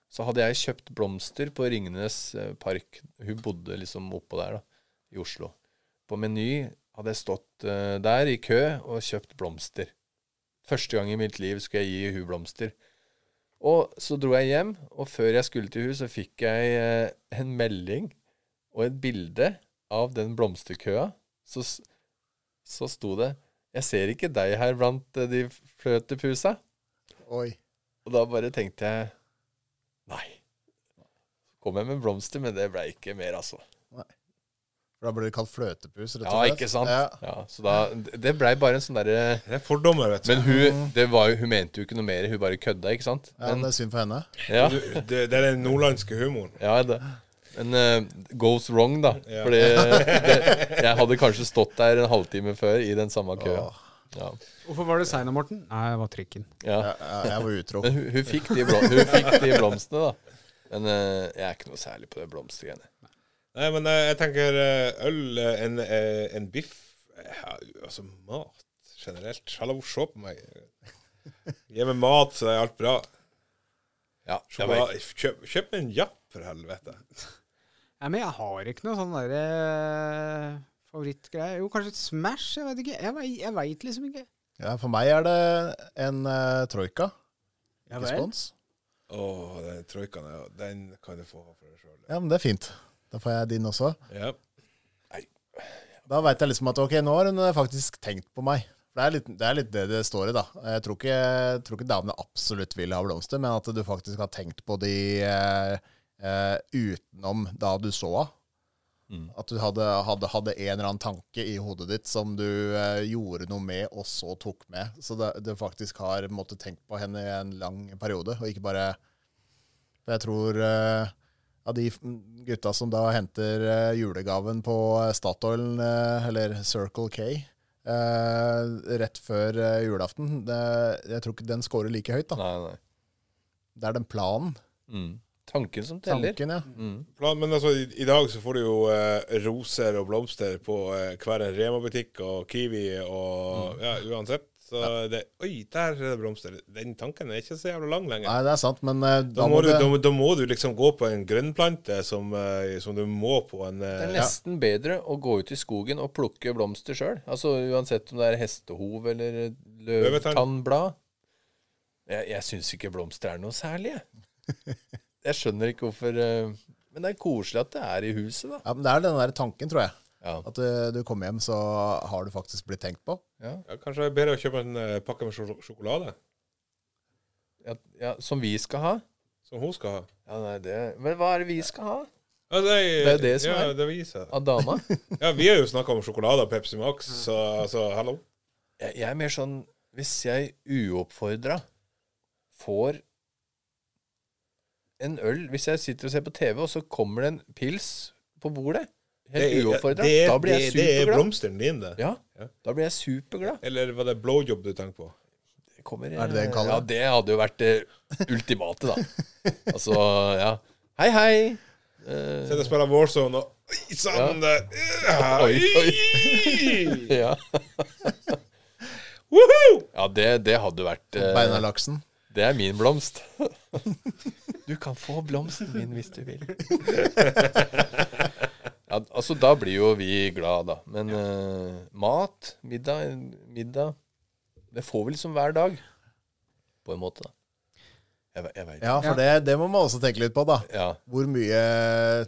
B: Så hadde jeg kjøpt blomster på Ringenes eh, park. Hun bodde liksom oppå der, da, i Oslo. På Meny hadde jeg stått eh, der i kø og kjøpt blomster. Første gang i mitt liv skulle jeg gi hun blomster. Og så dro jeg hjem, og før jeg skulle til hun, så fikk jeg eh, en melding og et bilde av den blomsterkøa. Så s- så sto det 'Jeg ser ikke deg her blant eh, de fløtepusa'.
D: Oi.
B: Og da bare tenkte jeg Nei. Så kom jeg med blomster, men det blei ikke mer, altså.
D: For da blir det kalt fløtepus, rett og
B: Ja,
D: slett.
B: ikke sant?
D: Ja.
B: Ja, så da, det blei bare en sånn derre
C: Det er fordommer, vet du.
B: Men hun, det var jo, hun mente jo ikke noe mer, hun bare kødda, ikke sant?
D: Mm. Ja,
B: Men,
D: det er synd for henne.
B: ja,
C: Du, det, det er den nordlandske humoren.
B: ja, det. Men eh, goes wrong, da.
C: Ja.
B: Fordi det, jeg hadde kanskje stått der en halvtime før i den samme køa. Ja.
A: Hvorfor var du sein, Morten? Nei, det var trikken.
B: Ja.
D: Ja, ja, jeg var utro.
B: Men hun, hun, fikk de blom, hun fikk de blomstene, da. Men eh, jeg er ikke noe særlig på det blomstergreiene.
C: Nei, men eh, jeg tenker eh, øl, eh, en, eh, en biff ja, Altså mat generelt. Hallo, se på meg. Gi meg mat, så er alt bra.
B: Ja, jeg var,
C: Sjokolade. Kjøp, kjøp meg en Japp, for helvete.
A: Nei, men jeg har ikke noe sånn derre favorittgreie. Jo, kanskje et Smash? Jeg vet ikke. Jeg, vei- jeg veit liksom ikke.
D: Ja, for meg er det en eh, troika.
A: Ja
D: Ikke
A: vel.
D: spons.
C: Å, den troikaen, ja, den kan du få for deg sjøl.
D: Ja, men det er fint. Da får jeg din også.
C: Ja.
D: Da veit jeg liksom at ok, nå har hun faktisk tenkt på meg. Det er litt det er litt det, det står i, da. Jeg tror, ikke, jeg tror ikke damene absolutt vil ha blomster, men at du faktisk har tenkt på de eh, eh, utenom da du så henne.
B: Mm.
D: At du hadde, hadde, hadde en eller annen tanke i hodet ditt som du eh, gjorde noe med, og så tok med. Så det, du faktisk har måttet tenke på henne i en lang periode, og ikke bare For jeg tror eh, av de f- gutta som da henter eh, julegaven på eh, Statoil, eh, eller Circle K, eh, rett før eh, julaften, det, jeg tror ikke den scorer like høyt. da.
B: nei, nei.
D: Det er den planen.
B: Mm. Tanken som teller.
D: Tanken, ja.
B: Mm.
C: Plan, men altså, i, i dag så får du jo eh, roser og blomster på eh, hver en Rema-butikk og Kiwi og ja, uansett. Så det Oi, der er det blomster. Den tanken er ikke så jævla lang lenger.
D: Nei, det er sant, men eh,
C: Da må, du, da, må- da må du liksom gå på en grønnplante som, eh, som du må på en
B: Det er
C: eh,
B: nesten bedre å gå ut i skogen og plukke blomster sjøl. Altså uansett om det er hestehov eller løvetannblad. Jeg, jeg syns ikke blomster er noe særlig, jeg. Jeg skjønner ikke hvorfor eh, Men det er koselig at det er i huset, da.
D: Ja, men Det er den der tanken, tror jeg.
B: Ja.
D: At du, du kommer hjem, så har du faktisk blitt tenkt på.
B: Ja.
C: ja, Kanskje det er bedre å kjøpe en eh, pakke med sjok- sjokolade,
B: Ja, ja, som vi skal ha?
C: som hun skal ha.
B: Ja, nei, det Men hva er det vi skal ha?
C: Ja, det, er,
B: Det er det som
C: ja,
B: er.
C: Det viser.
B: Av dama?
C: Ja, vi har jo snakka om sjokolade og Pepsi Max, så altså, hallo.
B: Jeg, jeg er mer sånn Hvis jeg uoppfordra får en øl Hvis jeg sitter og ser på TV, og så kommer det en pils på bordet Helt uoppfordra.
C: det er-
B: Da blir jeg
C: det- Det er
B: superglad.
C: blomsteren din, det.
B: Ja,
C: Ja.
B: da blir jeg superglad.
C: Eller var det blowjob du tenkte på?
B: Det kommer,
D: Er det det en kaller
B: Ja,
D: det?
B: det hadde jo vært det ultimate, da. Altså, ja. Hei, hei. Eh,
C: Sitter og spiller Warzone og Oi sann! det-
B: Oi,
C: Oi.
B: Eh, ja,
C: Woohoo!
B: ja det, det hadde vært eh,
D: Beinarlaksen.
B: Det er min blomst. Du kan få blomsten min hvis du vil. Ja, altså, da blir jo vi glad, da. Men eh, mat, middag, middag Det får vi liksom hver dag. På en måte, da. Jeg, ve- jeg veit
D: Ja, for Det, det må man også tenke litt på, da.
B: Ja.
D: Hvor mye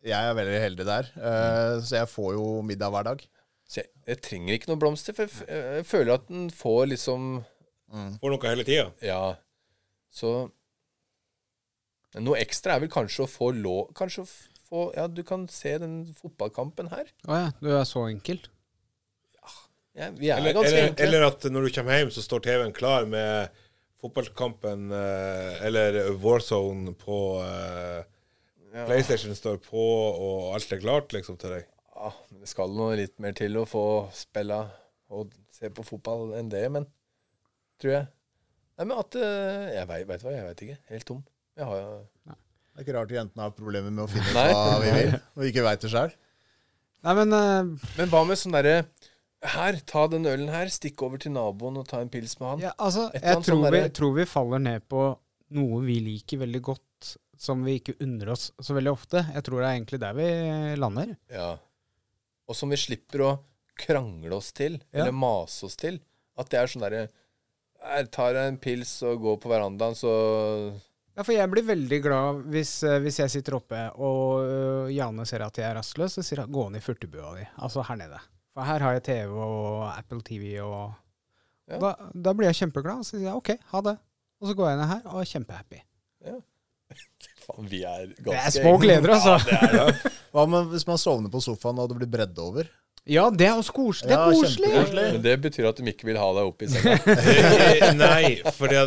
D: Jeg er veldig heldig der,
C: Mm.
D: eh, så jeg får jo middag hver dag.
B: Så jeg, jeg trenger ikke noe blomster, for jeg, f- jeg føler at den får liksom
C: Får noe hele tida.
B: Ja. Så Noe ekstra er vel kanskje å få lov Kanskje å f- få Ja, du kan se den fotballkampen her.
A: Å ja, du er så enkel.
B: Ja, vi er
C: Eller,
B: ganske
C: eller,
B: enkle.
C: eller at når du kommer hjem, så står TV-en klar med fotballkampen eh, eller Warzone på eh, PlayStation står på, og alt er klart liksom til deg.
B: Ja, men det skal noe litt mer til å få spille og se på fotball enn det, men Tror jeg. Nei, men at eh, Jeg veit vet du hva, jeg veit ikke. Helt tom. Jeg har
D: Det er ikke rart jentene har problemer med å finne ut
B: Nei.
D: hva vi vil, og ikke veit det sjøl.
A: Nei, men eh,
B: Men hva med sånn derre Her, ta den ølen her. Stikk over til naboen og ta en pils med han.
A: ja, altså,
B: Et eller
A: jeg
B: annet
A: tror
B: sånn
A: vi,
B: derre-
A: tror vi faller ned på noe vi liker veldig godt, som vi ikke unner oss så veldig ofte. Jeg tror det er egentlig der vi lander.
B: Ja. Og som vi slipper å krangle oss til,
A: Ja.
B: eller mase oss til. At det er sånn derre Her, tar jeg en pils og går på verandaen, så
A: Ja, for jeg blir veldig glad hvis, eh, hvis eh, jeg sitter oppe og øh, Jane ser at jeg er rastløs, så sier han 'gå ned i furtebua di', altså her nede. For her har jeg TV og Apple TV og
B: Ja.
A: da, da blir jeg kjempeglad, og så sier jeg OK, ha det. Og så går jeg ned her og er kjempehappy.
B: Faen, vi er ganske
A: Det er små gleder, altså.
B: Ja, det er det.
D: Hva med hvis man sovner på sofaen og det blir bredd over?
A: Ja, det er også koselig. Det er
D: Ja,
A: koselig.
D: kjempekoselig.
B: Men det betyr at de ikke vil ha deg opp i senga.
C: Nei, for det,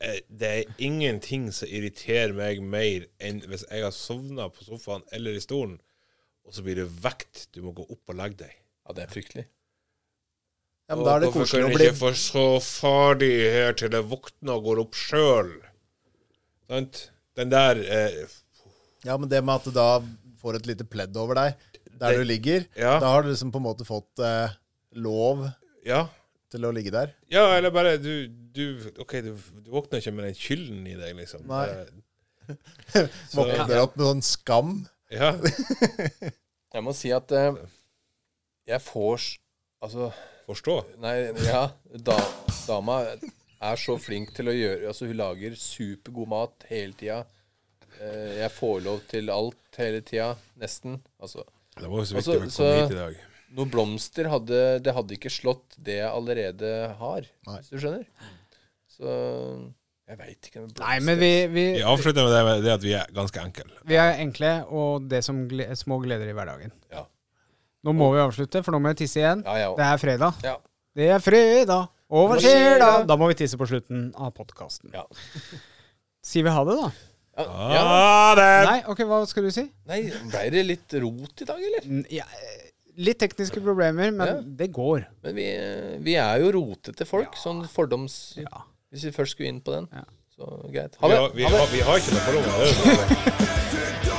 C: eh, det er ingenting som irriterer meg mer enn hvis jeg har sovna på sofaen eller i stolen, og så blir det vekt. Du må gå opp og legge deg.
B: Ja, det er fryktelig.
D: Ja, men da er det
C: Og
D: koselig å
C: Hvorfor kan
D: bli
C: jeg ikke få så ferdig her til jeg våkner og går opp sjøl? Sant? Den der eh,
D: Ja, men det med at du da får et lite pledd over deg der
C: Det-
D: du ligger,
C: Ja.
D: da har du liksom på en måte fått eh, lov
C: Ja.
D: til å ligge der.
C: Ja, eller bare du, du OK, du, du våkner ikke med den kylden i deg, liksom.
D: Nei.
C: Eh,
D: Våkner opp med sånn skam.
C: Ja.
B: Jeg må si at eh, jeg får s- Altså
C: Forstå.
B: Nei, ja. Da, dama er så flink til å gjøre Altså, hun lager supergod mat hele tida. Eh, Jeg får lov til alt hele tida, nesten. Altså,
C: Det var jo så
B: Altså,
C: viktig å komme
B: så-
C: hit i dag.
B: noe blomster hadde Det hadde ikke slått det jeg allerede har,
D: Nei.
B: hvis du skjønner. Så jeg veit ikke. men
A: Nei, men vi, vi,
C: Vi avslutter med det, med det at vi er ganske enkle.
A: vi er enkle, og det som gle små gleder i hverdagen.
B: Ja.
A: Nå må vi avslutte, for nå må jeg tisse igjen.
B: Ja, ja.
A: Det er fredag.
B: Ja.
A: Det er fredag. Og hva
B: Hva
A: skjer
B: skjer
A: da?
B: da?
A: Da må vi tisse på slutten av podkasten.
B: Ja.
A: Sier vi ha det, da?
B: Ja, ja.
C: Ha det!
A: Nei, OK, hva skal du si?
B: Nei, ble det litt rot i dag, eller?
A: Mm, Ja, eh, litt tekniske problemer, men
B: Ja.
A: det går.
B: Men vi, vi er jo rotete folk, sånn fordoms... Hvis vi først skulle inn på den. Så greit. Ha
C: Vi
B: det.
C: har,
B: ha
C: vi,
B: det.
C: har, vi har ikke noe forhold til det.
F: Today